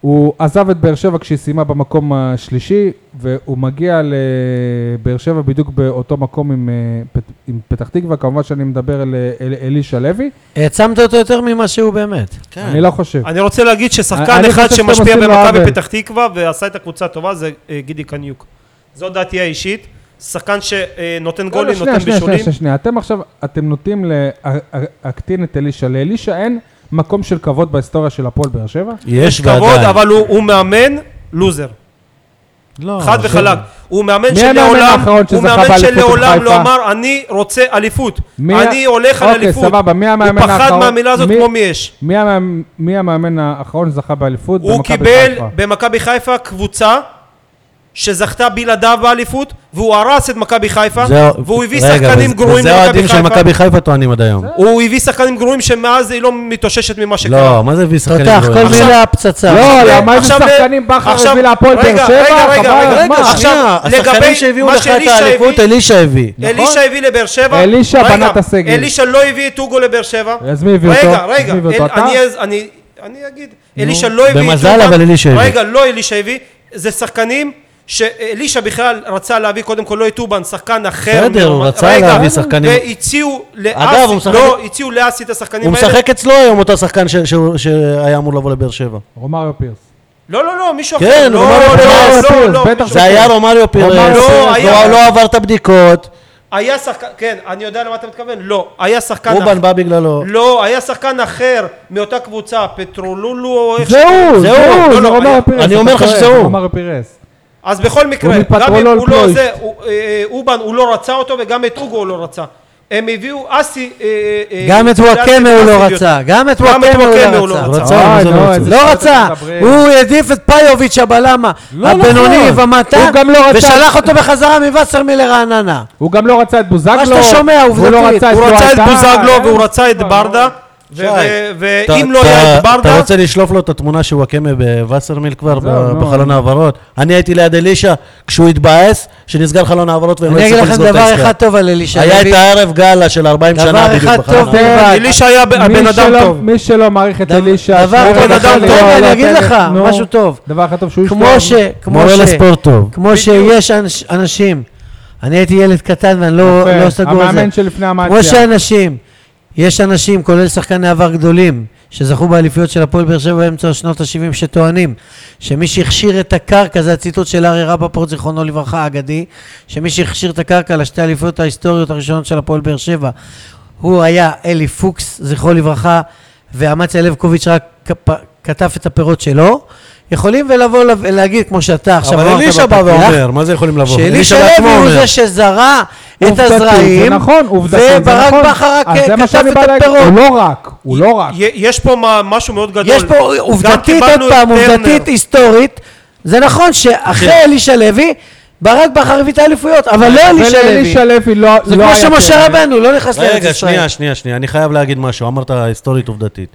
A: הוא עזב את באר שבע כשהיא סיימה במקום השלישי, והוא מגיע לבאר שבע בדיוק באותו מקום עם, אה, פת- עם פתח תקווה, כמובן שאני מדבר אל, אל אלישע לוי,
C: העצמת אותו יותר ממה שהוא באמת.
D: כן.
A: אני לא חושב.
D: אני רוצה להגיד
A: אני-
D: ששחקן
A: אני
D: אחד
A: חושב שאתם
D: שמשפיע
A: עושים לו
D: במכבי
A: עוול.
D: פתח תקווה ועשה את הקבוצה הטובה זה אה, גידי קניוק. זו דעתי האישית. שחקן שנותן
A: לא, לא,
D: גולים,
A: שנייה,
D: נותן
A: שנייה,
D: בישולים.
A: שנייה, שנייה. אתם עכשיו, אתם נוטים להקטין את אלישע. לאלישע אין מקום של כבוד בהיסטוריה של הפועל באר שבע?
B: יש
D: יש כבוד,
B: ועדיין.
D: אבל הוא הוא מאמן לוזר.
B: לא,
D: חד
B: זה-
D: וחלק. הוא מאמן
A: אה, מי המאמן
D: שלעולם,
A: האחרון שזכה
D: הוא מאמן
A: באליפות עם
D: שלעולם לא
A: חיפה?
D: אמר, אני רוצה אליפות.
A: מי ה-
D: אני הולך על
A: אוקיי,
D: אליפות.
A: סבבה, מי המאמן
D: הוא פחד
A: האחרון?
D: מהמילה הזאת
A: מי-
D: כמו מי יש.
A: מי המאמן- מי המאמן האחרון שזכה באליפות?
D: הוא
A: במכבי
D: קיבל
A: חיפה?
D: במכבי חיפה קבוצה שזכתה בלעדיו באליפות, והוא הרס את מכבי חיפה,
B: זה-
D: והוא הביא
B: רגע,
D: שחקנים
B: וזה-
D: גרועים
B: וזה
D: למכבי
B: האוהדים של
D: חיפה.
B: מכבי חיפה טוענים עד היום.
D: הוא הביא שחקנים גרועים שמאז היא לא מתאוששת ממה שקרה.
B: לא, מה זה הביא שחקנים
C: תותח, כל
B: גרועים?
D: עכשיו-
C: מילה פצצה.
A: לא,
D: עכשיו-
A: למה איזה
D: עכשיו ל-
A: שחקנים בכר
D: עכשיו-
A: הביא להפועל באר
D: רגע,
A: שבע?
D: רגע, רגע,
A: חבל על
D: רגע,
A: הזמן.
D: רגע,
C: שנייה,
D: עכשיו,
C: השחקנים
D: לגבי
C: שהביאו
D: מה
C: לך את
D: שאלישע
C: האליפות,
D: הביא-
C: אלישע הביא. נכון?
D: אלישע הביא לבאר שבע.
A: אלישע
D: רגע,
A: בנה את הסגל.
D: אלישע לא הביא את אוגו לבאר שבע.
A: אז מי הביא
D: רגע,
A: אותו?
D: רגע,
A: מי הביא אותו,
D: אל-
A: אתה?
D: אני אז- אני- אני אגיד. אלישע לא הביא את
B: במזל,
D: אוגו.
B: אבל אלישע הביא.
D: רגע, לא אלישע הביא. זה שחקנים שאלישע בכלל רצה להביא קודם כל לא את אובן, שחקן אחר.
B: בסדר, הוא
D: מרמת-
B: רצה
D: רגע,
B: להביא שחקנים.
D: והציעו
B: אגב, הוא
D: לאסי,
B: משחק-
D: לא, הציעו לאסי את השחקנים
B: הוא
D: האלה.
B: משחק אצלו היום, אותו שחקן ש- שהוא- שהיה אמור לבוא לבאר שבע.
A: רומאריו פירס.
D: לא, לא, לא, מישהו אחר.
B: כן,
D: לא,
B: הוא אמר,
D: לא,
B: "אה,
D: לא,
A: פירס,
D: לא,
A: בטח
D: מישהו
B: זה
D: אחר.
B: היה רומאריו פירס,
D: לא,
B: הוא
D: היה. לא,
B: לא עבר את הבדיקות,
D: היה שחקן, כן, אני יודע למה אתה מתכוון. לא, היה שחקן אחר.
B: רובן בא בגללו.
D: לא, היה שחקן אחר מאותה קבוצה, פטרולולו או איך
A: זה
D: שקוראים
A: הוא,
D: לו.
B: זה הוא,
A: זה
D: לא,
A: הוא, זה
D: לא, היה-
A: רומאריו פירס.
B: אני אומר
A: אתה
B: לך
A: טועה,
B: שזה
A: זה
B: הוא.
A: רומאריו פירס.
D: אז בכל מקרה, גם אם
A: מפטרולול
D: הוא לא
A: פלויט.
D: זה, הוא- אה, אה, אובן, הוא לא רצה אותו וגם את אוגו הוא לא רצה. הם הביאו אסי... אה, אה,
C: גם
D: אה,
C: את וואקמה הוא לא
D: אסי הביא
C: רצה,
D: אותו.
C: גם את
D: גם את
C: וואקמה
D: וואקמה
C: הוא
D: הוא
C: לא
D: לא
C: רצה.
B: רצה,
D: רצה.
A: אוי,
B: אבל זה
A: נו,
B: לא
A: איזה
B: רצה.
C: לא
A: שטויות
C: רצה,
A: אתם מדברים.
C: הוא העדיף את פיוביץ' הבלם
D: לא,
C: הבינוני
A: נכון.
C: ומטה,
A: הוא גם לא רצה.
C: ושלח אותו בחזרה מווסרמיל לרעננה.
A: הוא גם לא רצה את בוזגלו.
C: מה שאתה שומע,
A: הוא לא
C: עובדתית.
A: רצה
D: הוא רצה את
A: לואטה,
D: בוזגלו
A: אין
D: והוא רצה את
A: כבר,
D: ברדה, ו-
B: שי,
D: ו-
B: אתה-
D: ואם לא
B: אתה-
D: היה את
B: אתה
D: ברדה...
B: רוצה לשלוף לו את התמונה שהוא הקמא בווסרמיל כבר,
A: זהו,
B: ב-
A: נו.
B: בחלון ההעברות? אני הייתי ליד אלישע כשהוא התבאס, שנסגר חלון ההעברות והם לא
C: אני אגיד
B: הצליחו
C: לכם
B: לסגור את
C: דבר
B: העסקה.
C: אחד טוב על אלישע
B: היה את
C: לוי.
B: הערב גאלה של 40 שנה
C: דבר
B: בדיוק
C: אחד
B: בחלון
C: טוב
A: אה,
B: ההעברות.
C: בלבד.
D: אלישע היה ב-
A: מי
D: הבן אדם
A: שלא-
D: טוב.
A: מי שלא מעריך את
C: דבר-
A: אלישע...
C: דבר
A: שמור
D: אחד
A: על
D: טוב,
A: החלק,
D: אני
A: לא
C: אגיד
A: על
C: לך,
A: נו.
C: משהו טוב.
A: דבר אחד טוב שהוא
C: כמו ש... כמו
B: מורה
C: ש...
B: לספורט טוב.
C: כמו שיש אנש- אנשים, אני הייתי ילד קטן ואני לא
A: יפה,
C: לא סגור על זה.
A: המאמן שלפני
C: כמו
A: המאציה.
C: שאנשים, יש אנשים, כולל שחקני עבר גדולים, שזכו באליפויות של הפועל באר שבע באמצע שנות ה-70, שטוענים שמי שהכשיר את הקרקע, זה הציטוט של אריה רפפורט, זיכרונו לברכה, האגדי, שמי שהכשיר את הקרקע לשתי האליפויות ההיסטוריות הראשונות של הפועל באר שבע, הוא היה אלי פוקס, זכרו לברכה, ואמציה לבקוביץ' רק כפ- קטף את הפירות שלו, יכולים ולבוא לב- להגיד, כמו שאתה עכשיו
B: אבל
C: אמרת
B: אלישע בא
C: בפתיח,
B: ואומר, מה זה יכולים לבוא?
C: שאלישע
B: בעצמו
C: לוי הוא
B: אומר.
C: זה שזרע את
A: עובדתית,
C: הזרעים,
A: זה נכון, עובדתית, זה
C: וברק
A: נכון.
C: בכר רק
A: אז זה מה
C: כתב
A: שאני
C: את
A: בא להגיד,
C: הפירות.
A: הוא לא רק, הוא לא רק.
D: י- יש פה מה- משהו מאוד גדול.
C: יש פה
D: גם
C: עובדתית, עוד
D: קיבלנו את
C: פעם,
D: טרנר. כן.
C: עובדתית היסטורית, זה נכון שאחרי אלישע לוי, ברק בכר הביא את האליפויות, אבל לא אלישע לוי.
A: ואלישע לוי לא
C: זה
A: לא
C: כמו
A: היה
C: שמשה
A: טרנר.
C: רבנו, לא נכנס לארץ
B: רגע,
C: ישראל.
B: שנייה, שנייה, שנייה, אני חייב להגיד משהו, אמרת היסטורית עובדתית.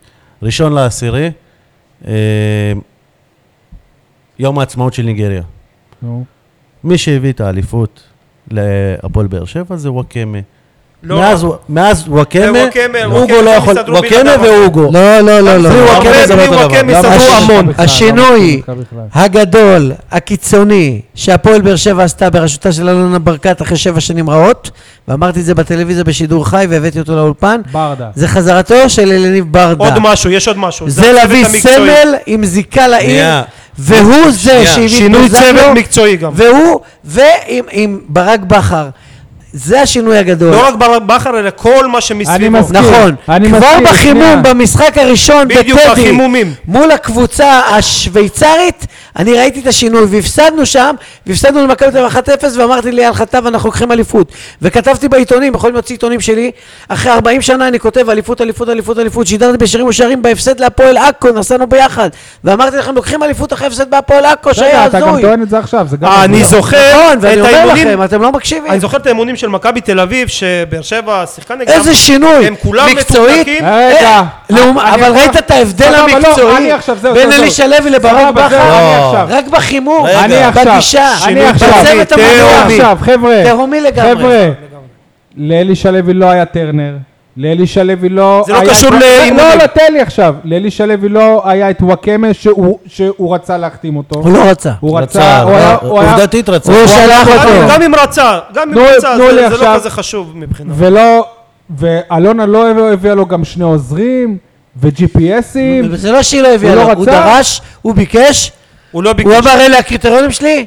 B: ראשון לעשירי, אה, יום העצמאות של ניגריה.
A: נו.
B: מי שהביא את האליפות להפועל באר שבע זה וואקמה.
D: לא.
B: מאז- מאז וואקמה,
D: זה וואקמה,
B: אוגו
D: וואקמה
B: לא יכול,
D: הסתדרו
B: וואקמה
D: בלעדיו.
B: ואוגו.
C: לא, לא, לא, לא.
B: בלי
D: הרבה
B: וואקמה זה לא
D: בלי
B: אותו דבר.
D: וואקמה
B: למה
D: סדרו
B: שיש-
D: המון.
A: בכלל,
C: השינוי
A: לא בכלל.
C: הגדול, הקיצוני, שהפועל באר שבע עשתה בראשותה של אלונה ברקת אחרי שבע שנים רעות, ואמרתי את זה בטלוויזיה בשידור חי והבאתי אותו לאולפן,
A: ברדה.
C: זה חזרתו של אלניב ברדה.
D: עוד משהו, יש עוד משהו.
C: זה להביא
D: הצוות המקצועי.
C: סמל עם זיקה לעיר,
B: שנייה.
C: והוא זה
D: כן.
B: שנייה.
C: שהביא את
D: שינוי צוות
C: בוזגלו,
D: מקצועי גם.
C: והוא, ועם עם ברק בכר. זה השינוי הגדול.
D: לא רק בר- בכר, אלא כל מה שמסביבו.
A: אני מסכים.
C: נכון,
A: אני
C: כבר
A: מסכים,
C: בחימום,
A: שנייה.
C: במשחק הראשון
D: בדיוק,
C: בטדי,
D: בחימומים.
C: מול הקבוצה השוויצרית, אני ראיתי את השינוי, והפסדנו שם, והפסדנו למכבי תל אביב 1-0, ואמרתי לאייל חטב, אנחנו לוקחים אליפות. וכתבתי בעיתונים, יכולים להוציא עיתונים שלי, אחרי 40 שנה אני כותב אליפות, אליפות, אליפות, אליפות, שידרתי בשירים ושערים בהפסד להפועל עכו, נסענו ביחד, ואמרתי לכם, לוקחים אליפות אחרי הפסד בהפועל עכו, שהיה
A: רגע, לא אתה גם
C: הזוי.
A: טוען את זה עכשיו, זה גם...
D: אה, אני
A: הזוי.
D: זוכר
C: נכון,
D: את
C: ואני אומר
D: האימונים.
C: לכם, אתם לא מקשיבים.
D: אני זוכר את האימונים של מכבי תל אביב, שבאר שבע שיחקה נגדם.
C: איזה שינוי,
D: הם כולם
C: מקצועית,
D: מפוקפקים.
A: רגע.
C: לעומת-
A: אני-
C: אבל
A: אני-
C: ראית את ההבדל
A: סבבה, לא,
C: המקצועי
A: אני עכשיו, זהו,
C: בין
A: זהו,
C: אלישע
A: זהו.
C: לוי לברק
A: סבבה, זהו,
C: בכר?
A: אני
B: לא.
A: עכשיו.
C: רק בחימור,
B: רגע.
A: אני עכשיו,
C: בגישה,
A: אני
D: שינוי
A: עכשיו,
D: תהומי,
C: בצוות לא המדהים.
A: עכשיו, חבר'ה,
C: תהומי לגמרי.
A: חבר'ה, לאלישע לוי לא היה טרנר, לאלישע לוי לא
D: זה לא
A: היה-
D: קשור לאימונים.
A: לא, לא, תן לי עכשיו, לאלישע לוי לא היה את וואקמה שהוא- שהוא רצה להחתים אותו,
C: הוא לא רצה.
A: הוא רצה,
B: רצה, לא,
A: הוא היה, הוא היה,
B: עובדתית רצה.
C: הוא שלח
D: גם-
C: אותו.
D: גם אם רצה, גם אם
A: תנו-
D: רצה,
A: תנו
D: זה-
A: לי
D: זה
A: עכשיו.
D: לא כזה חשוב מבחינה.
C: נכון.
A: ולא, ואלונה לא הביאה לו גם שני עוזרים, ו-GPSים,
C: זה לא שהיא לא הביאה
A: הוא לא
C: לו, הוא
A: רצה?
C: דרש, הוא ביקש,
D: הוא לא
C: הוא
D: ביקש.
C: אמר אלה הקריטריונים שלי?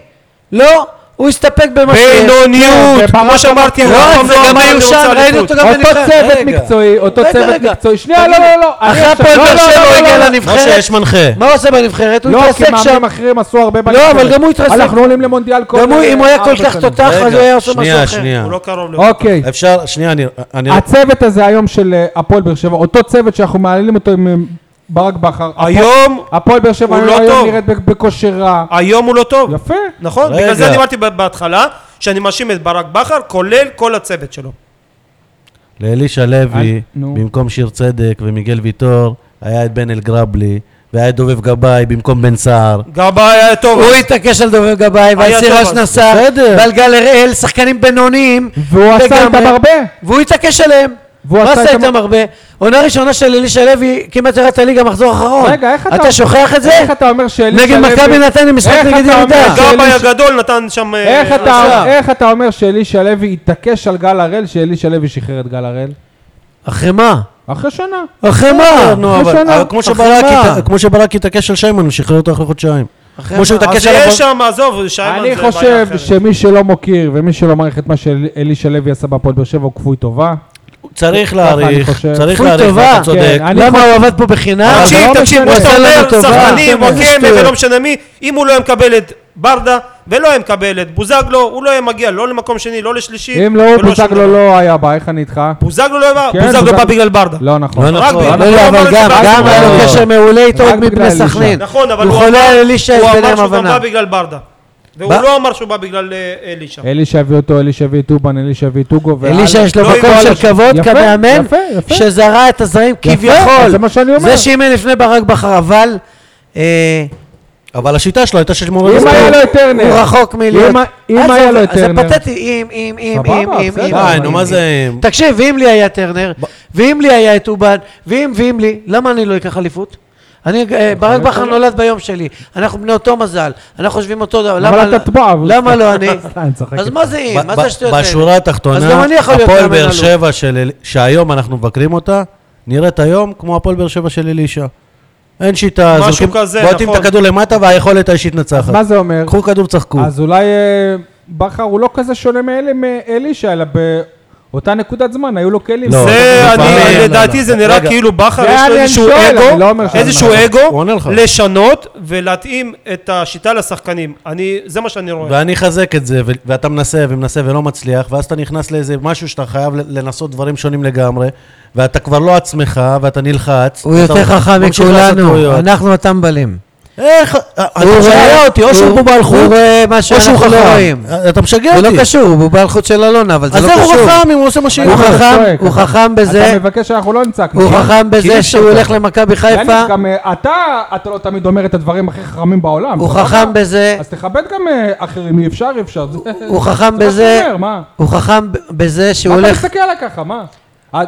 C: לא. הוא הסתפק במה ש... כן,
D: בינוניות, כמו שאמרתי, הוא
C: לא,
D: אף פעם
C: זה גם
D: אמר,
C: היו
D: "אני
C: שם,
D: רוצה
C: ראינו
D: אליפות".
C: אותו גם
A: אותו
C: בנבחרת.
A: צוות
C: רגע.
A: מקצועי, אותו
C: רגע,
A: צוות
C: רגע.
A: מקצועי. שנייה, לא,
C: תגיד לי,
A: לא, לא. אני
C: אחרי
A: עכשיו-
C: הפועל
A: לא,
C: באר
A: לא,
C: שבע
A: לא,
C: הוא
A: לא,
C: הגיע
A: לא.
C: לנבחרת.
B: משה, יש מנחה.
C: מה הוא עושה בנבחרת? הוא
A: לא, כי
C: התעסק שם.
A: מאמנים אחרים עשו הרבה
C: לא, אבל גם הוא התרסק.
A: אנחנו עולים למונדיאל כל...
C: גם הוא, אם הוא היה כל
A: ארבע
C: כך
A: שנים.
C: תותח, אז
B: רגע,
C: הוא היה עושה משהו
B: שנייה,
C: אחר.
B: שנייה.
D: הוא לא קרוב לזה.
A: אוקיי.
B: אפשר, שנייה, אני... אני-
A: הצוות הזה היום של אה, הפועל באר שבע, אותו צוות שאנחנו מעללים אותו עם אה, ברק בכר. הפועל-
D: היום,
A: הפועל באר שבע
D: הוא לא
A: היום
D: טוב.
A: נראית ב- בכושר רע.
C: אה.
D: היום הוא לא טוב.
A: יפה.
D: נכון?
B: רגע.
D: בגלל זה אני אמרתי ב- בהתחלה, שאני מאשים את ברק בכר, כולל כל הצוות שלו.
B: לאלישע לוי,
A: אה, נו.
B: במקום שיר צדק ומיגל ויטור, היה את בן אלגרבלי, והיה את דובב גבאי במקום בן סער.
D: גבאי היה טוב.
C: הוא התעקש על דובב גבאי, ועל
D: היה
C: סיר
D: טוב,
C: השנסה,
B: בסדר.
C: ועל גל הראל, שחקנים בינוניים.
A: והוא עשה
C: לגמרי.
A: איתם הרבה.
C: והוא התעקש עליהם.
A: והוא
C: מה
A: עשה
C: עשה
A: איתם-
C: איתם הרבה? עונה ראשונה של אלישע לוי כמעט ירד את הליגה מחזור אחרון.
A: רגע, איך אתה...
C: נכון. אתה שוכח את זה?
A: איך אתה אומר שאלישע
C: אה, נגד
A: לוי-
C: מכבי נתניה משחק
A: איך
C: נגד
A: אתה אומר
C: ירידה.
A: שאלישע-
D: גבאי הגדול נתן שם... אה,
A: אה, איך אתה-
D: הצלה.
A: איך אתה אומר שאלישע לוי התעקש על גל הראל, שאלישע לוי שחרר את גל הראל?
C: אחרי מה?
A: אחרי שנה.
C: אחרי מה? לא,
B: נו, אבל-
A: שנה.
B: אבל כמו שברק
C: אחרי מה?
B: הת- כמו שברק התעקש על שיימן, הוא שחרר אותו אחרי חודשיים.
C: אחרי
B: כמו שהוא
C: מה?
B: התעקש
D: אז
B: על...
D: יש
B: הבר-
D: שם, עזוב, שיימן
A: אני
D: זה בעיה
A: חושב
D: אחרת.
A: שמי שלא מוקיר ומי שלא מעריך את מה שאלישע לוי עשה בהפועל באר שבע הוא כפוי טובה.
B: צריך
A: אני
B: להעריך,
A: חושב.
B: צריך
C: כפוי
B: להעריך,
C: טובה.
B: ואתה צודק.
A: כן, אני
C: למה הוא עבד פה בחינם?
A: אבל
D: תקשיב,
A: לא
D: תקשיב,
A: משנה.
D: כמו
A: הוא
D: שאתה
C: עשה לנו
D: אומר,
C: טובה.
D: שחקנים,
C: אתם
D: או כן,
C: שטויות.
D: ולא משנה מי, אם הוא לא היה מקבל את ברדה, ולא היה מקבל את בוזגלו, הוא לא היה מגיע לא למקום שני, לא לשלישי,
A: אם לא הוא
D: ולא שום
A: בוזגלו
D: דבר.
A: לא היה בא, איך אני איתך?
D: בוזגלו לא בא,
A: כן,
D: בוזגלו
A: בוזגלו-
D: בא בגלל ברדה.
A: לא נכון.
B: לא נכון.
D: רק
C: לא, לא, אבל גם, גם היה לו
A: לא.
C: קשר מעולה איתו
A: רק
C: עוד מבני
A: בגלל אלישע.
C: סכנין.
D: נכון, אבל
C: הוא
D: הוא
C: חולה על אלישע, יש
D: הוא אמר
C: ביניהם
D: שהוא גם
C: הבנה.
D: בא בגלל ברדה. והוא
C: בא-
D: לא אמר שהוא בא בגלל אה, אלישע.
A: אלישע הביא אותו, אלישע הביא את טובן, אלישע הביא את טוגו. ואז-
C: אלישע יש לו
D: לא
C: מקום
D: יקרה
C: של
D: לו ש-
C: כבוד
A: יפה,
C: כמאמן,
A: יפה, יפה.
C: שזרע את הזרים
A: יפה,
C: כביכול.
A: זה מה שאני אומר.
C: זה שאימן לפני ברק בחר, אבל אה,
B: אבל השיטה שלו הייתה שמורה
A: אם היה לו את טרנר.
C: הוא רחוק מלהיות...
A: אם ה- אם
C: אז
A: היה
C: זה-
A: לו את טרנר.
C: זה פתטי, אם, אם, אם,
A: סבבה,
C: אם, אם,
A: בסדר.
C: אם.
B: די, נו, מה זה...
C: תקשיב, ואם לי היה טרנר, ואם לי היה את אובן, ואם, ואם לי, למה אני לא אקח אליפות? אני,
A: נכון,
C: אה, ברק בכר נולד ביום שלי, אנחנו בני אותו מזל, אנחנו חושבים אותו דבר, למה
A: אבל
C: לא-
A: אתה טועה. אבל-
C: למה לא אני?
A: סתם, [laughs] אני צוחק
C: אז
A: איתך.
C: מה זה אם? מה זה השטויות
B: ב-
C: האלה?
B: בשורה
C: אז גם
B: התחתונה,
C: אני יכול להיות
B: הפועל
C: מאמן
B: באר
C: אלוף.
B: שבע של... אל- שהיום אנחנו מבקרים אותה, נראית היום כמו הפועל באר שבע של אלישע. אין שיטה,
D: משהו
B: זורקים-
D: כזה,
B: בועטים את
D: נכון.
B: הכדור למטה והיכולת האישית נצחת.
A: מה זה אומר?
B: קחו כדור, צחקו.
A: אז אולי אה, בכר הוא לא כזה שונה מאלה מאלישע, אלא באותה נקודת זמן היו לו כלים.
B: לא,
D: זה,
B: זה
D: אני,
B: פעם-
D: לדעתי זה
B: רגע.
D: נראה כאילו בכר
A: זה
D: יש לו
A: אני
D: איזשהו
A: שואל, אני לא אומר
D: אגו,
A: שאני
D: איזשהו
A: אומר.
B: הוא
D: אגו,
B: עונה לך.
D: לשנות ולהתאים את השיטה לשחקנים. אני, זה מה שאני רואה.
B: ואני אחזק את זה, ו- ואתה מנסה ומנסה ולא מצליח, ואז אתה נכנס לאיזה משהו שאתה חייב ל- לנסות דברים שונים לגמרי, ואתה כבר לא עצמך, ואתה נלחץ.
C: הוא
B: ואתה
C: יותר חכם
B: ממשיך לעשות
C: מכולנו,
B: טעויות.
C: אנחנו הטמבלים.
B: איך? אתה משגע אותי, או שהוא בובה על
C: הוא
B: חוט,
C: רואה מה
B: או שהוא
C: שאנחנו לא רואים.
B: חכם. אתה משגע
C: זה
B: אותי.
C: לא קשור, הוא בובה על חוט של אלונה, אבל זה
B: אז
C: לא
B: איך
C: קשור.
B: הוא חכם אם הוא עושה מה שהיא
C: הוא
B: אומרת?
C: חכם,
A: צועק,
C: הוא
A: אתה-
C: חכם בזה,
A: אתה מבקש שאנחנו לא נצעק.
C: הוא
B: כאילו,
A: נכון?
B: אי
C: חכם בזה
B: אפשר
C: שהוא
B: ככה.
C: הולך למכבי חיפה,
A: יאללה, גם, אה, אתה, אתה לא תמיד אומר את הדברים הכי חכמים בעולם.
C: הוא
A: סבבה?
C: חכם בזה,
A: אז תכבד גם אה, אחרים, אי אפשר, אי אפשר. זה-
C: הוא
A: זה
C: חכם
A: מה
C: בזה,
A: שאתה אומר, מה?
C: הוא חכם ב- בזה שהוא
A: מה אתה
C: הולך,
A: מסתכל עליי ככה, מה? את-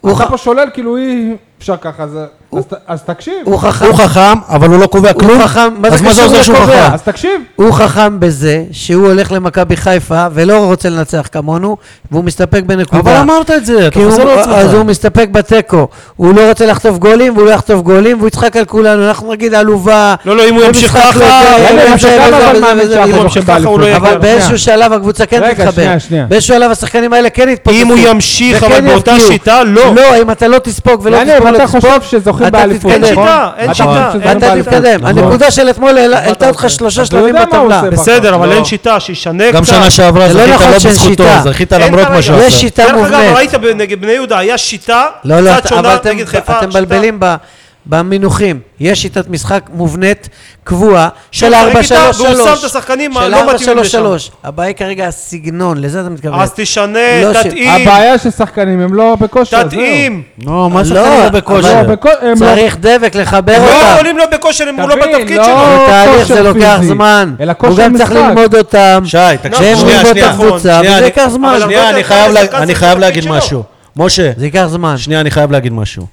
C: הוא
A: אתה
C: ח-
A: פה שולל, כאילו אי אפשר ככה, אז- אז ת- אז תקשיב.
C: הוא חכם,
B: הוא חכם, אבל הוא לא קובע כלום.
C: הוא חכם, מה זה
B: אז מה זה
C: קשור
B: עוזר שהוא
C: לקובע?
B: חכם?
A: אז תקשיב.
C: הוא חכם בזה שהוא הולך למכבי חיפה ולא רוצה לנצח כמונו, והוא מסתפק בנקודה.
B: אבל אמרת את זה, אתה
C: כי
B: חוזר
C: הוא, אז הוא
B: לעצמך.
C: מסתפק בתיקו, הוא לא רוצה לחטוף גולים והוא לא יחטוף גולים והוא יצחק על כולנו, אנחנו נגיד עלובה.
D: לא, לא, אם הוא
C: זה
D: ימשיך
C: משחק
D: ככה,
C: לא יודע,
D: הוא
C: וזה,
A: ימשיך
C: וזה,
A: ככה,
C: וזה,
A: אבל
C: וזה,
A: מאמין
C: וזה,
A: שאנחנו
C: וזה.
A: נמשיך
D: ממשיך ככה הוא לא
A: באליפות.
C: לא
D: יגיע.
A: שנייה.
C: אבל באיזשהו שלב הקבוצה כן
A: רגע,
C: תתחבר,
A: שנייה, שנייה.
C: באיזשהו שלב השחקנים האלה כן יתפוצצו.
D: אם הוא ימשיך,
C: וכן
D: אבל באותה
C: יבקיעו.
D: שיטה, לא.
C: לא, אם אתה לא תספוג ולא
A: יניב,
C: תספוג, לא
A: אתה
C: תספוג,
A: חושב שזוכים
C: אתה
A: באליפות,
C: תתקדם.
A: נכון?
D: אין שיטה, אין
A: אתה חושב
D: שיטה,
A: שזוכים
D: אין
C: אתה
A: באליפות.
C: תתקדם.
A: נכון.
C: הנקודה של אתמול העלה- העלתה אותך
A: עושה?
C: שלושה
A: אתה יודע
C: שלבים
A: מה הוא
C: בטבלה.
A: עושה בכלל.
D: בסדר, אבל
B: לא.
D: אין שיטה, שישנה קצת.
B: גם שנה שעברה
C: זה לא
B: זכית
C: נכון
B: לא
C: שאין
B: בזכותו,
C: שיטה.
B: זכית
D: אין
B: למרות
D: כרגע.
B: מה שהוא
C: יש
B: עשה.
C: שיטה
D: דרך אגב,
C: מובנית.
D: ראית נגד בני יהודה, היה שיטה
C: לא, לא,
D: קצת
C: אתה- אבל
D: שונה
C: אתם
D: נגד חיפה.
C: אתם
D: שיטה.
C: מבלבלים ב- במינוחים. יש שיטת משחק מובנית, קבועה, של
D: שיחק
C: 4-3-3.
D: איתה, והוא שם את השחקנים
C: של
D: הלא מתאימים
C: 4-3-3. הבעיה כרגע הסגנון, לזה אתה מתכוון.
D: אז תשנה,
C: לא ש-
D: תתאים,
A: הבעיה ששחקנים הם לא בכושר, זהו.
D: נכון. תתאים.
B: נו, מה
C: לא,
B: שחקנים
C: אבל-
B: בכושר?
A: לא, בכו- הם לא-
C: צריך דבק לחבר
D: לא
C: אותם.
D: יכולים לו בכושר אם הוא לא
A: תבין,
D: בתפקיד
A: לא.
D: שלו.
C: זה תהליך,
A: כושר
C: זה לוקח
A: פיזי,
C: זמן.
A: אלא
C: הוא
A: כושר
C: גם צריך
A: משחק.
C: ללמוד אותם.
B: שי, תקשיב,
C: שהם
B: לא, שנייה,
C: רואים
B: שנייה. לא
C: אותה קבוצה,
B: שנייה,
C: וזה
B: אני-
C: ייקח זמן.
D: אבל
B: שנייה,
D: הרבה
B: אני
D: יותר
B: חייב
D: קל
B: לה-
D: לשחקן
B: אני
D: זה
B: חייב
D: התפקיד
B: להגיד
D: שלו.
B: משהו. משה,
C: זה ייקח זמן.
B: שנייה, אני חייב להגיד משהו.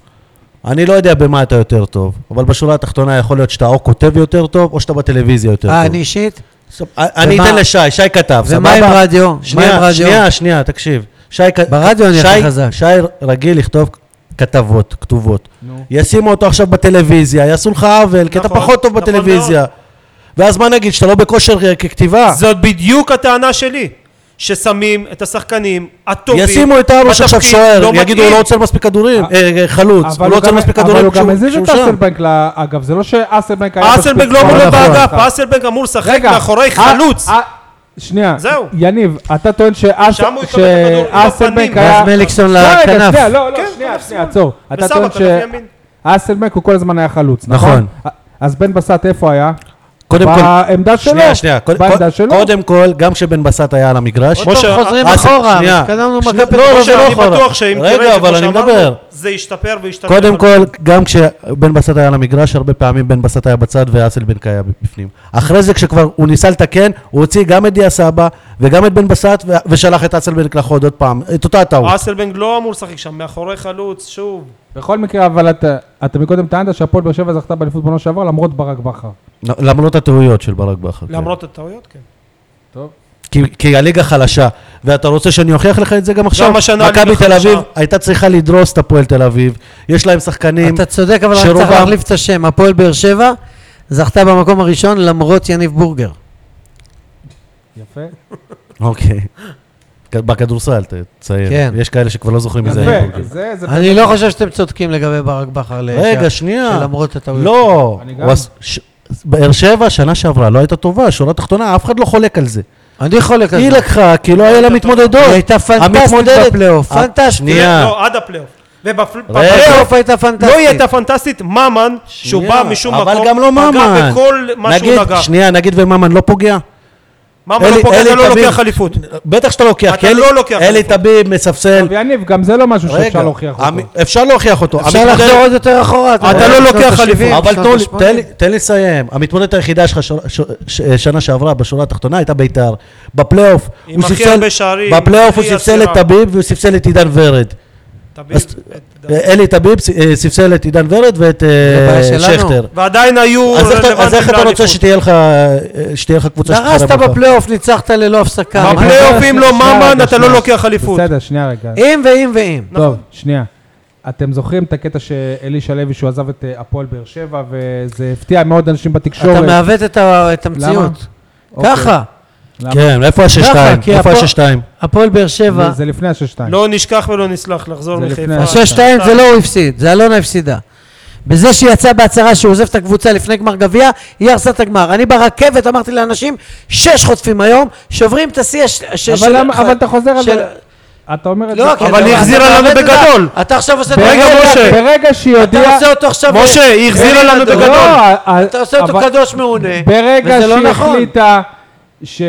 B: אני לא יודע במה אתה יותר טוב, אבל בשורה התחתונה יכול להיות שאתה או כותב יותר טוב, או שאתה בטלוויזיה יותר טוב.
C: אה, אני אישית?
B: סב- אה, אני
C: ומה-
B: אתן לשי, שי כתב, סבבה?
C: ומה עם רדיו? מה עם
B: שנייה,
C: רדיו?
B: שנייה, שנייה, תקשיב. שי כ-
C: ברדיו אני
B: שי-
C: הכי חזק.
B: שי רגיל לכתוב כתבות, כתובות.
A: נו.
B: ישימו אותו עכשיו בטלוויזיה, יעשו לך עוול, כי אתה
D: נכון,
B: פחות טוב
D: נכון
B: בטלוויזיה. ואז מה נגיד, שאתה לא בכושר ככתיבה?
D: זאת בדיוק הטענה שלי, ששמים את השחקנים הטובים
B: ישימו את ארוש עכשיו
D: בתפקיד,
B: שוער, יגידו הוא
D: מתאים.
B: לא עוצר מספיק כדורים, אה, אה, חלוץ,
A: אבל
B: הוא
A: הוא
B: לא עוצר
A: גם-
B: מספיק
A: אבל
B: כדורים
A: הוא גם
B: כשהוא-
A: הזיז
B: כשהוא
A: את
B: שם.
A: אסלבנק, ל- אגב, זה לא שאסלבנק היה...
D: אסלבנק
A: בשפיץ.
D: לא
B: לא
D: מול
B: נכון.
D: באגף, אסלבנק אמור לשחק
A: רגע,
D: מאחורי
A: אה,
D: חלוץ.
A: אה, שנייה,
D: זהו.
A: יניב, אתה טוען שאס-
D: שם הוא יקבל כדור, הוא לא
A: שאסלבנק
D: פנים.
A: היה...
C: ואז מליקסון
A: לא, רגע,
C: לכנף.
A: שנייה, לא, לא,
D: כן,
A: שנייה,
D: כנף
A: שנייה,
D: שמאל.
A: עצור. אתה
D: וסבא,
A: טוען
D: כנף ימין.
A: שאסלבנק הוא כל הזמן היה חלוץ, נכון?
B: נכון.
A: אז בן בסט איפה היה?
B: קודם כל,
A: בעמדה שלו.
B: שנייה, שנייה, קוד-
A: בעמדה
B: קוד-
A: שלו.
B: קודם כל, גם כשבן בסט היה על המגרש,
D: עוד
C: טוב,
D: משה,
C: חוזרים
B: אסל-
C: אחורה,
B: שנייה.
C: התקדמנו
B: שנייה,
C: מכבי...
B: לא, זה
C: תל אביב.
B: לא
D: אני
B: אחורה.
D: בטוח שאם
B: רגע,
D: תראה את זה,
B: אבל
D: כמו
B: אני
D: שאמרנו,
B: מדבר.
D: זה ישתפר וישתפר.
B: קודם כל, גם כשבן בסט היה על המגרש, הרבה פעמים בן בסט היה בצד ואסלבנק היה בפנים. אחרי זה, כשכבר הוא ניסה לתקן, הוא הוציא גם את דיה סבא וגם את בן בסט ו- ושלח את אסלבנק לחוד עוד פעם, את אותה הטעות.
D: אסלבנק לא אמור לשחק שם, מאחורי חלוץ, שוב.
A: בכל מקרה, אבל אתה- אתה מקודם טענת שהפועל באר שבע זכתה באליפות בעונה שעבר למרות ברק בכר.
B: למרות הטעויות של ברק בכר. כן.
D: למרות הטעויות, כן.
A: טוב.
B: כי, כי הליגה חלשה, ואתה רוצה שאני אוכיח לך את זה גם עכשיו?
D: גם השנה הליגה
B: מכבי תל
D: חלשה.
B: אביב הייתה צריכה לדרוס את הפועל תל אביב, יש להם שחקנים,
C: אתה צודק, אבל רק
B: שרובם-
C: צריך להחליף את השם. הפועל באר שבע זכתה במקום הראשון למרות יניב בורגר.
A: יפה.
B: אוקיי, כ- בכדורסל, ת- תציין,
C: כן.
B: יש כאלה שכבר לא זוכרים מי זה היה.
A: יפה. זה, זה...
C: אני לא חושב שאתם צודקים לגבי ברק בכר. ל-
B: רגע,
C: ש-
B: שנייה,
C: שלמרות הטעויות.
B: לא,
A: אני
B: הוא
A: גם.
B: עש- ש- באר שבע שנה שעברה לא הייתה טובה, שורה תחתונה, אף אחד לא חולק על זה.
C: אני חולק על
B: היא
C: זה.
B: לקחה, כי לא היה לה מתמודדות.
C: כן. היא הייתה פנטסטית
B: המתמודדת-
C: בפלייאוף.
B: אה,
C: פנטסטית.
B: שנייה.
D: תראה, לא, עד הפלייאוף. ובפלייאוף
C: בפלייאוף הייתה פנטסטית.
D: לא היא הייתה פנטסטית, ממן, שהוא
B: שנייה,
D: בא משום מקום,
B: אבל גם לא ממן.
D: פגע בכל מה שהוא
B: נגיד,
D: נגע.
B: שנייה, נגיד וממן לא פוגע?
D: ממן לא
B: אלי-
D: פוגע,
B: אלי
D: אתה לא
B: תביב.
D: לוקח אליפות.
B: בטח שאתה לוקח,
D: אתה
B: כי אלי-
D: לא לוקח
B: אלי
D: אליפות.
B: טביב מספסל.
A: טוב, יניב, גם זה לא משהו
B: רגע,
A: שאפשר להוכיח אותו.
B: המ- אפשר להוכיח אותו.
C: אפשר
B: המתמודד-
C: לחזור עוד יותר אחורה.
B: אתה
C: רואה,
B: לא
C: שנות
B: לוקח
C: ה-
B: אליפות,
C: 70,
B: אבל
C: שנות
B: תנו לי-
C: ה-
B: תן לי- תן לי לסיים. המתמודדת היחידה שלך ש- ש- ש- שנה שעברה בשורה התחתונה הייתה בית"ר. בפלייאוף
D: עם
B: הוא
D: הכי
B: ספסל,
D: הרבה שערים,
B: בפלייאוף הוא
D: הכי
B: ספסל את
D: עשירה.
B: טביב והוא ספסל את עידן ורד.
D: תביב,
B: אז-
D: את-
B: אלי טביב ס- אה, ספסל את עידן ורד ואת אה,
C: הבעיה שלנו.
B: שכטר.
D: ועדיין היו
B: אז איך אתה- אז איך אתה רוצה
D: לאליפות.
B: שתהיה לך אה, שתהיה לך קבוצה
C: דרסת
B: שתתחרה בך?
C: בפלייאוף, ניצחת ללא הפסקה.
D: בפלייאוף, אם לא
A: שנייה,
D: ממן,
A: רגע,
D: אתה לא
A: שנייה.
D: לוקח אליפות.
A: בסדר, שנייה רגע.
C: אם ואם ואם.
A: טוב, שנייה. אתם זוכרים את הקטע שאלישע לוי, שהוא עזב את אה, הפועל באר שבע, וזה הפתיע מאוד אנשים בתקשורת.
C: אתה מעוות את ה- את המציאות.
A: אוקיי.
C: ככה,
A: למה?
B: כן, איפה השש-שתיים?
C: ככה, כי
B: איפה
C: הפועל-
B: השש-שתיים?
C: הפועל באר
A: זה-
C: שבע,
A: זה לפני השש-שתיים.
D: לא נשכח ולא נסלח לחזור
A: זה לפני
D: מחיפה. אה,
A: השש-
C: השש שתיים זה לא הוא הפסיד, זה אלונה הפסידה. בזה שהיא יצאה בהצהרה שהוא עוזב את הקבוצה לפני גמר גביע, היא הרסה את הגמר. אני ברכבת אמרתי לאנשים, שש חוטפים היום, שוברים את השיא הש... ש-
A: אבל
C: של-
A: למה- אבל אתה חוזר על
C: של-
A: זה. אתה אומר את זה.
C: לא, כי
D: אבל
C: אתה-
D: היא
C: אתה
D: החזירה לנו
C: מעוות את ה-
D: בגדול.
C: אתה עכשיו עושה את
A: ברגע-
D: רגע, משה.
A: ברגע שהיא
C: אתה
A: הודיעה...
C: עושה אותו עכשיו...
D: משה, היא החזירה לנו
A: לא,
D: בגדול.
A: ה- ה-
C: אתה עושה אותו
A: אבל-
C: קדוש מעונה,
A: ברגע
C: וזה לא
A: שהיא
C: נכון.
A: החליטה ש-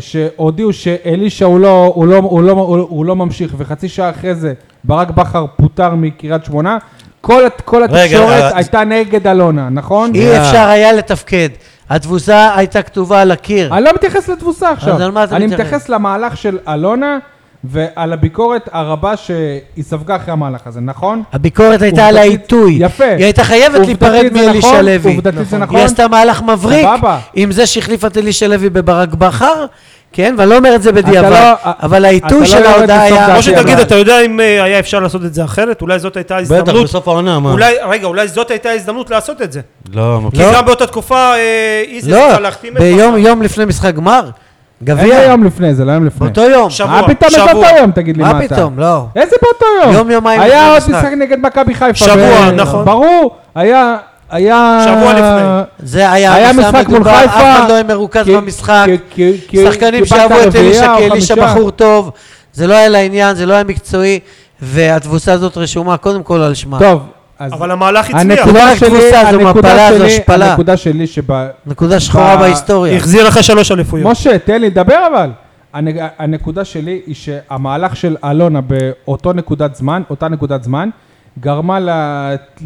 A: שהודיעו שאלישע הוא לא- הוא לא- הוא לא- הוא לא- הוא לא ממשיך, וחצי שעה אחרי זה ברק בכר פוטר מקריית שמונה, כל הת- כל
B: רגע,
A: התקשורת
B: אה,
A: הייתה נגד אלונה, נכון?
C: אי אפשר היה לתפקד. התבוסה הייתה כתובה על הקיר.
A: אני לא מתייחס לתבוסה עכשיו.
C: אז על מה אתה
A: אני
C: מתייחס?
A: מתייחס למהלך של אלונה ועל הביקורת הרבה שהיא ספגה אחרי המהלך הזה, נכון?
C: הביקורת הייתה על
A: עובדתית-
C: העיתוי.
A: יפה.
C: היא הייתה חייבת
A: עובדתית
C: להיפרד
A: זה נכון,
C: מאלישע לוי.
A: עובדתית זה נכון.
C: היא עשתה מהלך מבריק
A: סבבה.
C: עם זה שהחליפה את אלישע לוי בברק בכר, כן? ואני לא אומר את זה בדיעבד,
A: לא-
C: אבל
A: אתה לא
C: העיתוי של
A: יורד
C: ההודעה
A: לסוף
C: היה...
A: דעתי,
D: כמו שתגיד,
A: אבל-
D: אתה יודע אם אה, היה אפשר לעשות את זה אחרת? אולי זאת הייתה
B: בטח,
D: הזדמנות.
B: בסוף העונה, מה?
D: אולי, רגע, אולי זאת הייתה הזדמנות לעשות את זה.
B: לא,
D: כי
B: לא.
D: גם באותה תקופה אה, איזי
C: לא,
D: צריכה להחתים את...
C: ביום יום לפני משחק גמר,
A: איזה
C: גביע,
A: יום לפני זה, לא יום לפני.
C: באותו יום.
D: שבוע,
A: מה פתאום איזה
D: שבוע.
A: באותו יום, תגיד לי מה
C: מה
A: אתה.
C: פתאום, לא.
A: איזה באותו יום?
C: יום, יומיים
A: היה
C: לפני
A: עוד
C: המשחק.
A: משחק נגד מכבי חיפה.
D: שבוע,
A: ב-
D: נכון.
A: ברור, היה... היה...
D: שבוע לפני.
C: זה היה
A: היה
C: הנושא
A: משחק מול
C: המדובר,
A: חיפה.
C: אף אחד לא היה מרוכז
A: כי-
C: במשחק.
A: כי- כי- כי-
C: שחקנים
A: קיבלת
C: שאהבו את
A: רביעייה
C: אלישע,
A: או
C: כי אלישע
A: חמישה.
C: בחור טוב, זה לא היה לעניין, זה לא היה מקצועי, והתבוסה הזאת רשומה קודם כל על שמה.
A: טוב, אז...
D: אבל המהלך הצליח.
C: לא
A: הנקודה
C: רק
A: שלי,
C: תבוסה, זו
A: הנקודה
C: מפלה, זו
A: שלי,
C: השפלה.
A: הנקודה שלי שב...
C: נקודה שחורה
A: ב-
C: בהיסטוריה.
D: החזיר לך שלוש אליפויות.
A: משה, תן לי לדבר אבל. הנ- הנקודה שלי היא שהמהלך של אלונה באותו נקודת זמן, אותה נקודת זמן, גרמה ל-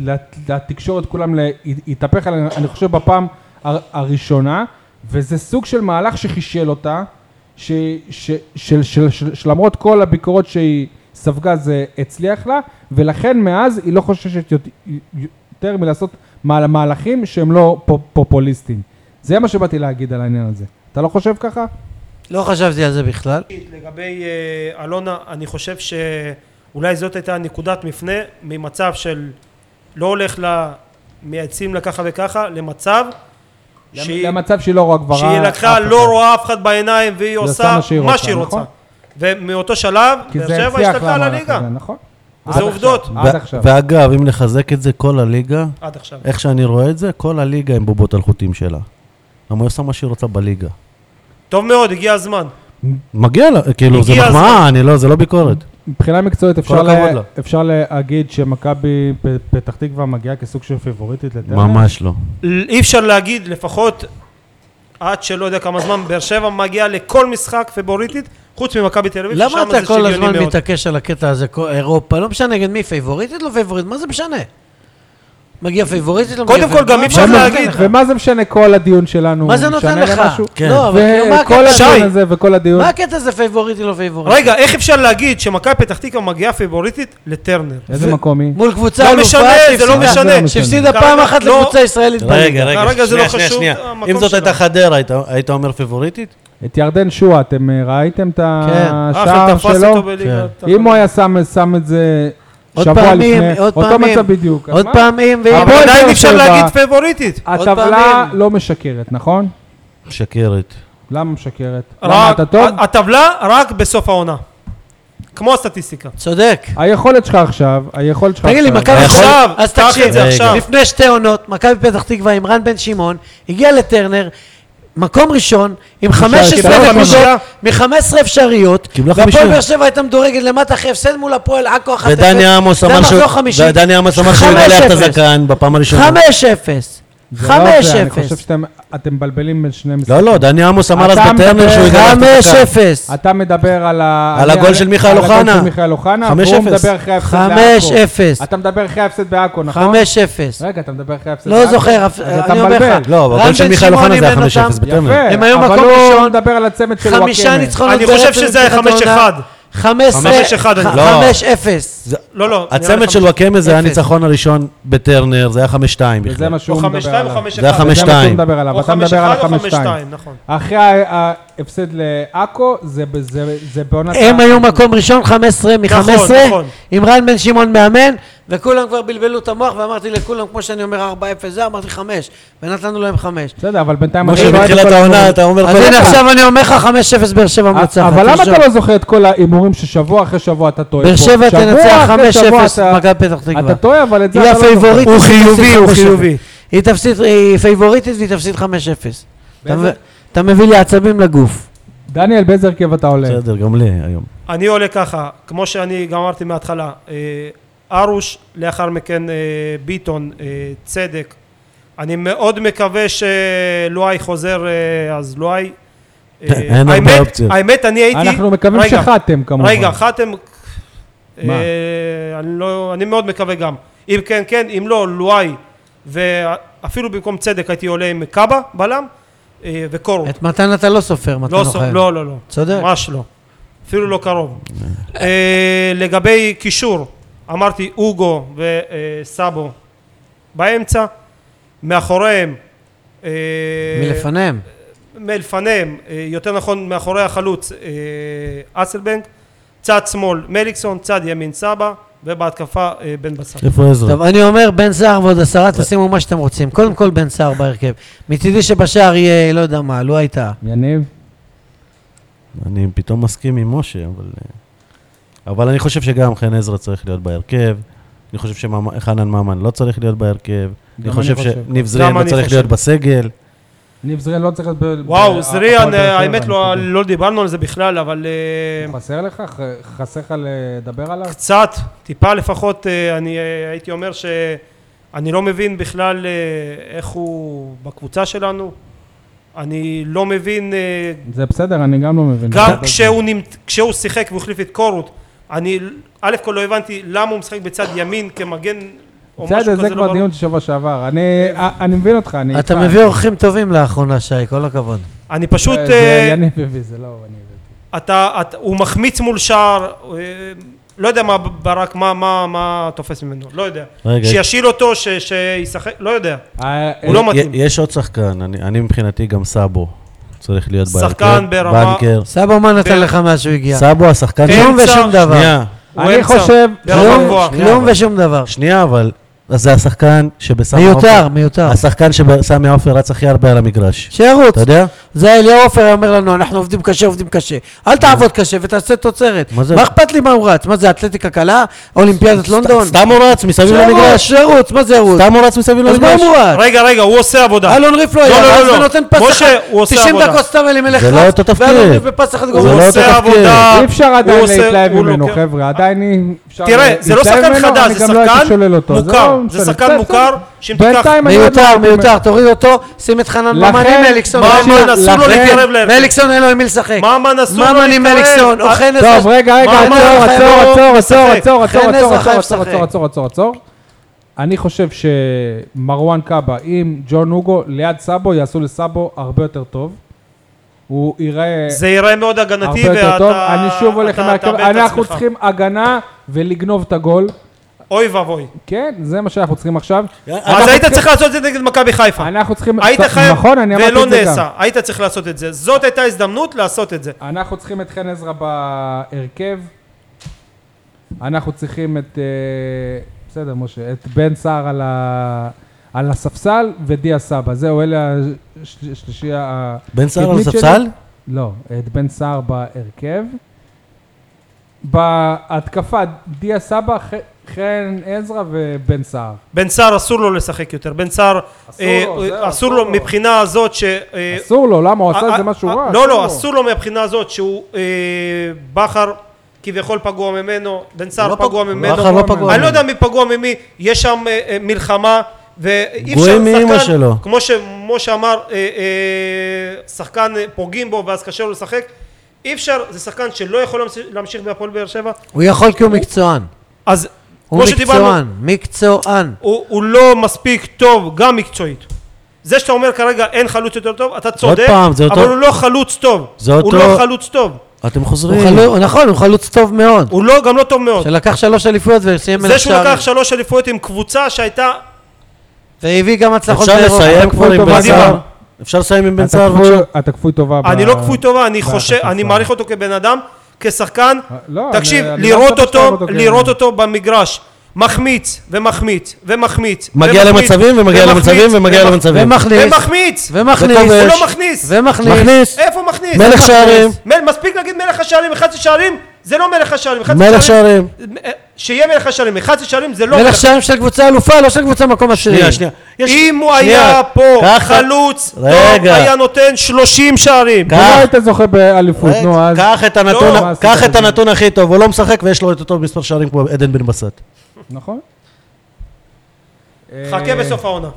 A: ל- לתקשורת כולם להתהפך עליה, אני חושב בפעם הר- הראשונה, וזה סוג של מהלך שחישל אותה, ש- ש- של- של- של- שלמרות כל הביקורות שהיא ספגה זה הצליח לה, ולכן מאז היא לא חוששת יות- יותר מלעשות מה- מהלכים שהם לא פופ- פופוליסטים. זה מה שבאתי להגיד על העניין הזה. אתה לא חושב ככה?
C: לא חשבתי על זה בכלל.
D: לגבי אה, אלונה, אני חושב שאולי זאת הייתה נקודת מפנה ממצב של לא הולך לה, מייעצים לה ככה וככה, למצב שהיא-
A: למצב שהיא לא רואה כבר...
D: שהיא לקחה, לא רואה אף אחד בעיניים, והיא
A: לא עושה
D: עושה
A: מה שהיא
D: מה
A: רוצה,
D: שהיא רוצה.
A: נכון.
D: ומאותו שלב,
A: כי
D: באר
A: זה
D: שבע
A: הצליח
D: השתלטה על
A: למהלך
D: הליגה.
A: הזה, נכון. עד
D: זה
A: עכשיו,
D: עובדות.
A: עד
B: ו-
A: עכשיו.
B: ואגב, אם נחזק את זה, כל הליגה,
D: עד עכשיו.
B: איך שאני רואה את זה, כל הליגה הם בובות על חוטים שלה. למה היא עושה מה שהיא רוצה בליגה.
D: טוב מאוד, הגיע הזמן.
B: מגיע לה, כאילו, זה
D: הגיע
B: מחמאה, אני לא, זה לא ביקורת.
A: מבחינה מקצועית אפשר,
B: הכבוד
A: לה,
B: לה.
A: אפשר להגיד שמכבי פ- פתח תקווה מגיעה כסוג של פיבוריטית לטרנר?
B: ממש לא.
D: אי אפשר להגיד, לפחות עד שלא יודע כמה זמן, באר שבע מגיעה לכל משחק פיבוריטית, חוץ ממכבי תל אביב,
C: למה
D: ששם
C: אתה
D: זה
C: כל
D: שוויוני
C: הזמן
D: מאוד.
C: מתעקש על הקטע הזה, כל- אירופה, לא משנה נגד מי, פייבוריטית, לא פייבוריטית, מה זה משנה? מגיע פייבוריטית, לא מגיע
D: קודם כל,
C: פייבוריטית?
D: גם
C: מה-
D: אי
C: מה
D: אפשר
C: זה נותן
D: להגיד-
C: לך?
A: ומה זה משנה כל הדיון שלנו?
C: מה זה נותן
A: משנה
C: לך?
A: למשהו?
B: כן.
C: לא, אבל כאילו, מה
A: וכל
C: הקטע?
A: הדיון
D: שי.
A: הזה וכל הדיון...
C: מה הקטע הזה פייבוריטי, לא פייבוריטי?
D: רגע, איך אפשר להגיד שמכבי פתח תקווה מגיעה פיבוריטית לטרנר?
A: איזה מקום היא?
C: מול קבוצה
D: לא
C: אלופה
D: משנה, זה לא
C: שהפסידה-
D: משנה.
A: משנה.
C: שהפסידה
D: כרגע
C: פעם אחת
D: לא-
C: לקבוצה ישראלית. בליגה.
B: רגע, רגע,
D: כרגע זה
B: שנייה,
D: לא
B: שנייה,
D: חשוב,
B: שנייה.
D: המקום
B: אם זאת
D: שלה.
B: הייתה חדרה, היית- היית אומר פיבוריטית?
A: את ירדן שואה, אתם אה, ראיתם את
C: כן.
A: השער
D: אחלה, תפס אותו
A: שלו? כן.
D: בליגת...
A: אם הוא היה שם שם את זה
C: עוד
A: שבוע
C: פעמים,
A: לפני,
C: עוד
A: אותו
C: פעמים.
A: מצב בדיוק. אז
C: עוד
A: מה?
C: פעמים, ואם...
A: אבל- הפועל
D: עדיין
A: באר
D: אי אפשר
A: שבע.
D: להגיד פיבוריטית.
C: עוד
A: הטבלה
C: פעמים.
A: לא משקרת, נכון?
B: משקרת.
A: למה משקרת? למה
D: רק-
A: אתה טוב?
D: ה- הטבלה רק בסוף העונה. כמו הסטטיסטיקה.
C: צודק.
A: היכולת שלך עכשיו, היכולת שלך
C: תגיד לי,
A: עכשיו...
C: מכבי...
D: עכשיו,
C: אז
D: קח
C: תקשיב,
D: את זה
B: רגע.
D: עכשיו.
C: לפני שתי עונות, מכבי פתח תקווה עם רן בן שמעון, הגיע לטרנר, מקום ראשון, עם 15
A: קיבלה
C: נקודות,
D: חמישה.
C: מ-15 אפשריות,
B: קיבלה חמישה.
C: והפועל באר שבע הייתה מדורגת למטה אחרי הפסד מול הפועל עכו אחת
B: ודני עמוס אמר שהוא... ודני עמוס אמר שהוא יגלח את הזקן בפעם הראשונה.
C: 5-0. 5-0.
A: זה לא זה, אני חושב שאתם אתם מבלבלים בין שני משחקים.
B: לא, לא, דני עמוס אמר אז
A: אתה
B: בטרנר
A: מדבר-
B: שהוא יגלח את הזקן.
C: 5-0.
A: אתה מדבר על ה...
B: על
A: אני-
B: הגול של מיכאל
A: על הגול
B: אוחנה.
A: של מיכאל אוחנה,
B: 5-0.
A: והוא מדבר אחרי ההפסד בעכו.
C: 5-0.
A: אתה מדבר אחרי ההפסד בעכו, נכון?
C: 5-0.
A: רגע, אתה מדבר אחרי ההפסד
C: לא
A: בעכו.
C: זוכר, אף-
A: אז אתה
C: אני אומר
A: מבלבל.
C: לך.
B: לא, אבל
C: רן
B: הגול של
C: בן
B: מיכאל
C: שמעון
B: אוחנה זה היה
C: אימן
B: 5-0
C: אותם.
B: בטרנר.
A: יפה,
C: הם היו
A: אבל
C: מקום
A: הוא
C: ראשון.
A: מדבר על הצמד של
C: חמישה
A: וואקמה.
C: ניצחונות
D: אני חושב שזה היה 5-1.
C: 15,
D: 5-1, אני-
B: לא.
C: 5-0.
B: זה-
D: לא, לא. נראה
B: הצמד
D: לי
B: של וואקמה זה היה
C: אפס.
B: הניצחון הראשון בטרנר, זה היה 5-2
A: וזה
B: בכלל.
A: מה
D: או
A: שהוא מדבר
D: 5-2
A: עליו.
D: או 5-1.
B: זה היה
A: זה מה שהוא
B: 5-2.
A: מדבר עליו,
D: לא או
A: אתה מדבר על
D: 5-1 או
A: ה-5-2.
D: 5-2, נכון.
A: אחרי ההפסד לעכו, זה ב- זה- זה בעונת...
C: הם
A: ה-
C: היו מקום ראשון, 15 מ-15,
D: נכון.
C: עם רן בן שמעון מאמן, וכולם כבר בלבלו את המוח, ואמרתי לכולם, כמו שאני אומר 4-0, זה אמרתי 5, ונתנו להם 5.
A: בסדר, אבל בינתיים...
B: כמו
A: אני לא הייתי
B: שבתחילת
A: כל
B: העונה
A: הזמן-
B: אתה אומר...
C: אז
B: כל
C: הנה
B: הזמן.
C: עכשיו אני אומר לך 5-0 באר שבע מנצחת.
A: אבל למה
C: תרשום.
A: אתה לא זוכר את כל ההימורים ששבוע אחרי שבוע אתה טועה?
C: באר
A: פה?
C: שבע
A: שבוע
C: תנצח
A: אחרי שבוע
C: 5-0
A: אתה-
C: מכבי פתח תקווה.
A: אתה טועה, אבל את זה
C: היא
A: אתה לא זוכר.
C: הפייבוריטית.
D: הוא
C: והיא תפסיד
D: חיובי, הוא
C: 5-0.
D: חיובי.
C: היא תפסיד, היא פייבוריטית והיא תפסיד 5-0. אתה
A: באיזה-
C: מב- אתה מביא לי עצבים לגוף.
A: דניאל, באיזה הרכב אתה עולה?
B: בסדר, גם לי היום.
D: אני עולה ככה, כמו שאני גם אמרתי מההתחלה, אה, ארוש, לאחר מכן אה, ביטון, אה, צדק. אני מאוד מקווה שלואי חוזר, אה, אז לואי... אה,
B: אין הרבה
D: האמת-
B: אופציות.
D: האמת, אני הייתי...
A: אנחנו מקווים
D: רגע,
A: שחתם כמובן.
D: רגע, חתם...
A: מה?
D: אה, אני, לא, אני מאוד מקווה גם. אם כן, כן, אם לא, לואי, ואפילו במקום צדק הייתי עולה עם קאבה, בלם, אה, וקורו.
C: את מתן אתה לא סופר, מתן
D: לא, סוף-
C: אוחיון.
D: לא, לא, לא.
C: צודק.
D: ממש לא. אפילו לא קרוב. אה, לגבי קישור, אמרתי אוגו וסאבו באמצע, מאחוריהם... אה,
A: לא.
C: מלפניהם.
D: מלפניהם, אה, יותר נכון מאחורי החלוץ אה, אסלבנק, צד שמאל מליקסון, צד ימין סבא, ובהתקפה אה, בן בסט.
B: איפה עזרא?
C: טוב, אני אומר, בן סער ועוד עשרה, תשימו מה שאתם רוצים. קודם כל בן סער בהרכב. מצידי שבשער יהיה, לא יודע מה, לו הייתה.
A: יניב?
B: אני פתאום מסכים עם משה, אבל... אה, אבל אני חושב שגם חן עזרא צריך להיות בהרכב. אני חושב שחנן ממן לא צריך להיות בהרכב. אני
A: אני
B: חושב
A: חושב.
B: שניב זריאן
D: גם
B: לא
D: אני
B: צריך
D: חושב.
B: להיות בסגל.
A: ניב זריאן לא צריך להיות... ב-
D: וואו,
A: ב-
D: זריאן,
A: הפועל באר
D: אה,
A: שבע,
D: האמת
A: אני
D: לא,
A: חושב.
D: לא דיברנו על זה בכלל, אבל אה,
A: חסר לך? ח- חסר לך לדבר עליו?
D: קצת, טיפה לפחות, אה, אני אה, הייתי אומר שאני לא מבין בכלל אה, איך הוא בקבוצה שלנו. אני לא מבין, אה,
A: זה בסדר, אני גם לא מבין.
D: גם
A: בסדר.
D: כשהוא, נמת... כשהוא שיחק והוא החליף את קורות, אני א' כל לא הבנתי למה הוא משחק בצד ימין כמגן או משהו
A: בסדר,
D: כזה
A: זה
D: לא
A: כבר
D: ברור.
A: דיון של שבוע שעבר. אני- אה, אני מבין אותך, אני...
C: אתה
A: איתך.
C: מביא אורחים טובים לאחרונה, שי, כל הכבוד.
D: אני פשוט,
A: זה-
D: אה,
A: זה יניב הביא, זה לא אני הבאתי.
D: אתה, אתה, הוא מחמיץ מול שער, אה, לא יודע מה ברק, מה, מה, מה תופס ממנו, לא יודע.
B: רגע,
D: שישיל אותו, ש, שישחק, לא יודע.
A: אה,
D: הוא לא
B: י-
D: מתאים.
B: יש עוד שחקן, אני אני מבחינתי גם סאבו. צריך להיות בהרכב.
D: שחקן ברמה-
B: בנקר.
C: סבא, מה
D: כן.
C: נתן לך מאז שהוא הגיע?
B: סאבו השחקן...
D: כן,
C: כלום ושום דבר.
B: שנייה,
D: הוא
A: אני
D: אמצע,
A: חושב-
D: ברמה
C: כלום-
D: גבוהה.
C: כלום ושום דבר.
B: שנייה, אבל אז זה השחקן שבסמי עופר...
C: מיותר, מיותר.
B: השחקן שבסמי עופר רץ הכי הרבה על המגרש.
C: שירוץ.
B: אתה יודע?
C: זה אליהו עופר היה אומר לנו, אנחנו עובדים קשה, עובדים קשה. אל תעבוד קשה ותעשה תוצרת.
B: מה זה?
C: מה אכפת לי מה הוא רץ? מה זה, אתלטיקה קלה? אולימפיאדת לונדון?
B: סתם הוא רץ מסביב
C: שירוץ,
B: למגרש.
C: שירוץ, מה זה ירוץ?
B: סתם הוא רץ מסביב
C: אז מה
B: למגרש.
C: אם הוא רץ?
D: רגע, רגע, הוא עושה עבודה.
C: אלון ריף לא
D: לא,
C: היה
D: לא,
C: רץ
D: לא, לא.
C: ונותן פס
D: משה,
C: אחד.
D: הוא עושה
C: 90
D: עבודה.
C: דקות סתם אלימלך
B: זה לא
C: רץ,
B: אותו
C: ואלון
B: תפקיד.
C: ריף בפס אחד
B: זה
D: הוא
C: גומר.
B: לא אותו
D: עושה
B: תפקיד.
D: עבודה.
A: אה, אי אפשר
D: הוא
A: עדיין
D: עושה-
A: להתלהב
D: הוא
A: ממנו,
D: לוקח-
A: חבר'ה, עדיין אי אפשר
D: תראה, זה לא
A: להתלהב
D: שחקן
A: ממנו,
D: חדש,
A: אני
D: זה
A: גם לא הייתי
D: שחקן
A: שולל אותו. זה
D: מוכר,
A: לא
D: זה
A: משנה.
D: שחקן
A: בסדר,
D: מוכר,
A: בסדר.
D: שאם תיקח-
A: בינתיים אני עוד לא
C: מיותר,
A: הייתי אומר.
C: מיותר, תוריד אותו, שים את חנן
A: לכן-
C: ממן עם אליקסון.
A: מה,
C: תקשיב,
A: מה,
D: אסור לו
C: לכן-
D: להתקרב לאפס.
C: מאליקסון אין לו עם מי לשחק.
D: ממן אסור לו
C: ממן עם
D: להתקרב.
C: אליקסון, או
D: אה,
C: חן
A: טוב,
C: עזרא-
A: רגע, רגע,
D: מה,
A: עצור,
D: מה,
A: עצור,
C: חייב
A: עצור,
C: לשחק.
A: עצור, עצור, עצור,
C: חן
A: עצור,
C: עזרא
A: עצור,
C: חייב
A: עצור,
C: לשחק.
A: עצור, עצור, עצור, עצור. אני חושב שמרואן קאבה עם ג'ון הוגו ליד סאבו יעשו לסאבו הרבה יותר טוב. הוא ייראה
D: זה ייראה מאוד
A: הרבה
D: הגנתי,
A: יותר
D: ואתה...
A: טוב. אני שוב הולך
D: אתה
A: מהקו...
D: תאבד את
A: אנחנו
D: עצמך.
A: צריכים הגנה ולגנוב את הגול.
D: אוי ואבוי.
A: כן, זה מה שאנחנו צריכים עכשיו.
D: אז
A: אנחנו
D: היית
A: צריכים-
D: צריך לעשות את זה נגד מכבי חיפה.
A: אנחנו צריכים...
D: היית
A: טוב,
D: חייב,
A: נכון, אני אמרתי
D: ולא
A: את זה גם.
D: נעשה. היית צריך לעשות את זה. זאת הייתה הזדמנות לעשות את זה.
A: אנחנו צריכים את חן עזרא בהרכב. אנחנו צריכים את... אה, בסדר, משה. את בן סער על, ה... על הספסל ודיה סבא. זהו, אלה השלישי ה...
B: בן סער על
A: הקדמית שלי.
B: הספסל?
A: לא, את בן סער בהרכב. בהתקפה, דיה סבא, ח... חן עזרא ובן סער.
D: בן סער אסור לו לשחק יותר. בן סער,
A: אסור
D: אה,
A: לו, זהו,
D: אסור
A: אסור
D: לו
A: לו.
D: מבחינה הזאת ש... אה,
A: אסור לו, למה? הוא עשה
D: אה,
A: את זה
D: אה,
A: משהו
D: אה,
A: רע.
D: לא, לא, אסור לו מהבחינה הזאת שהוא אה, בכר כביכול פגוע ממנו, בן סער
B: לא
D: פגוע
B: פגוע,
D: ממנו.
B: בכר לא פגוע
D: אני לא יודע
B: ממנו.
D: מי פגוע ממי, יש שם אה, אה, מלחמה. ואי אפשר
B: גויים מאמא
D: שחקן,
B: שלו.
D: כמו שמשה אמר, אה, אה, שחקן אה, פוגעים בו ואז קשה לו לשחק, אי אפשר, זה שחקן שלא יכול להמשיך- להמשיך בהפועל באר שבע,
C: הוא יכול כי הוא מקצוען.
D: אז
C: הוא
D: כמו שדיברנו,
C: מקצוען, מקצוען.
D: הוא, הוא לא מספיק טוב גם מקצועית. זה שאתה אומר כרגע אין חלוץ יותר טוב, אתה צודק,
B: פעם, זה
D: אבל
B: אותו-
D: הוא לא חלוץ טוב.
B: זה
D: הוא
B: אותו-
D: לא חלוץ טוב.
B: אתם
C: הוא
B: חוזרים.
C: חלוץ- נכון, הוא חלוץ טוב מאוד.
D: הוא לא, גם לא טוב מאוד.
C: שלקח שלוש אליפויות וסיים מלך
D: זה שהוא
C: שערים.
D: לקח שלוש אליפויות עם קבוצה שהייתה...
C: והביא גם הצלחות
B: אפשר
C: באירופה.
B: לסיים
A: אתם
B: כבר
A: כפוי
B: עם
A: טובה
B: בן סער?
D: מדהימה.
B: אפשר לסיים עם בן
A: אתה
B: סער?
A: כפוי-
B: בבקשה?
A: אתה כפוי טובה.
D: אני
A: ב-
D: לא כפוי טובה, אני
A: בעיה,
D: חושב,
A: אתה
D: אני
A: כפוי.
D: מעריך אותו כבן אדם, כשחקן.
A: לא,
D: תקשיב,
A: אני- אני לא
D: לראות
A: מדבר שאתה
D: אותו,
A: אוהב אותו
D: לראות
A: כבן
D: אותו במגרש. מחמיץ ומחמיץ ומחמיץ.
B: מגיע
D: ומחמיץ,
B: למצבים ומגיע
D: ומחמיץ,
B: למצבים ומגיע
D: ומח-
B: למצבים.
C: ומכניס,
D: ומחמיץ!
C: ומכניס,
B: וכובש.
D: הוא לא מכניס!
C: ומכניס.
B: מכניס.
D: איפה מכניס?
B: מלך שערים.
D: מל, מספיק להגיד מלך השערים, 11 שערים, זה לא מלך השערים. 11
B: מלך שערים.
D: אה, שיהיה מלך השערים, 11 שערים זה לא
C: מלך שערים של קבוצה אלופה, לא של קבוצה מקום עשירי.
B: שנייה, שנייה. יש-
D: אם הוא
B: שנייה.
D: היה פה
B: ככה-
D: חלוץ, טוב,
B: רגע.
D: היה נותן 30 שערים.
C: אה.
A: ולא
B: קח-
A: היית זוכה באליפות, נו אז.
B: אה, קח את הנתון-
D: לא,
A: מה
B: קח
A: עשית
B: את הנתון הכי טוב, הוא לא משחק ויש לו את אותו מספר שערים כמו עדן בן בסט.
A: נכון.
D: חכה
A: אה,
D: בסוף העונה.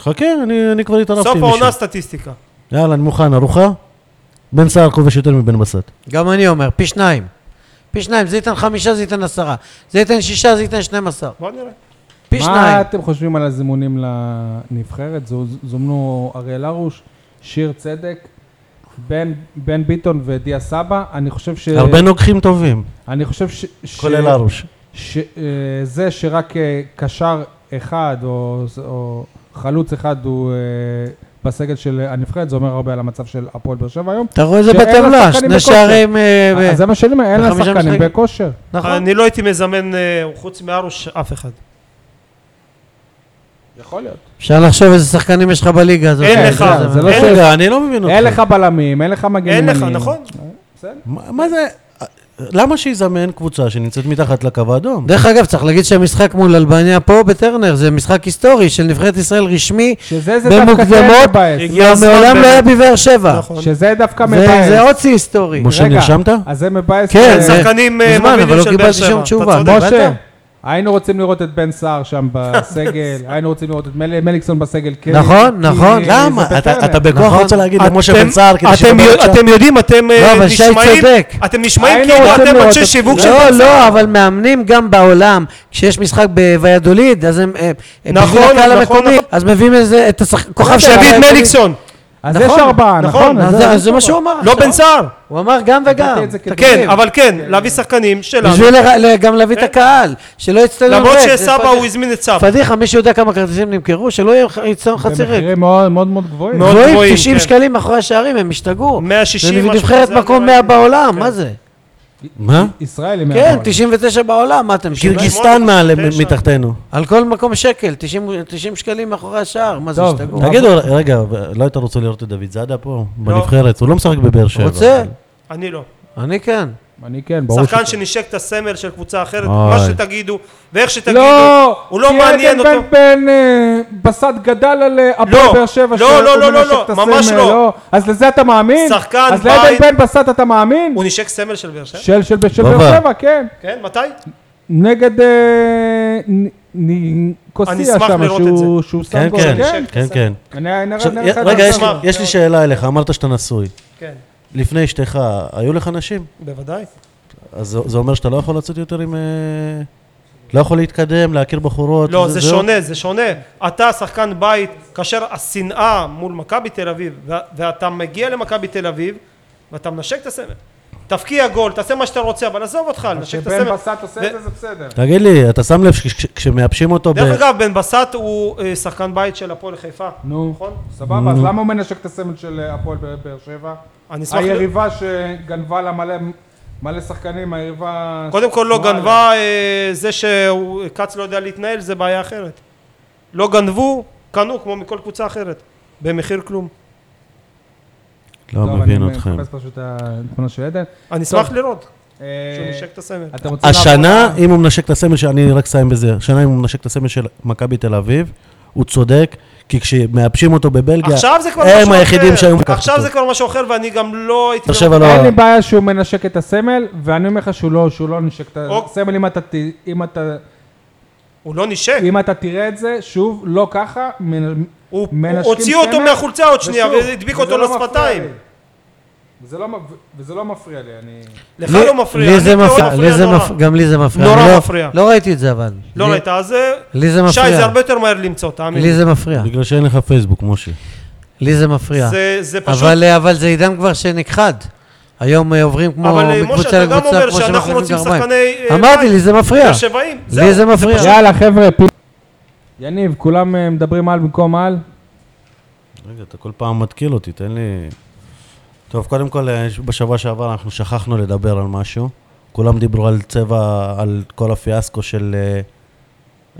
B: חכה, אני- אני כבר התערבתי
D: סוף
B: עם מישהו.
D: העונה סטטיסטיקה.
B: יאללה, אני מוכן, ארוחה? בן סער כובש יותר מבן בסט.
C: גם אני אומר, פי שניים. פי שניים, זה ייתן חמישה, זה ייתן עשרה. זה ייתן שישה, זה ייתן שנים עשר.
D: בוא נראה.
C: פי
A: מה
C: שניים.
A: אתם חושבים על הזימונים לנבחרת? זו- זומנו אריאל הרוש, שיר צדק, בן- בן ביטון ודיה סבא. אני חושב
D: אה.
A: ש...
B: הרבה נוגחים טובים,
A: אני חושב ש... ש-
B: כולל ארוש.
A: ש- אה, זה שרק אה, קשר אחד או או חלוץ אחד הוא אה, בסגל של הנבחרת, זה אומר הרבה על המצב של הפועל באר שבע היום.
C: אתה רואה את זה
A: שאין
C: בטבלה,
A: לשחקנים
C: שני
A: בכושר.
C: שערים... אה, ב-
A: אז זה מה שאני אומר, אין לה
C: בחמישה
A: שחקנים
C: משחקים.
A: בכושר.
C: נכון.
D: אני לא הייתי מזמן אה, חוץ מארוש אף אחד.
A: יכול להיות.
C: אפשר לחשוב איזה שחקנים יש לך בליגה הזאת. אה,
D: אין
A: זה-
D: לך,
A: זה- זה לא
D: אין
A: שאלה.
B: רגע, אני לא מבין אותך.
A: אין לך בלמים, אין לך מגנים.
D: אין לך,
A: ימניים.
D: נכון?
A: בסדר.
B: מה מה זה... למה שיזמן קבוצה שנמצאת מתחת לקו האדום?
C: דרך אגב, צריך להגיד שהמשחק מול אלבניה פה בטרנר זה משחק היסטורי של נבחרת ישראל רשמי.
A: שזה זה דווקא כן
C: במוקדמות,
A: מבאס.
D: הגיע הזמן
C: מעולם
D: באמת.
C: לא היה בבאר שבע.
D: נכון.
A: שזה דווקא
C: זה-
A: מבאס.
C: זה עוד שיא היסטורי.
B: משה,
A: רגע,
B: נרשמת?
A: אז זה מבאס.
C: כן,
A: אה,
C: זה-
D: שחקנים אה,
C: מזמן, אבל
D: מובילים
C: לא
D: של באר
C: קיבלתי שום
D: שבע. אתה
C: תשובה.
D: צודק.
A: משה, היינו רוצים לראות את בן סער שם בסגל, היינו רוצים לראות את מל- מליקסון בסגל. כי-
C: נכון,
A: כי
C: נכון.
A: זה
B: למה? אתה-
A: בטרנר.
B: אתה בכוח
C: נכון.
B: רוצה להגיד למשה
D: אה, אתם-
B: בן סער כדי
D: אתם
B: שתדבר
D: יו-
B: עכשיו?
D: אתם יודעים, אתם אה,
C: לא, אבל שי
D: נשמעים,
C: צודק.
D: אתם נשמעים
A: היינו
D: כאילו
A: רוצים
D: אתם
A: לראות
D: אנשי
A: את-
D: שיווק של
C: לא,
D: בן סער.
C: לא, אבל מאמנים גם בעולם, כשיש משחק בוויאדוליד, אז הם... הם- הם
D: נכון,
C: בשביל הקהל
D: נכון,
C: המקומי,
D: נכון. לא
C: אז מביאים איזה, את השחק... כוכב של
D: שיביא את
C: הוויאדוליד.
D: מליקסון,
A: אז
C: נכון,
A: יש ארבעה,
D: נכון,
A: נכון?
C: אז זה- אז זה מה שהוא אמר
D: לא
C: עכשיו.
D: בן סער.
C: הוא אמר גם וגם.
A: נתתי את זה כדוגמה.
D: כן,
C: תקשיב.
D: אבל כן, להביא שחקנים שלנו.
C: בשביל ל- ל- גם להביא את הקהל, שלא יצטדיון
D: כן. למרות
C: ריק, זה
D: שסבא
C: פדיחה.
D: הוא הזמין את סבא.
C: פדיחה, מישהו יודע כמה כרטיסים נמכרו? שלא יהיה יצטדיון חצי ריק.
A: במחירים מאוד מאוד מאוד גבוהים.
D: מאוד גבוהים,
C: גבוהים, 90
D: כן.
C: שקלים מאחורי השערים, הם השתגעו.
D: 160,
C: זה
D: משהו
C: נבחרת
D: כזה,
C: מקום
D: אני לא
C: 100
D: ראיתי.
C: בעולם,
D: כן.
C: מה זה?
B: מה?
A: ישראל היא
C: כן,
A: מהגול.
C: 99 בעולם, מה אתם שבעים?
B: קירגיסטן מעלה
D: תשע.
B: מתחתנו.
C: על כל מקום שקל, 90 90 שקלים מאחורי השער, מה זה
A: טוב,
C: השתגעו?
A: טוב.
B: תגידו, רגע, לא היית רוצה לראות את דוד זאדה פה?
D: נכון. לא.
B: בנבחרת? הוא לא משחק בבאר שבע. כן,
C: רוצה?
D: אני לא.
C: אני כן.
A: אני כן, ברור.
D: שחקן
A: ש-
D: שנשק את הסמל של קבוצה אחרת,
B: אוי.
D: מה שתגידו, ואיך שתגידו,
A: לא!
D: הוא לא
A: כי
D: מעניין
A: עדן
D: אותו.
A: בן בן אה, בסט גדל על אה, הפועל
D: לא,
A: באר שבע
D: לא,
A: שהוא
D: לא, לא, לא,
A: מנשק
D: לא,
A: את הסמל,
D: ממש לא.
A: אה, אז לזה אתה מאמין?
D: שחקן
A: אז לעדן
D: בית-
A: בן בסט אתה מאמין?
D: הוא נשק סמל של באר שבע?
A: של של של
B: גובה.
A: באר שבע, כן.
D: כן, מתי?
A: נגד אה, נ- נ- קוסיה
D: אשמח
A: שם,
D: לראות את
A: שהוא- שהוא שם
B: כן,
A: גול,
B: כן,
A: כן.
B: כן, כן.
A: אני- אני-
B: עכשיו,
A: אני- אני-
B: רגע,
A: אני-
B: יש לי-
D: אשמח.
B: יש לי שאלה אליך, אמרת שאתה נשוי.
D: כן,
B: לפני אשתך, היו לך נשים?
D: בוודאי.
B: אז זה- זה אומר שאתה לא יכול לצאת יותר עם... אה, לא יכול להתקדם, להכיר בחורות?
D: לא, זה שונה, זה שונה. אתה שחקן בית, כאשר השנאה מול מכבי תל אביב, ו- ואתה מגיע למכבי תל אביב, ואתה מנשק את הסמל. תפקיע גול, תעשה מה שאתה רוצה, אבל עזוב אותך, לנשק את
A: כשבן
D: הסמל.
A: בסט עושה
D: ו-
A: את זה, זה בסדר.
B: תגיד לי, אתה שם לב שכשמייבשים אותו ב...
D: דרך אגב, בן בסט הוא אה, שחקן בית של הפועל חיפה,
A: נו,
D: נכון?
A: סבבה, אז למה הוא מנשק את הסמל של אה, הפועל באר- באר שבע?
D: אני אשמח... להיות-
A: היריבה שגנבה לה מלא, מלא שחקנים, היריבה...
D: קודם כל לא
A: וואלה.
D: גנבה, אה, זה שכץ לא יודע להתנהל זה בעיה אחרת. לא גנבו, קנו כמו מכל קבוצה אחרת. במחיר כלום.
B: לא
A: טוב,
B: מבין
A: אני
B: אתכם.
A: מחפש פשוט את התמונה של עדן.
D: אני
A: טוב.
D: אשמח לראות
A: אה,
D: שהוא נשק את הסמל.
A: אתה רוצה
B: השנה,
A: לעבור ל-
B: אם הוא מנשק את הסמל, של- אני רק אסיים בזה, השנה אם הוא מנשק את הסמל של מכבי תל אביב, הוא צודק, כי כשמייבשים אותו בבלגיה,
D: עכשיו זה כבר
B: הם
D: משהו
B: היחידים
D: אחר.
B: שהיו לקחת
D: עכשיו
B: אותו.
D: זה כבר משהו אחר ואני גם לא הייתי...
B: באר שבע
D: גם-
B: לא...
A: אין לי בעיה שהוא מנשק את הסמל, ואני אומר לך שהוא לא, שהוא לא נשק את
D: אוק.
A: הסמל, אם אתה, ת- אם, אתה,
D: הוא לא נשק.
A: אם אתה תראה את זה, שוב, לא ככה, מנ-
D: הוא
A: מנשקים
D: הוציאו אותו
A: סמל,
D: מהחולצה עוד שנייה
A: ושוב,
D: והדביק
A: וזה
D: אותו
A: לא מפריע
D: לשפתיים.
A: לי. וזה לא, מפ- וזה לא מפריע לי, אני...
D: לך לא מפריע.
C: לי
D: אני
C: זה
D: מאוד
C: מפריע, לי זה
D: נורא.
C: מפריע, גם לי זה מפריע.
D: נורא
C: אני לא-
D: מפריע.
C: לא ראיתי את זה אבל.
D: לא
C: לי-
D: ראית, אז אה,
C: לי זה
D: שי, זה
C: מפריע.
D: הרבה יותר מהר למצוא, תאמין
C: לי
D: לי.
C: זה מפריע.
B: בגלל שאין לך פייסבוק, משה.
C: לי זה מפריע.
D: זה- זה פשוט...
C: אבל אה, אבל זה עידן כבר שנכחד. היום אה, עוברים כמו
D: אבל אה, משה,
C: מקבוצה
D: אתה גם
C: לקבוצה
D: אומר
C: כמו
D: שאנחנו
C: שמחליפים
D: רוצים
C: גרביים.
D: שחקני... אה,
C: אמרתי,
D: בית.
C: לי זה מפריע.
D: באר שבעים, זהו.
C: לי זה מפריע.
A: יאללה, חבר'ה, פיל... יניב, כולם אה, מדברים על במקום על?
B: רגע, אתה כל פעם מתקיל אותי, תן לי... טוב, קודם כל, אה, בשבוע שעבר אנחנו שכחנו לדבר על משהו. כולם דיברו על צבע, על כל הפיאסקו של, אה,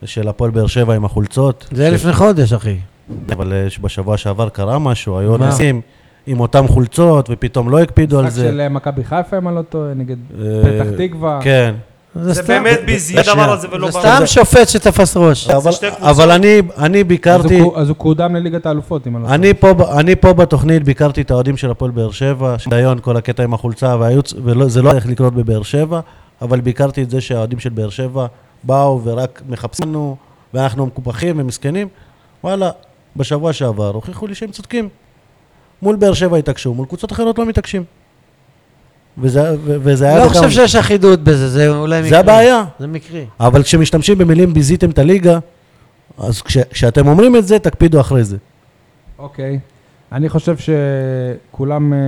B: של הפועל באר שבע עם החולצות.
C: זה היה
B: ש-
C: לפני חודש, אחי.
B: אבל אה, שבשבוע שעבר קרה משהו, היו
C: מה?
B: נסים עם אותם חולצות, ופתאום לא הקפידו על
A: משחק
B: זה.
A: של אה, מכבי חיפה, אם אני לא טועה, נגד
B: אה,
A: פתח תקווה.
B: כן.
D: זה באמת ביזי הדבר הזה ולא
C: זה
D: ברור.
C: סתם שופט שתפס ראש.
B: אבל,
D: שתי קבוצות.
B: אבל אני, אני
A: אז
B: ביקרתי,
A: הוא קו- אז הוא קודם לליגת האלופות, אם אני לא
C: נכון.
A: טועה.
B: אני פה, ב- אני פה בתוכנית ביקרתי את האוהדים של הפועל באר שבע, שדיון, כל הקטע עם החולצה, והיוץ, וזה לא הולך לקרות בבאר שבע, אבל ביקרתי את זה שהאוהדים של באר שבע באו ורק מחפשים לנו, ואנחנו מקופחים ומסכנים. וואלה, בשבוע שעבר הוכיחו לי שהם צודקים. מול באר שבע התעקשו, מול קבוצות אחרות לא מתעקשים. וזה, ו- וזה היה...
C: לא
B: וגם-
C: חושב שיש אחידות בזה, זה אולי מקרי.
B: זה הבעיה.
C: זה מקרי.
B: אבל כשמשתמשים במילים ביזיתם את הליגה, אז כש, כשאתם אומרים את זה, תקפידו אחרי זה.
A: אוקיי. אני חושב שכולם אה,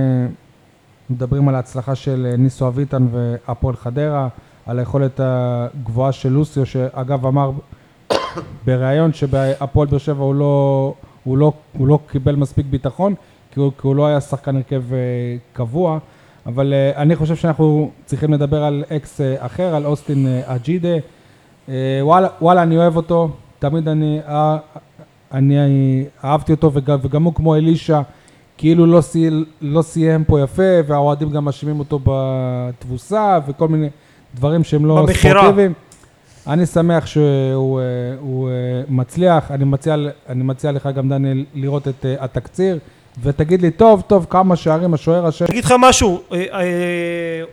A: מדברים על ההצלחה של אה, ניסו אביטן והפועל חדרה, על היכולת הגבוהה של לוסיו, שאגב אמר בריאיון שבהפועל באר שבע הוא לא, הוא, לא, הוא לא קיבל מספיק ביטחון, כי הוא, כי הוא לא היה שחקן הרכב אה, קבוע. אבל אה, אני חושב שאנחנו צריכים לדבר על אקס אה, אחר, על אוסטין אה, אג'ידה. אה, וואלה, וואלה, אני אוהב אותו, תמיד אני, אה, אני אהבתי אותו, וגם, וגם הוא כמו אלישע, כאילו לא, סי, לא סיים פה יפה, והאוהדים גם מאשימים אותו בתבוסה, וכל מיני דברים שהם לא
D: במכירה.
A: ספורטיביים. אני שמח שהוא אה, הוא, אה, מצליח, אני מציע, אני מציע לך גם דניאל לראות את אה, התקציר, ותגיד לי, טוב, טוב, כמה שערים השוער השם,
D: אני אגיד לך משהו, אה, אה,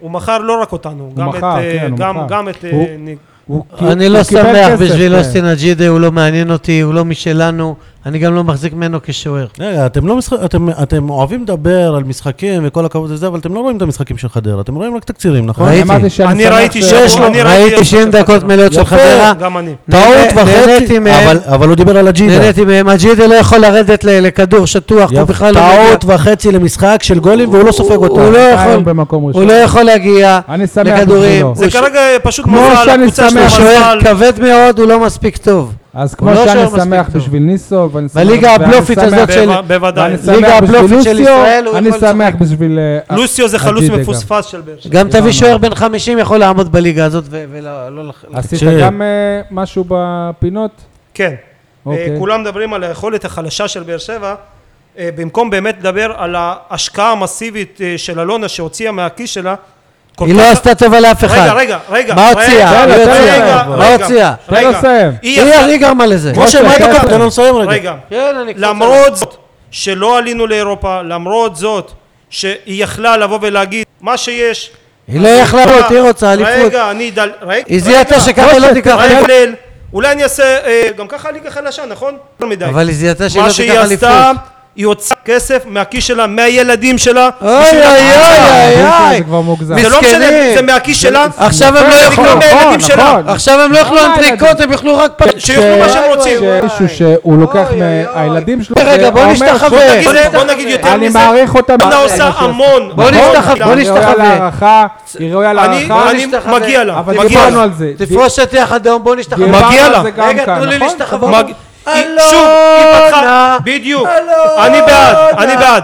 D: הוא מכר לא רק אותנו, גם את,
A: מכר,
D: אה,
A: כן, הוא
D: גם-
A: מכר.
D: גם את... אה,
A: הוא-
D: ניק.
A: הוא,
C: אני לא
A: קיבל
C: שמח
A: כסף,
C: בשביל
B: כן.
A: אה.
C: אוסטין אג'ידה, הוא לא מעניין אותי, הוא לא משלנו, אני גם לא מחזיק ממנו כשוער.
B: רגע, אתם לא משחק... אתם, אתם אוהבים לדבר על משחקים וכל הכבוד לזה, אבל אתם לא רואים את המשחקים של חדרה, אתם רואים רק תקצירים, נכון?
A: אני
C: ראיתי.
A: אמרתי שאני
D: אני
A: שמח
D: ראיתי
A: ש-
D: שיש
C: יש לו,
D: אני ראיתי
C: ראיתי
D: את
C: 90
D: זה.
C: דקות מלאות של
B: יפה.
C: חדרה,
D: גם אני.
B: טעות
C: נהנה-
B: וחצי,
C: נהניתי מהם.
B: אבל, אבל הוא דיבר על הג'ידה.
C: נהניתי מהם, אג'ידה לא יכול לרדת ל- לכדור שטוח, הוא
B: יפה,
C: בכלל לא מגיע.
B: טעות וחצי למשחק של גולים והוא לא סופג
C: הוא-
B: אותם.
C: הוא לא
A: היום
C: יכול,
A: במקום
C: הוא
A: ראשון.
C: לא יכול להגיע
A: אני שמח
C: לכדורים.
A: בשבילו.
D: זה
C: הוא ש-
D: כרגע פשוט
A: כמו
D: מזל,
A: שאני
D: הקבוצה שלו
A: שמח
C: הוא שוער
D: מזל.
C: כבד מאוד, הוא לא מספיק טוב.
A: אז כמו
C: לא
A: שאני
C: שוער מספיק
A: שמח
C: טוב.
A: בשביל ניסו, ואני שמח...
C: בליגה
A: ואני
C: הבלופית
A: שמח-
C: הזאת של...
D: בו- בוודאי.
A: ואני
C: ליגה
A: שמח בשביל
C: הבלופית של
A: לוסיו,
C: ישראל, הוא
A: אני
C: יכול
A: שמח בשביל... אה,
D: לוסיו זה חלוץ
A: אדידה גם.
D: מפוספס של באר שבע.
C: גם תביא
A: דיברנו
C: שוער
A: עליו.
C: בן 50 יכול לעמוד בליגה הזאת ו- ולא... לא לח-
A: עשית
B: תקשיב.
A: גם אה, משהו בפינות?
D: כן.
A: אוקיי.
D: אה, כולם מדברים על היכולת החלשה של באר שבע, אה, במקום באמת לדבר על ההשקעה המסיבית אה, של אלונה שהוציאה מהכיס שלה. כל
C: היא
D: כך-
C: לא עשתה טובה לאף אחד.
D: רגע, רגע, רגע.
C: מה
D: רגע,
C: הוציאה?
A: היא
D: רגע,
A: הוציאה.
D: רגע,
C: מה
D: רגע,
C: הוציאה?
A: תן לו
D: רגע.
A: לסיים.
D: היא
C: היא
D: עשתה-
C: היא גרמה לזה.
A: משה, מה אתה קופץ?
B: תן לו לסיים רגע.
D: רגע.
C: כן, אני קופץ עליו.
D: למרות זאת שלא עלינו לאירופה, למרות זאת שהיא יכלה לבוא ולהגיד מה שיש.
C: היא לא יכלה להיות, היא רוצה אליפות.
D: רגע, אני דל... רגע.
C: היא זיהתה שככה לא תיקח
D: מה
C: אליפות.
D: ההבדל? אולי אני אעשה... אה, גם ככה הליגה חלשה, נכון? יותר מדי.
C: אבל היא זיהתה שהיא
D: מה
C: לא
D: שהיא
C: תיקח אליפות.
D: עשתה, היא הוציאה כסף מהכיס שלה, מהילדים שלה.
C: אוי
D: בשביל
C: אוי אוי
D: הקבוצה.
C: אוי
A: זה
C: אוי.
A: אה, כבר מוגזם.
D: זה לא
C: מסכנים.
D: משנה, זה מהכיס שלה.
C: עכשיו הם לא
A: נכון,
C: יאכלו
A: נכון,
D: מהילדים שלה.
A: נכון.
C: עכשיו הם לא יאכלו
A: למה
C: אנטריקוט,
A: הילדים?
C: הם יאכלו רק פ...
D: שיאכלו מה שהם רוצים.
A: שמישהו שהוא לוקח
C: אוי, אוי, אוי.
A: מהילדים שלו,
C: רגע, בוא
A: ואומר,
C: נשתחווה.
A: "בוא נגיד,
D: בוא נגיד- בוא נגיד יותר
A: אני
D: מזה.
A: מעריך אותם.
D: אלונה עושה המון.
C: בוא
D: המון.
C: נפתח- בוא
A: היא ראויה
C: נשתחווה.
A: להערכה, היא ראויה
D: אני,
A: להערכה.
D: אני
C: נשתחווה.
D: מגיע לה,
A: אבל
D: מגיע
A: דיברנו
D: לה.
A: על זה.
C: תפרוש את יחד היום, בואו נשתחווה.
A: דיברנו
D: מגיע
A: על
D: לה.
A: זה גם
C: רגע,
A: כאן,
C: תנו לי
A: נכון?
C: להשתחוות.
D: מג- היא-
C: אלונה.
D: שוב, היא פתחה, בדיוק,
C: אלונה.
D: אני בעד, אני בעד,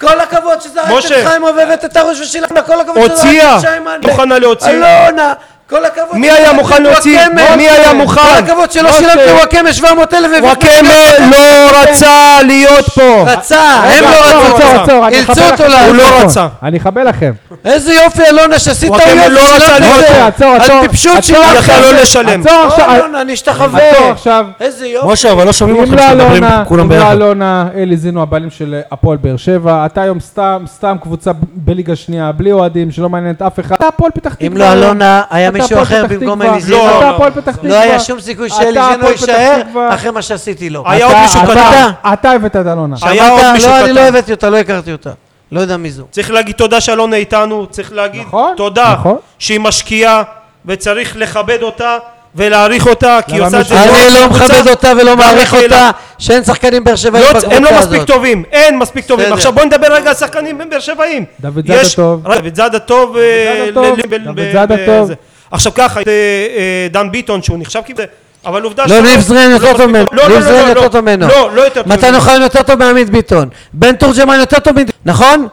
C: כל הכבוד שזרקת
D: משה.
C: את חיים עובבת את הראש ושילחת, כל הכבוד
D: הוציאה,
C: שזרקת את שיימן.
D: מוכנה להוציא.
C: אלונה. כל הכבוד.
D: מי היה
C: שזרקת
D: מוכן
C: את
D: להוציא?
C: וואקמה.
D: מי היה מוכן?
C: כל הכבוד שלא
A: משה.
C: שילמת לוואקמה 700 אלף.
A: וואקמה לא רצה להיות פה.
C: רצה,
A: רגע,
C: הם לא
A: עצור,
C: רצו.
A: עצור, עצור, אני
C: אילצו
A: אחבר
C: אותו נכון.
A: לכם.
C: לעלות.
D: הוא לא רצה.
A: אני אחבל לכם.
C: איזה יופי אלונה שעשית
D: וואקמה
C: טעויות.
D: לא
C: ושילמת
D: רצה לא
C: את
D: להיות
C: זה.
A: אוקיי, עצור,
C: על
A: עצור.
C: טיפשות
A: עצור
C: שילמת.
A: עכשיו.
D: יכל לא לשלם.
A: עצור
C: או,
A: עכשיו.
C: אלונה, נשתחווה.
A: עצור עכשיו.
C: איזה יופי.
B: משה, אבל לא שומעים
A: אם
B: אותך
A: לא
B: כשמדברים
A: אלונה,
B: כולם
A: אם לא
B: ביחד.
A: אלונה, אלי זינו הבעלים של אה, הפועל באר שבע, אתה היום סתם, סתם קבוצה ב- בליגה שנייה, בלי אוהדים, שלא מעניינת אף אחד, אתה הפועל פתח תקווה.
C: אם לא אלונה, היה
A: אתה
C: מישהו
A: הפועל
C: אחר
A: פתח
C: במקום
A: תקווה.
C: אלי זינו.
D: לא,
A: אתה
D: לא,
A: הפועל פתח תקווה.
C: לא היה שום סיכוי
A: אתה
C: שאלי זינו
A: הפועל פתח
C: יישאר
A: תקווה.
C: אחרי מה שעשיתי לו.
D: היה
A: אתה-
D: עוד מישהו
A: אתה-
D: קטן.
A: אתה הבאת את אלונה.
D: היה עוד
C: אמרת,
D: מישהו
C: לא, אני
D: קטן.
C: לא הבאתי אותה, לא הכרתי אותה. לא יודע מי זו.
D: צריך להגיד תודה שאלונה איתנו, צריך להגיד
A: נכון,
D: תודה
A: נכון.
D: שהיא משקיעה וצריך לכבד אותה ולהעריך אותה כי היא
A: למה
D: עושה את
A: מישהו-
D: זה
C: אני לא
D: קבוצה.
C: מכבד אותה ולא
D: גם
C: מעריך
D: לקהילה.
C: אותה, שאין שחקנים באר שבעים
D: לא,
C: בקבוצה
D: הם לא מספיק
C: הזאת.
D: טובים, אין מספיק טובים.
C: בסדר.
D: עכשיו בוא נדבר רגע על שחקנים באר שבעים.
A: דוד זאדה
D: יש-
A: טוב.
D: רגע, דוד זאדה טוב. אה,
A: זאדה טוב,
D: ל- ל- ב-
A: דוד
D: ב-
A: זאדה
D: ב-
A: טוב.
D: זה. עכשיו ככה, את, אה, אה, דן ביטון שהוא נחשב כאילו, אבל עובדה
C: לא,
D: שאתה
C: ניב זרין
D: לא
C: יותר טוב
D: מספיק
C: ממנו.
D: לא, לא,
C: ניב
D: לא,
C: זרין
D: לא,
C: יותר
D: לא.
C: טוב ממנו.
D: לא, לא יותר טוב
C: מתן
D: ממנו.
C: אוחיון יותר טוב מעמית ביטון. בן תורג'מן יותר טוב מביטון. נכון?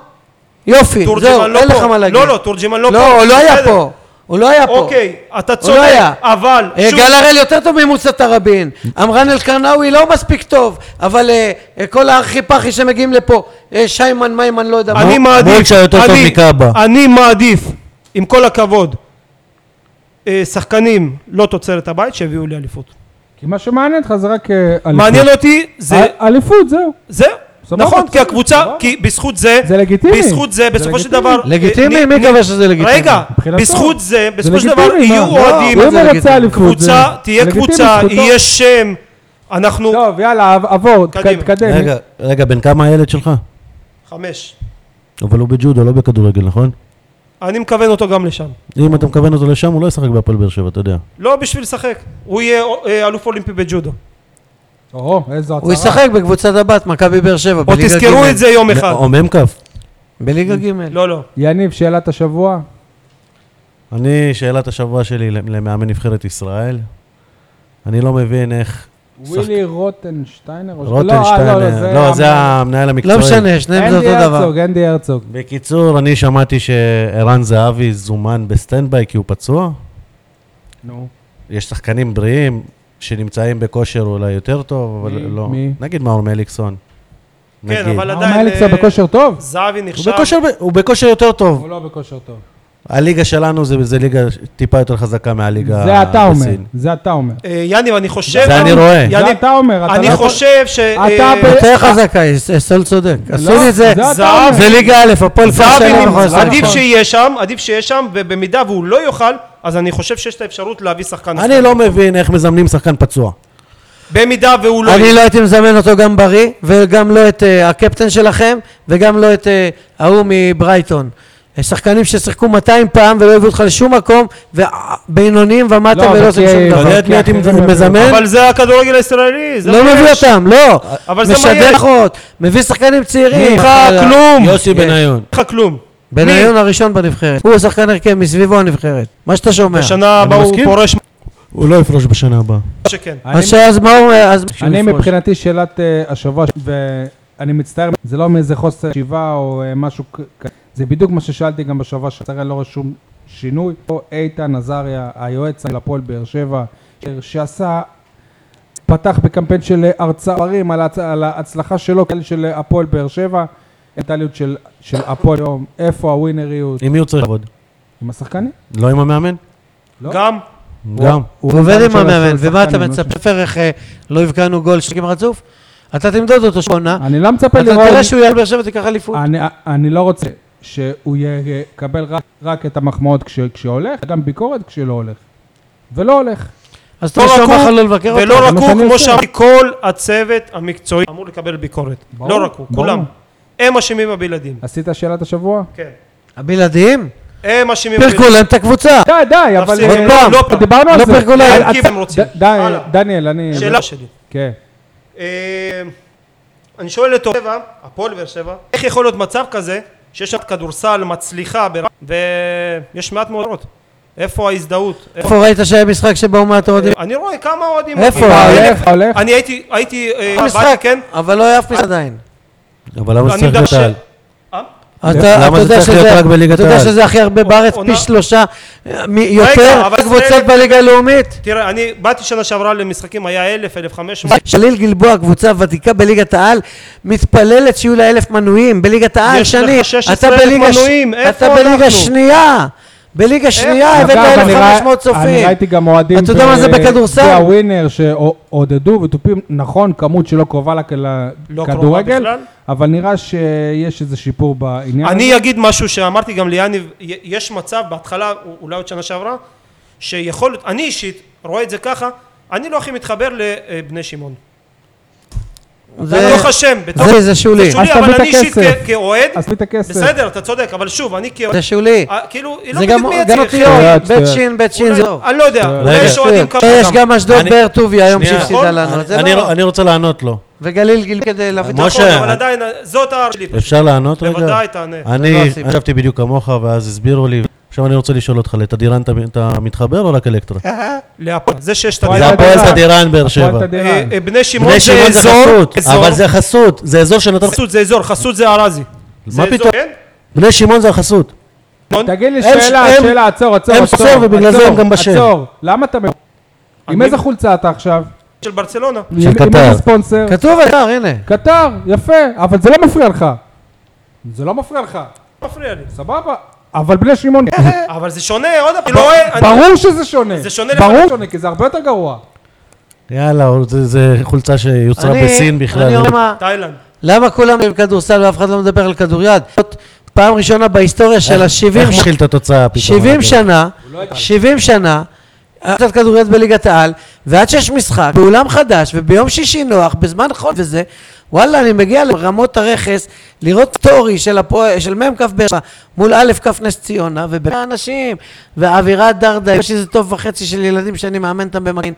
C: יופי, זהו,
D: תורג'מן לא
C: אין לך
D: פה.
C: מה להגיד.
D: לא, לא, תורג'מן לא פה.
C: לא, הוא לא היה
D: בסדר.
C: פה. הוא לא היה פה.
D: אוקיי, אתה
C: הוא לא
D: צודק,
C: היה.
D: אבל
C: אה,
D: שוב,
C: גל הראל יותר טוב ממוסא תראבין. אמרן אלקרנאווי לא מספיק טוב, אבל אה, אה, כל הארכי פרחי שמגיעים לפה, אה, שיימן מיימן לא יודע מה.
D: אני מעדיף,
B: מולצ'ה יותר טוב
D: אני-
B: מקאבה.
D: אני מעדיף, עם כל הכבוד, אה, שחקנים לא תוצרת הבית שהביאו לי אליפות.
A: כי מה שמעניין אותך זה רק אה, אליפות.
D: מעניין אותי, זה
A: אה, אליפות, זהו.
D: זהו.
A: סבבה,
D: נכון, כי
A: בסדר,
D: הקבוצה,
A: סבבה.
D: כי בזכות זה,
A: זה לגיטימי.
D: בזכות זה,
A: זה
D: בסופו של
A: לגיטימי.
D: דבר,
C: לגיטימי?
D: אה,
C: מי
D: נ-
C: קבע שזה לגיטימי?
D: רגע,
A: מבחינתו.
D: בזכות זה,
A: זה
D: בסופו של דבר
A: לגיטימי, מה?
D: יהיו
A: לא,
D: אוהדים,
A: אם
C: זה
A: הוא רוצה
C: לגיטימי.
A: אליפות,
D: קבוצה,
A: זה-
D: תהיה
A: זה לגיטימי, לא.
D: קבוצה,
A: זכותו.
D: יהיה שם, אנחנו,
A: טוב, יאללה, עבור, תק-
D: קדימה.
A: תקדם.
B: רגע, רגע, בן כמה הילד שלך?
D: חמש,
B: אבל הוא בג'ודו, לא בכדורגל, נכון?
D: אני מכוון אותו גם לשם,
B: אם אתה מכוון אותו לשם, הוא לא ישחק בהפועל באר שבע, אתה יודע.
D: לא בשביל לשחק, הוא יהיה אה, אלוף אולימפי בג'ודו,
A: או, איזו הצהרה.
C: הוא ישחק בקבוצת הבת, מכבי באר שבע,
D: או
C: בליגה ג'.
D: תזכרו את זה יום אחד,
A: לא,
B: או מ"כ.
C: בליגה ג'.
D: לא לא,
A: יניב, שאלת השבוע.
B: אני, שאלת השבוע שלי למאמן נבחרת ישראל. אני לא מבין איך...
A: ווילי רוטנשטיינר? או- לא, אה, לא,
B: רוטנשטיינר, לא, זה המנהל
C: לא
B: המקצועי.
C: משנה, שניהם זה
A: אנדי
C: אותו דבר.
A: הרצוג, אנדי הרצוג.
B: בקיצור, אני שמעתי שערן זהבי זומן בסטנדביי כי הוא פצוע.
A: נו.
B: יש שחקנים בריאים שנמצאים בכושר אולי יותר טוב, אבל
A: מי?
B: לא.
A: מי? נגיד
B: נגיד מאור מליקסון.
D: כן, אבל
A: מה,
D: עדיין,
A: מליקסון
D: אה,
A: בכושר טוב?
D: זהבי
B: הוא
D: נחשב,
B: בכושר, ב- הוא בכושר יותר טוב.
A: הוא לא בכושר טוב.
B: הליגה שלנו זה, זה ליגה טיפה יותר חזקה מהליגה
A: זה אתה אומר,
B: בסין.
A: זה אתה אומר.
D: אה, יניב אני חושב,
B: זה אני רואה.
A: זה
D: יניב,
A: אתה אומר, אתה לא
D: אני
A: יכול-
D: חושב ש, אה,
A: אתה ב-
C: יותר חזקה, סול צודק. עשו לי את זה.
A: לא, זה אתה
D: זהב.
A: אומר.
C: זה ליגה א', הפועל כפר
D: זהבי
C: שלם
A: נמצא,
C: יכול
D: נמצא,
C: לעשות את
D: עדיף
C: זה.
A: נכון.
D: שיהיה שם, עדיף שיהיה שם, ובמידה והוא לא יאכל, אז אני חושב שיש את האפשרות להביא שחקן אחר.
B: אני לא מבין איך מזמנים שחקן פצוע.
D: במידה והוא לא...
C: אני
D: יהיה.
C: לא הייתי מזמן אותו גם בריא, וגם לא את אה, הקפטן שלכם, וגם לא את אה, ההוא מברייטון. אה, שחקנים ששיחקו 200 פעם ולא הביאו אותך לשום מקום, ובינוניים ומטה
A: לא,
C: ולא
A: אבל
C: עושים
A: כי-
C: שום
A: אבל
B: אתה
C: דבר.
B: יודע את מי הייתי
A: אחרים הם-
B: מזמן?
D: אבל זה הכדורגל הישראלי, זה
C: לא
D: מה
C: מביא
D: יש.
C: אותם, לא.
D: אבל זה מה יש.
C: משדך עוד, מביא שחקנים צעירים. אה,
D: ממך כלום.
B: יוסי בניון.
D: אין לך כלום.
C: בניון הראשון בנבחרת. הוא שחקן הרכב מסביבו הנבחרת. מה שאתה שומע.
D: בשנה הבאה הוא
B: מסכים.
D: פורש.
B: הוא לא יפרוש בשנה הבאה.
D: שכן.
A: אני-
C: אז שאז מה הוא... אז
A: אני מבחינתי שאלת אה, השבוע, ואני מצטער, זה לא מאיזה חוסר שיבה או אה, משהו כזה, זה בדיוק מה ששאלתי גם בשבוע שעבר, אני לא רואה שום שינוי. פה איתן עזריה, היועץ של הפועל באר שבע, שעשה, פתח בקמפיין של הרצאות על, ההצ- על ההצלחה שלו, כאלה של הפועל באר שבע, מנטליות של של הפועל היום, איפה הווינריות,
B: עם מי הוא צריך לעבוד?
A: עם השחקנים.
B: לא עם המאמן?
A: לא?
D: גם,
B: גם.
A: הוא
C: הוא עובד עם
A: של
C: המאמן, ומה אתה
A: השחקנים, לא
C: מצפה? פרך אה, לא הבקענו גול שקים רצוף? אתה תמדוד אותו
A: ש-
B: אה,
C: שעונה,
A: אני לא מצפה
C: אתה
A: לראות...
C: תראה שהוא יעל באר שבע תיקח אליפות.
A: אני, אני לא רוצה שהוא יקבל רק, רק את המחמאות כש, כשהולך, גם ביקורת כשלא הולך. ולא הולך.
C: אז אתה
D: לא
C: שום
D: רק
C: אחד
D: הוא
C: לא לבקר אותו.
D: ולא
A: זה
D: רק
A: מה
D: הוא,
A: שאני
D: כמו
A: עושה.
D: שאמרתי, כל הצוות המקצועי אמור לקבל ביקורת.
A: ברור,
D: לא רק הוא,
A: ברור. אה,
D: כולם. הם אשמים הבלעדים.
A: עשית שאלת השבוע?
D: כן.
C: הבלעדים?
D: הם אשמים
C: פירקו להם את הקבוצה.
A: די, די, אבל...
D: תפסיק,
A: אבל-
D: עוד פעם.
A: לא, דיברנו
C: לא
A: על זה.
C: פרגולה,
A: אל-
D: כי
A: אל-
D: הם רוצים.
A: ד- די,
D: הלאה.
A: דניאל, אני...
D: שאלה שלי.
A: כן.
D: אה, אני שואל את אובע, הפועל באר שבע, איך יכול להיות מצב כזה שיש שם כדורסל מצליחה ברמה ויש מעט מאוד אוהדות? איפה ההזדהות? איפה-
C: איפה ראית שהיה משחק שבאו מעט אוהדים?
D: אני רואה כמה אוהדים...
C: איפה?
D: מגיעים.
A: אתה
D: אני-
A: הולך, אתה הולך.
D: אני הייתי, הייתי, אה,
C: היה
D: באתי,
C: משחק,
D: כן?
C: אבל לא היה אף משחק עדיין.
B: אבל למה זה
D: לא, אני
B: צריך להיות
D: מדבר
B: על?
D: ש- אה?
C: אז
B: למה
C: אתה אתה
B: זה
C: יודע
B: צריך להיות
C: שזה-
B: רק בליגת
C: אתה יודע
B: העל?
C: שזה הכי הרבה בארץ,
D: עונה-
C: פי שלושה אה, מ- יותר
D: אבל זה-
C: קבוצות בליגה הלאומית?
D: תראה, אני באתי שנה שעברה למשחקים, היה 1,000, 1,500.
C: שליל גלבוע, קבוצה ותיקה בליגת העל, מתפללת שיהו לה אלף מנויים בליגת העל,
D: יש לך
C: שני.
D: 16,000
C: אתה בליגה ש-
D: מנויים, איפה
C: אתה בליגה
D: אנחנו?
C: שנייה. בליגה שנייה
A: אגב,
C: הבאת
A: אני
C: 1,500
A: רא- אני
C: צופים.
A: ראיתי גם אוהדים...
C: אתה יודע מה זה
A: ב-
C: בכדורסל?
A: בווינר שעודדו ותופים, נכון, כמות שלא קרובה לכ-
D: קרובה
A: לכדורגל,
D: בכלל.
A: אבל נראה שיש איזה שיפור בעניין. הזה.
D: אני אגיד משהו שאמרתי גם ליאניב, י- יש מצב בהתחלה, א- אולי עוד שנה שעברה, שיכול להיות, אני אישית רואה את זה ככה, אני לא הכי מתחבר לבני שמעון.
C: זה-
D: זה ברוך השם, בתור-
C: זה- זה שולי.
A: אז תביא
D: אבל
A: את
D: אני אישית
A: הכסף.
D: כ- כאוהד,
A: אז תביא את הכסף.
D: בסדר, אתה צודק, אבל שוב, אני כאוהד,
C: זה שולי.
D: אה, כאילו, היא לא
C: זה
D: בדיוק
C: גם גם
D: מייצגת,
C: אותי, אוהד.
A: שטויות, שטויות.
C: בית שין, בית שין,
D: אולי-
C: זהו.
D: אני לא יודע, אולי
B: רגע.
D: יש אוהדים כמוך.
C: יש גם אשדוד
B: אני-
C: באר טוביה היום
B: שנייה.
C: שהפסידה לנו.
B: אני-
C: אז זה
B: אני-
C: לא-
B: אני רוצה לענות לו.
C: וגליל גיל כדי להביא את
B: משה,
D: נכון, אבל
B: אני-
D: עדיין, זאת הארץ שלי. פשוט.
B: אפשר לענות רגע?
D: בוודאי, תענה.
C: זה לא
B: אני
C: הסיבה.
B: חשבתי בדיוק כמוך, ואז הסבירו לי. עכשיו אני רוצה לשאול אותך, לתדירן אתה- אתה מתחבר או רק אלקטרה?
C: כן,
D: להפועל. זה שיש את
A: וואי,
B: זה
D: הדירה.
A: תדירן.
B: הפועל תדירן באר
A: הפועל
B: שבע.
A: תדירן.
D: אה, אה, בני שמעון
B: בני
D: זה
B: שמעון זה
D: אזור,
B: חסות,
D: אזור.
B: אבל זה חסות, זה אזור שנותן לך...
D: חסות זה אזור, חסות זה ארזי. זה אזור,
B: פתאום?
D: כן? נכון?
B: בני שמעון זה החסות.
A: תגיד לי
B: הם-
A: שאלה,
B: הם-
A: שאלה, עצור, עצור,
B: הם
A: עצור,
B: צור, ובגלל זה הם
A: עצור,
B: גם בשם.
A: עצור, למה אתה... עם
D: אני-
A: איזה חולצה אתה עכשיו?
D: של ברצלונה.
A: עם- עם
B: קטר.
A: איזה ספונסר?
C: כתוב אתר, הנה.
A: קטר, יפה, אבל זה לא מפריע לך. זה לא מפריע לך,
D: מפריע לי.
A: סבבה. אבל בני
D: [laughs]
A: שמעון,
D: אבל זה שונה, עוד פעם, לא רואה... אני-
A: ברור שזה שונה.
D: זה שונה
A: ברור
D: לגמרי.
A: שונה, כי זה הרבה יותר גרוע.
B: יאללה, זה- זה חולצה שיוצרה
C: אני-
B: בסין
C: אני
B: בכלל.
C: אומר מה,
D: תאילנד.
C: למה כולם עם כדורסל ואף אחד לא מדבר על כדוריד? זאת פעם ראשונה בהיסטוריה של
B: איך
C: ה-70
B: מתחיל את התוצאה פתאום?
C: 70 שנה, 70 שנה, קצת כדוריד בליגת העל, ועד שיש משחק, באולם חדש, וביום שישי נוח, בזמן חול וזה, וואלה, אני מגיע לרמות הרכס, לראות סטורי של, הפוע... של מ"כ באר שבע מול א' כ' נס ציונה, ובין האנשים, והאווירה דרדאי, יש איזה טוב וחצי של ילדים שאני מאמן אותם במגן,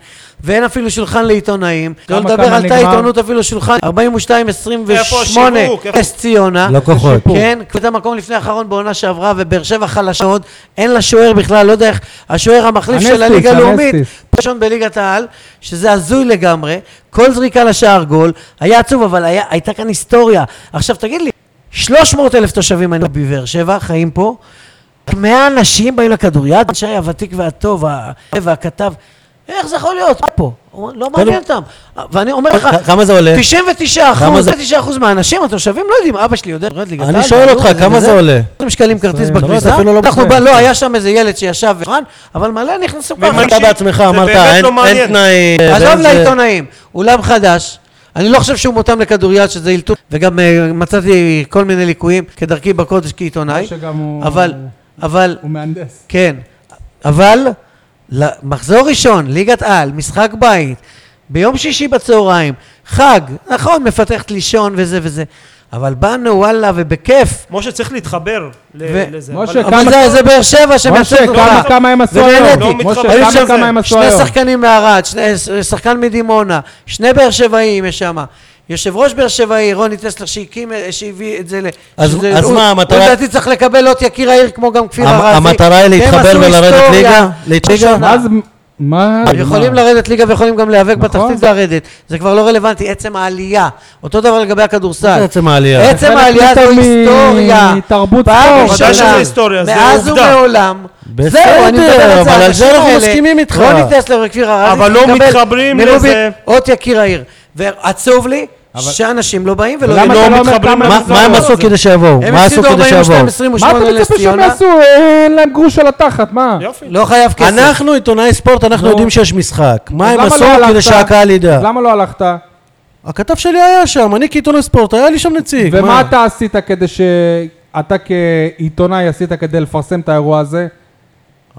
C: ואין אפילו שולחן לעיתונאים, לא
A: כמה-
C: לדבר
A: כמה
C: על תא
A: נגמר?
C: עיתונות אפילו שולחן, 42-28,
D: השיווק? איפה-
C: נס ציונה,
B: לא כוחות.
C: כן, קבוצת המקום לפני האחרון בעונה שעברה, ובאר שבע חלשה מאוד, אין לה שוער בכלל, לא יודע איך, השוער המחליף של
A: אנסטיס,
C: הליגה הלאומית,
A: אנסטיס.
C: ראשון בליגת העל, שזה הזוי לגמרי, כל זריקה לשער גול, היה עצוב, אבל היה, הייתה כאן היסטוריה. עכשיו תגיד לי, 300 אלף תושבים היינו בבאר שבע, חיים פה, 100 אנשים באים לכדוריד, שי הוותיק והטוב, ה- והכתב, איך זה יכול להיות? מה פה? לא מעניין אותם. ואני אומר לך,
B: כ- כמה זה עולה?
C: 99
B: אה, כמה
C: אחוז,
B: זה-
C: 99 אחוז מהאנשים, התושבים לא יודעים, אבא שלי יודע, יורד ליגת
B: אני
C: העל,
B: שואל אותך,
C: וזה
B: כמה
C: וזה.
B: זה עולה?
C: 20 שקלים כרטיס
A: זה-
B: זה
C: בכניסה,
B: אפילו לא
C: אנחנו,
B: בסדר.
C: ב- לא, היה שם איזה ילד שישב וחן, אבל מלא נכנסו ככה.
B: אתה בעצמך
D: זה
B: אמרת,
D: באמת
B: אין
D: לא
B: אין
D: מעניין.
B: תנאים.
C: עזוב
B: אין אה, זה-
C: לעיתונאים, אולם חדש. אני לא חושב שהוא מותאם לכדוריד שזה אילתור, וגם אה, מצאתי כל מיני ליקויים כדרכי בקודש כעיתונאי,
A: שגם הוא-
C: אבל, אבל,
A: הוא מהנדס.
C: כן, אבל ל- מחזור ראשון, ליגת על, משחק בית, ביום שישי בצהריים, חג, נכון, מפתחת לישון וזה וזה, אבל באנו וואלה ובכיף,
D: משה צריך להתחבר
C: ו-
D: ל- לזה.
A: משה,
D: אבל-
C: אבל
A: כמה-
C: זה- זה באר שבע
A: משה,
C: שמייצג
A: כמה-
B: לא-
C: אותך.
A: כמה הם עשו
C: ונהניתי.
A: היום?
D: לא
A: משה,
D: מתחבר.
A: כמה-
D: אני חושב
A: כמה הם עשו
C: שני
A: היום?
C: שחקנים מערד, שני- ש- שחקן מדימונה, שני באר שבעים יש שם. יושב ראש באר שבעי, רוני טסלר, שהקים, אה, שהביא את זה ל...
B: אז-
C: שזה-
B: אז
C: הוא-
B: מה, המטרה-
C: הוא לדעתי צריך לקבל אות יקיר העיר כמו גם כפיר
B: המ-
C: ארזי.
B: המטרה היא
C: והם
B: להתחבר
C: עשו
B: ולרדת
C: היסטוריה.
B: ליגה? להתחבר?
C: עכשיו,
A: אז מה?
C: הם יכולים לרדת ליגה ויכולים גם להיאבק
A: נכון.
C: בתחתית ולרדת. זה כבר לא רלוונטי, עצם העלייה. אותו דבר לגבי
B: זה
C: הכדורסל.
B: עצם העלייה.
C: עצם העלייה זו היסטוריה.
A: תרבות
C: פעם
A: ספורט.
D: ודאי
C: ראשונה,
D: שזה היסטוריה, זה
C: מאז
D: עובדה.
C: ומעולם.
B: בסדר,
C: זהו, אני מדבר על זה,
B: אבל על זה אנחנו
C: האנשים האלה, לא
B: מסכימים איתך.
C: רוני טסלר וכפיר ארזי,
D: אבל לא מתחברים לזה.
C: אות יקיר העיר. ועצוב לי שאנשים לא באים ולא...
A: ולמה
C: לא-
A: אתה לא אומר
D: מתחברים
A: כמה
B: מה-
A: זה
B: מה הם
A: עולה?
B: עשו כדי שיבואו?
C: הם
B: מה עשו
C: הפסידו
B: כדי
C: 42
B: שיבואו?
C: 28
A: מה אתה מצפה
C: לנס
A: שהם
C: ציונה.
A: יעשו? אה, אין להם גרוש על התחת, מה?
D: יופי.
C: לא חייב כסף.
B: אנחנו עיתונאי ספורט, אנחנו
A: נו.
B: יודעים שיש משחק. מה הם
A: למה
B: עשו
A: לא הלכת?
B: כדי שהקהל ידע?
A: אז למה לא הלכת?
B: הכתב שלי היה שם, אני כעיתונאי ספורט, היה לי שם נציג.
A: ומה
B: מה?
A: אתה עשית כדי ש... אתה כעיתונאי עשית כדי לפרסם את האירוע הזה?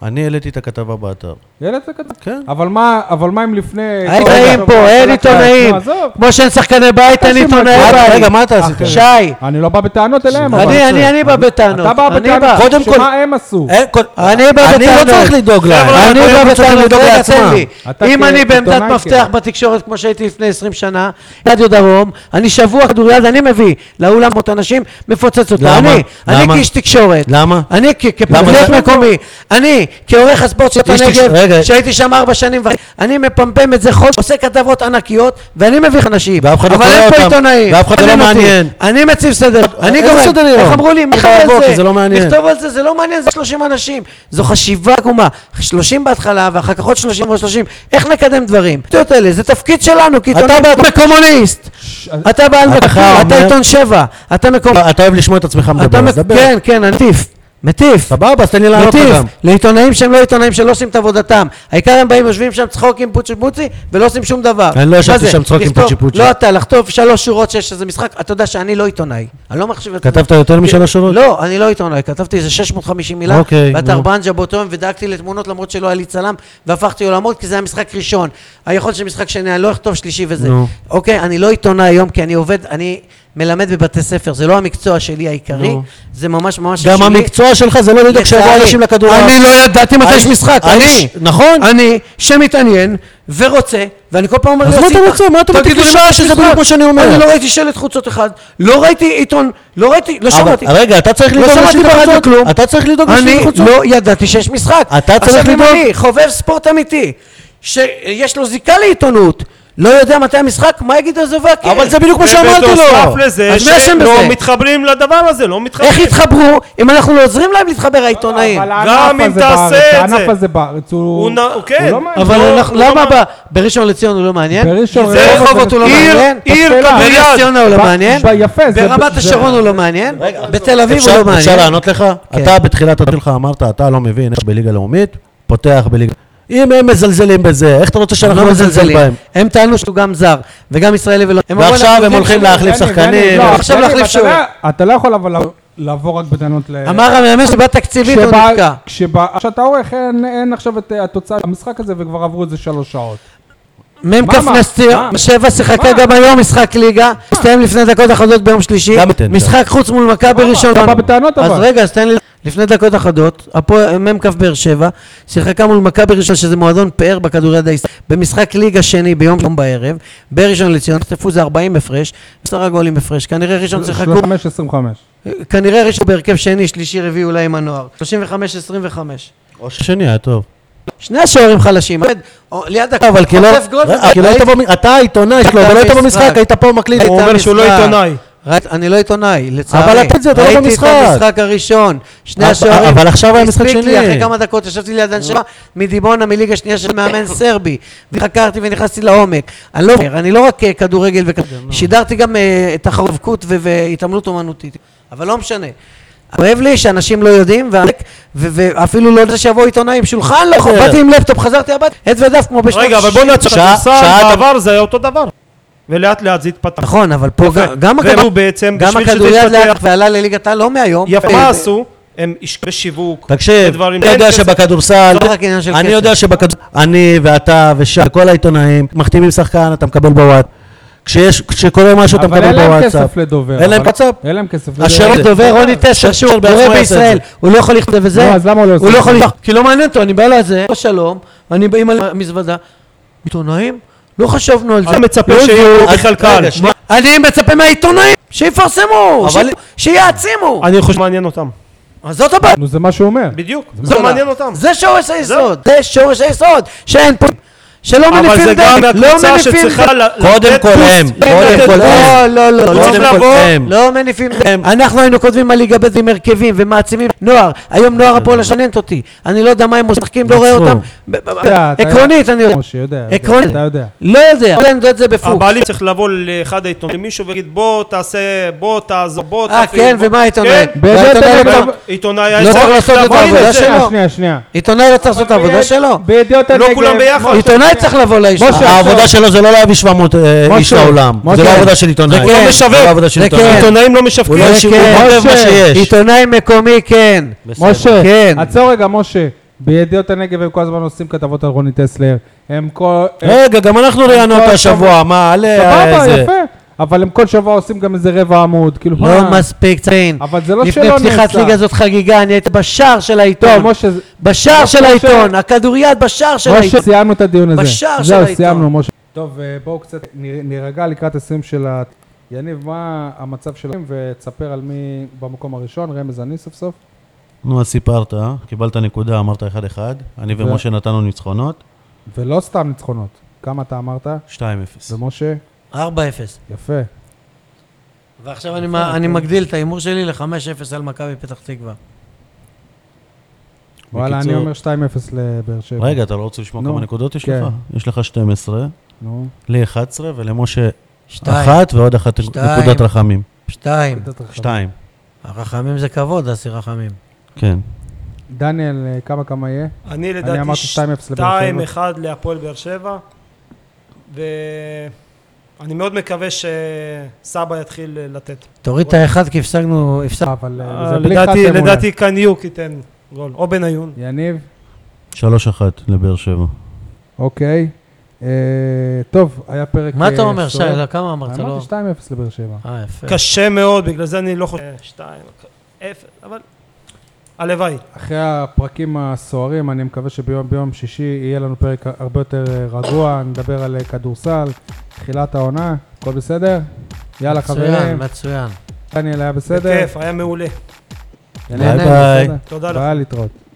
B: אני העליתי את הכתבה באתר.
A: ילד זה כתב.
B: כן.
A: אבל מה, אבל מה אם לפני...
C: העיתונאים פה, אין עיתונאים.
A: נו, עזוב.
C: כמו שאין שחקני בית, אין
A: אנשים
C: עיתונאי
A: רק-
B: מה-
C: בית.
B: רגע, מה אתה עשית?
A: אחי.
C: שי,
A: אני לא בא בטענות אליהם, אבל...
C: אני, אני, אני בא בטענות.
A: אתה בא
C: אני
A: בטענות
C: בא.
B: קודם כל-
A: שמה הם עשו.
B: אין, כל-
C: אה, אני בא בטענות.
B: אני לא צריך לדאוג להם.
D: חבר'ה,
C: אני
B: הם
C: בא
B: צריכים
C: בטענות,
B: לדאוג
C: רגע, תן
B: לעצמם.
C: לי.
A: אתה
C: אם אני
A: כעיתונאי
C: בעמדת
A: כן.
C: מפתח בתקשורת, כמו שהייתי לפני 20 שנה, רדיו דרום, אני שבוע כדוריד, אני מביא לאולם מאות אנשים, מפוצץ אותו.
B: למה?
C: אני, אני
B: למה?
C: כאיש תקשורת.
B: למה?
C: אני כ- כפרקט
B: למה?
C: מקומי. אני כעורך הספורט של
B: איש תקשור-
C: הנגב,
B: רגע.
C: שהייתי שם ארבע שנים וחצי, אני מפמפם את זה חודש, עושה כתבות ענקיות, ואני מביך אנשים.
B: ואף אחד לא
C: אבל
B: קורא
C: אין פה
B: אותם,
C: עיתונאים.
B: ואף אחד
C: אני
B: לא
C: מציב-
B: מעניין. אה,
C: אני מציב סדר. אני
B: איזה
C: גם...
B: סדר יום?
C: איך אמרו לי? מי
B: אתה
C: חייב
B: בוא, כי
C: את
B: זה לא מעניין.
C: נכתוב על זה, זה לא מעניין, זה 30 אנשים. זו חשיבה עקומה. 30 בהתחלה, ואחר כך עוד 30 ועוד 30. איך נקדם דברים? הטעויות האלה, זה תפקיד שלנו, כי עיתונאים... אתה בעד מקומוניסט!
A: ש-
C: אתה בעל
B: אתה
C: מקום, אתה
B: אומר-
C: עיתון שבע, אתה מקום...
B: אתה אוהב לשמוע את עצמך
C: אתה
B: מדבר, אז
C: מק-
B: דבר.
C: כן, כן, אני מטיף. מטיף.
B: סבבה, אז תן לי לענות לך
C: מטיף
B: גם.
C: לעיתונאים שהם לא עיתונאים שלא עושים את עבודתם. העיקר הם באים יושבים שם צחוקים פוצ'י פוצ'י ולא עושים שום דבר.
B: אני לא
C: מה
B: ישבתי
C: זה?
B: שם צחוקים
C: לכתוב-
B: פוצ'י פוצ'י.
C: לא אתה, לכתוב שלוש שורות שיש איזה משחק, אתה יודע שאני לא עיתונאי. אני לא מחשיב את זה.
B: כתבת יותר משלוש שורות?
C: לא, אני לא עיתונאי, כתבתי איזה 650 מילה,
B: אוקיי,
C: ואתר
B: נו.
C: ברנג'ה באותו יום, ודאגתי לתמונות למרות שלא היה לי צלם, והפכתי עולמות כי זה היה משחק ראשון. היכול של משחק שני, אני לא אכתוב שלישי וזה.
B: נו.
C: אוקיי, אני לא עיתונאי היום כי אני עובד, אני מלמד בבתי ספר, זה לא המקצוע שלי העיקרי,
B: נו.
C: זה ממש ממש
B: גם
C: שלי.
B: המקצוע שלך זה לא לדאוג שיבואו
C: לצערי,
B: אנשים לכדור.
C: אני לא ידעתי מתי יש משחק, אני.
B: נכון.
C: אני, שמתעניין ורוצה, ואני כל פעם אומר
B: אז מה
C: יוסי,
B: אתה רוצה? מה אתה
C: תגידו
B: מטיף
C: לי
B: לי
C: מתי
B: שזה
C: יש
B: בדיוק
C: משחק?
B: כמו שאני אומר.
C: אני לא ראיתי שלט חוצות אחד, לא ראיתי עיתון, לא ראיתי, לא
B: אבל-
C: שמעתי.
B: רגע, אתה צריך
C: לא
B: לדאוג
C: שמעתי
B: לשלטי
C: ברדיו
B: חוצות.
C: כלום.
B: אתה צריך לדאג
C: אני
B: לשלטי חוצות.
C: לא ידעתי שיש משחק.
B: אתה צריך
C: עכשיו אם
B: לדאוג.
C: אני חובב ספורט אמיתי, שיש לו זיקה לעיתונות, לא יודע מתי המשחק, מה יגיד כן. עזובה?
B: אבל זה בדיוק כמו שאמרתי
D: ובנוסף
B: לו.
D: לזה
C: אז מי אשם
D: שלא
C: בזה?
D: מתחברים לדבר הזה, לא מתחברים.
C: איך יתחברו אם אנחנו לא עוזרים להם להתחבר העיתונאים?
A: אבל הענף
D: גם אם
A: הזה
D: תעשה
A: בארץ,
D: את זה.
A: הענף הזה בארץ הוא...
D: הוא נ- הוא כן.
A: לא מעניין.
C: אבל
D: לא-
C: אנחנו-
D: הוא לא
C: למה
D: מעניין.
C: ב- בראשון לציון הוא לא מעניין?
A: בראשון
D: זה
A: רחובות
C: רחובות הוא לא
A: עיר-
C: מעניין?
D: עיר
A: תעשה לה-
D: כדוריד.
C: בנס ציונה הוא לא
A: ב-
C: מעניין?
A: ב- יפה, זה-
C: ברמת
A: זה-
C: השרון הוא לא מעניין? בתל אביב הוא
B: אפשר-
C: לא מעניין?
B: אפשר לענות לך?
C: כן.
B: אתה בתחילת הדרך שלך אמרת, אתה לא מבין איך בליגה לאומית, פותח בליגה... אם הם מזלזלים בזה, איך אתה רוצה
C: הם
B: שאנחנו
C: לא
B: נזלזל
C: מזלזלים.
B: בהם?
C: הם טענו שהוא גם זר, וגם ישראלי ולא... הם אמרו,
B: ועכשיו
C: אנחנו
B: הם
C: יודעים
B: הולכים
C: שהוא-
B: להחליף
A: דני, דני,
B: שחקנים.
A: לא,
C: עכשיו
A: דני,
C: להחליף
A: אתה
C: שוער.
A: לא- אתה לא יכול אבל לב- לעבור רק בטענות ל...
C: אמר המאמן שבעיה תקציבית הוא
A: כשבא-
C: נתקע.
A: כשבא- כשאתה עורך אין- אין עכשיו את אה, התוצאה של המשחק הזה וכבר עברו את זה שלוש שעות.
C: מ"כ
A: מה, מה?
C: נס ציון,
A: מה?
C: שבע שיחקה
A: מה?
C: גם היום משחק ליגה, הסתיים לפני דקות אחדות ביום שלישי,
B: גם תן,
C: משחק חוץ מול מכבי
A: סבבה,
C: ראשון.
A: אתה בא בטענות,
C: אז
A: אבל.
C: רגע, אז תן לי, לפני דקות אחדות, הפועל- מ"כ באר שבע, שיחקה מול מכבי ראשון, שזה מועדון פאר בכדוריד הישראלי, במשחק ליגה שני ביום יום בערב, בראשון לציון, חטפו זה 40 הפרש, עשרה גולים הפרש, כנראה ראשון שיחקו,
A: 35-25.
C: כנראה ראשון בהרכב שני, שלישי, רביעי אולי עם הנוער, 35-25.
B: או ששני היה טוב.
C: שני השוערים חלשים, עומד, או- ליד הקו, אבל
B: כי לא-
A: אה,
B: כי לא היית במ- אתה העיתונאי שלו, אבל לא היית
C: במשחק.
B: במשחק, היית פה מקליט.
C: היית
D: הוא אומר שהוא לא
C: המשחק.
D: עיתונאי.
C: ראית, אני לא עיתונאי, לצערי.
B: אבל אתה את זה, אתה לא
C: ראיתי את
B: במשחק.
C: המשחק הראשון, שני
B: אבל-
C: השוערים.
B: אבל עכשיו היה משחק
C: הספיק לי,
B: שני.
C: אחרי כמה דקות ישבתי ליד הנשמה מדימונה, מליגה שנייה של מאמן סרבי. חקרתי ונכנסתי לעומק. אני לא, אני לא רק אה, כדורגל וכדורגל, שידרתי גם אה, תחרובקות ו- והתעמלות אומנותית. אבל לא משנה. כואב לי שאנשים לא יודעים, והעמק- ו- ואפילו לא יודע שיבואו עיתונאים, שולחן לא יכול,
B: בסדר.
C: באתי עם לפטופ, חזרתי הביתה, עט ודף כמו בשנות
D: רגע, אבל בוא
C: ה-
D: נעצור.
B: שעה-
D: הכדורסל
B: שעה אתה-
D: בעבר זה היה אותו דבר. ולאט לאט זה התפתח.
C: נכון, אבל פה
D: יפה.
C: גם- גם
D: והם
C: הכדור-
D: בעצם,
C: גם
D: בשביל שזה
C: הכדוריד
D: יתפתח-
C: לאט ועלה לליגת העל לא מהיום.
D: יפה,
C: אה,
D: מה עשו? הם השקעו בשיווק.
B: תקשיב,
D: בדברים-
B: אתה יודע
D: אין כסף.
B: שבכדורסל,
C: כן, לא רק עניין של
B: אני
C: כסף.
B: יודע שבכדורסל, אני ואתה ושי, כל העיתונאים, מחתימים שחקן, אתה מקבל בוואט. כשיש- כשקורה משהו, אתה
A: אבל
B: מקבל
A: אין להם
B: בוואטסאפ.
A: כסף לדובר.
B: אין להם
A: אבל-
B: וואטסאפ?
A: אין להם כסף
B: אשר
D: אה,
A: לדובר.
B: דובר.
C: דובר רוני טסלר שהוא
B: בעצמו
C: דובר
B: יעשה את
C: בישראל, הוא לא יכול לכתוב את
A: נו,
C: זה,
A: אז למה הוא לא
C: הוא
A: עושה
C: לא
A: את
C: יכול
A: זה?
C: לכתוב, כי לא מעניין אותו, אני בא לזה, לא שלום, אני באים על המזוודה, עיתונאים? לא חשבנו על זה.
D: אתה מצפה
C: לא
D: שיהיו
C: הביאו-
D: בכלל קהל.
B: רגע, שנייה.
C: אני מצפה מהעיתונאים, שיפרסמו,
B: אבל-
C: ש- שיעצימו.
D: אני חושב שמעניין אותם.
C: אז זאת הבעיה.
A: נו, זה מה שהוא אומר.
D: בדיוק,
C: זה
D: זה
C: מה-
D: מעניין אותם.
C: זה שורש היסוד. זה שורש היסוד. שאין פה... שלא
D: אבל
C: מניפים
D: זה גם
C: דגל. לא
D: הקבוצה
C: מניפים
D: שצריכה ל-
B: קודם
D: לתת
B: כל
D: בוסט. כן,
B: הם,
D: לתת
B: קודם כל
D: בוסט.
B: הם.
C: לא, לא, לא,
B: קודם
C: לא.
B: כל
C: לבוא,
B: הם.
C: לא מניפים
B: הם.
C: אנחנו היינו כותבים על ליגה ב' עם הרכבים ומעצימים נוער. היום נוער הפועל השננת אותי. אני לא יודע מה הם משחקים, לא רואה
A: נסעו.
C: אותם.
A: אתה יודע, אתה
C: עקרונית, אני יודע.
A: משה יודע.
C: עקרונית.
A: אתה יודע.
C: לא יודע. אבל אני יודע את זה בפוק.
D: הבעלים צריך לבוא לאחד העיתונאים, מישהו ויגיד בוא תעשה, בוא תעזור, בוא
C: אה,
D: תפעיל,
C: כן,
D: בוא-"
C: ומה העיתונאי?
D: לא כן,
A: באמת,
C: והעיתונאי
A: אתה
C: לא-
A: יודע-
D: עיתונאי
C: לא צריך לעשות את
D: לבוא עם
C: העבודה
D: זה.
C: שלו.
A: שנייה, שנייה, שנייה.
C: עיתונאי לא צריך לעשות את העבודה שלו.
A: בידיעות
D: לא
A: הנגב.
D: כולם ביחד.
C: עיתונאי צריך לבוא
A: כן.
C: אה,
A: משה,
C: לאישה.
B: העבודה שלו זה לא להביא 700 אה, איש
A: משה,
B: לעולם.
A: משה.
B: זה לא עבודה של עיתונאי.
C: זה כן.
B: לא משווק. זה לא עבודה של
C: זה
B: עיתונאי.
C: כן.
D: עיתונאים לא
B: הוא
D: משווקים.
B: לא
C: זה
B: שיווק,
C: כן.
B: הוא כותב מה
A: משה.
B: שיש.
C: עיתונאי מקומי, כן.
B: בסדר.
A: משה,
C: כן.
A: עצור רגע, משה. בידיעות הנגב הם כל הזמן עושים כתבות על רוני טסלר. הם כל... הם-
B: רגע, גם אנחנו ראיינו
A: כל
B: אותו השבוע,
A: שבוע.
B: מה, עלה, אה,
A: סבבה,
B: זה-
A: יפה. אבל הם כל שבוע עושים גם איזה רבע עמוד. כאילו,
C: לא
A: מה?
C: מספיק ציין.
A: אבל זה לא
C: לפני
A: שלא
C: פתיחת
A: נעשה.
C: ליגה זאת חגיגה, אני הייתי בשער של העיתון.
A: טוב, משה, זה-
C: בשער
A: משה,
C: של
A: משה.
C: העיתון, הכדוריד בשער של
A: משה,
C: העיתון.
A: סיימנו את הדיון הזה.
C: בשער של
A: זהו,
C: העיתון.
A: סיימנו, משה. טוב, אה, בואו קצת נר- נירגע לקראת הסיום של ה... יניב, מה המצב שלהם? ותספר על מי במקום הראשון, רמז אני סוף סוף.
B: נו, אז סיפרת, אה? קיבלת נקודה, אמרת 1-1. אני
A: ו-
B: ומשה נתנו ניצחונות,
A: ולא סתם ניצחונות. כמה אתה אמרת?
B: 2-0.
A: ומשה,
C: 4-0.
A: יפה.
C: ועכשיו אני מה- אני מגדיל את ההימור שלי ל-5-0 על מכבי פתח תקווה.
A: וואלה, אני
B: בקיצור-
A: אומר 2-0 לבאר שבע.
B: רגע, אתה לא רוצה לשמוע
A: נו,
B: כמה נקודות יש
A: כן.
B: לך? יש לך 12,
A: נו,
B: לי 11 ולמשה
C: שתיים.
B: אחת ועוד אחת
C: שתיים.
B: נקודת רחמים.
C: שתיים.
B: שתיים,
C: הרחמים זה כבוד, אסי רחמים.
B: כן.
A: דניאל, אה, כמה כמה יהיה?
D: אני
A: אמרתי
D: לדעתי
A: 2-0 לבאר שבע.
D: 2-1 להפועל באר שבע, ואני מאוד מקווה שסבא יתחיל אה, לתת.
C: תוריד את האחד כי הפסקנו, הפסקנו.
A: אבל אה, זה בלי חתם
D: לדעתי,
A: אולי.
D: לדעתי קניוק ייתן גול, או בניון.
A: יניב,
B: 3-1 לבאר שבע.
A: אוקיי. אה, טוב, היה פרק...
C: מה
A: אה,
C: אתה אומר, שי?
A: סוער.
C: לא, כמה אמרת? לא.
A: אמרתי 2-0 לבאר שבע.
C: אה, יפה.
D: קשה מאוד, בגלל זה אני לא חושב... שתיים, אה, אפס, אבל... הלוואי.
A: אחרי הפרקים הסוערים, אני מקווה שביום ביום שישי יהיה לנו פרק הרבה יותר אה, רגוע, נדבר על אה, כדורסל, תחילת העונה, הכל בסדר? יאללה חברים,
C: מצוין, מצוין.
A: דניאל היה בסדר?
D: בכיף, היה מעולה.
A: יניב היה
B: ביי.
A: בסדר?
D: תודה לך.
A: ביי להתראות.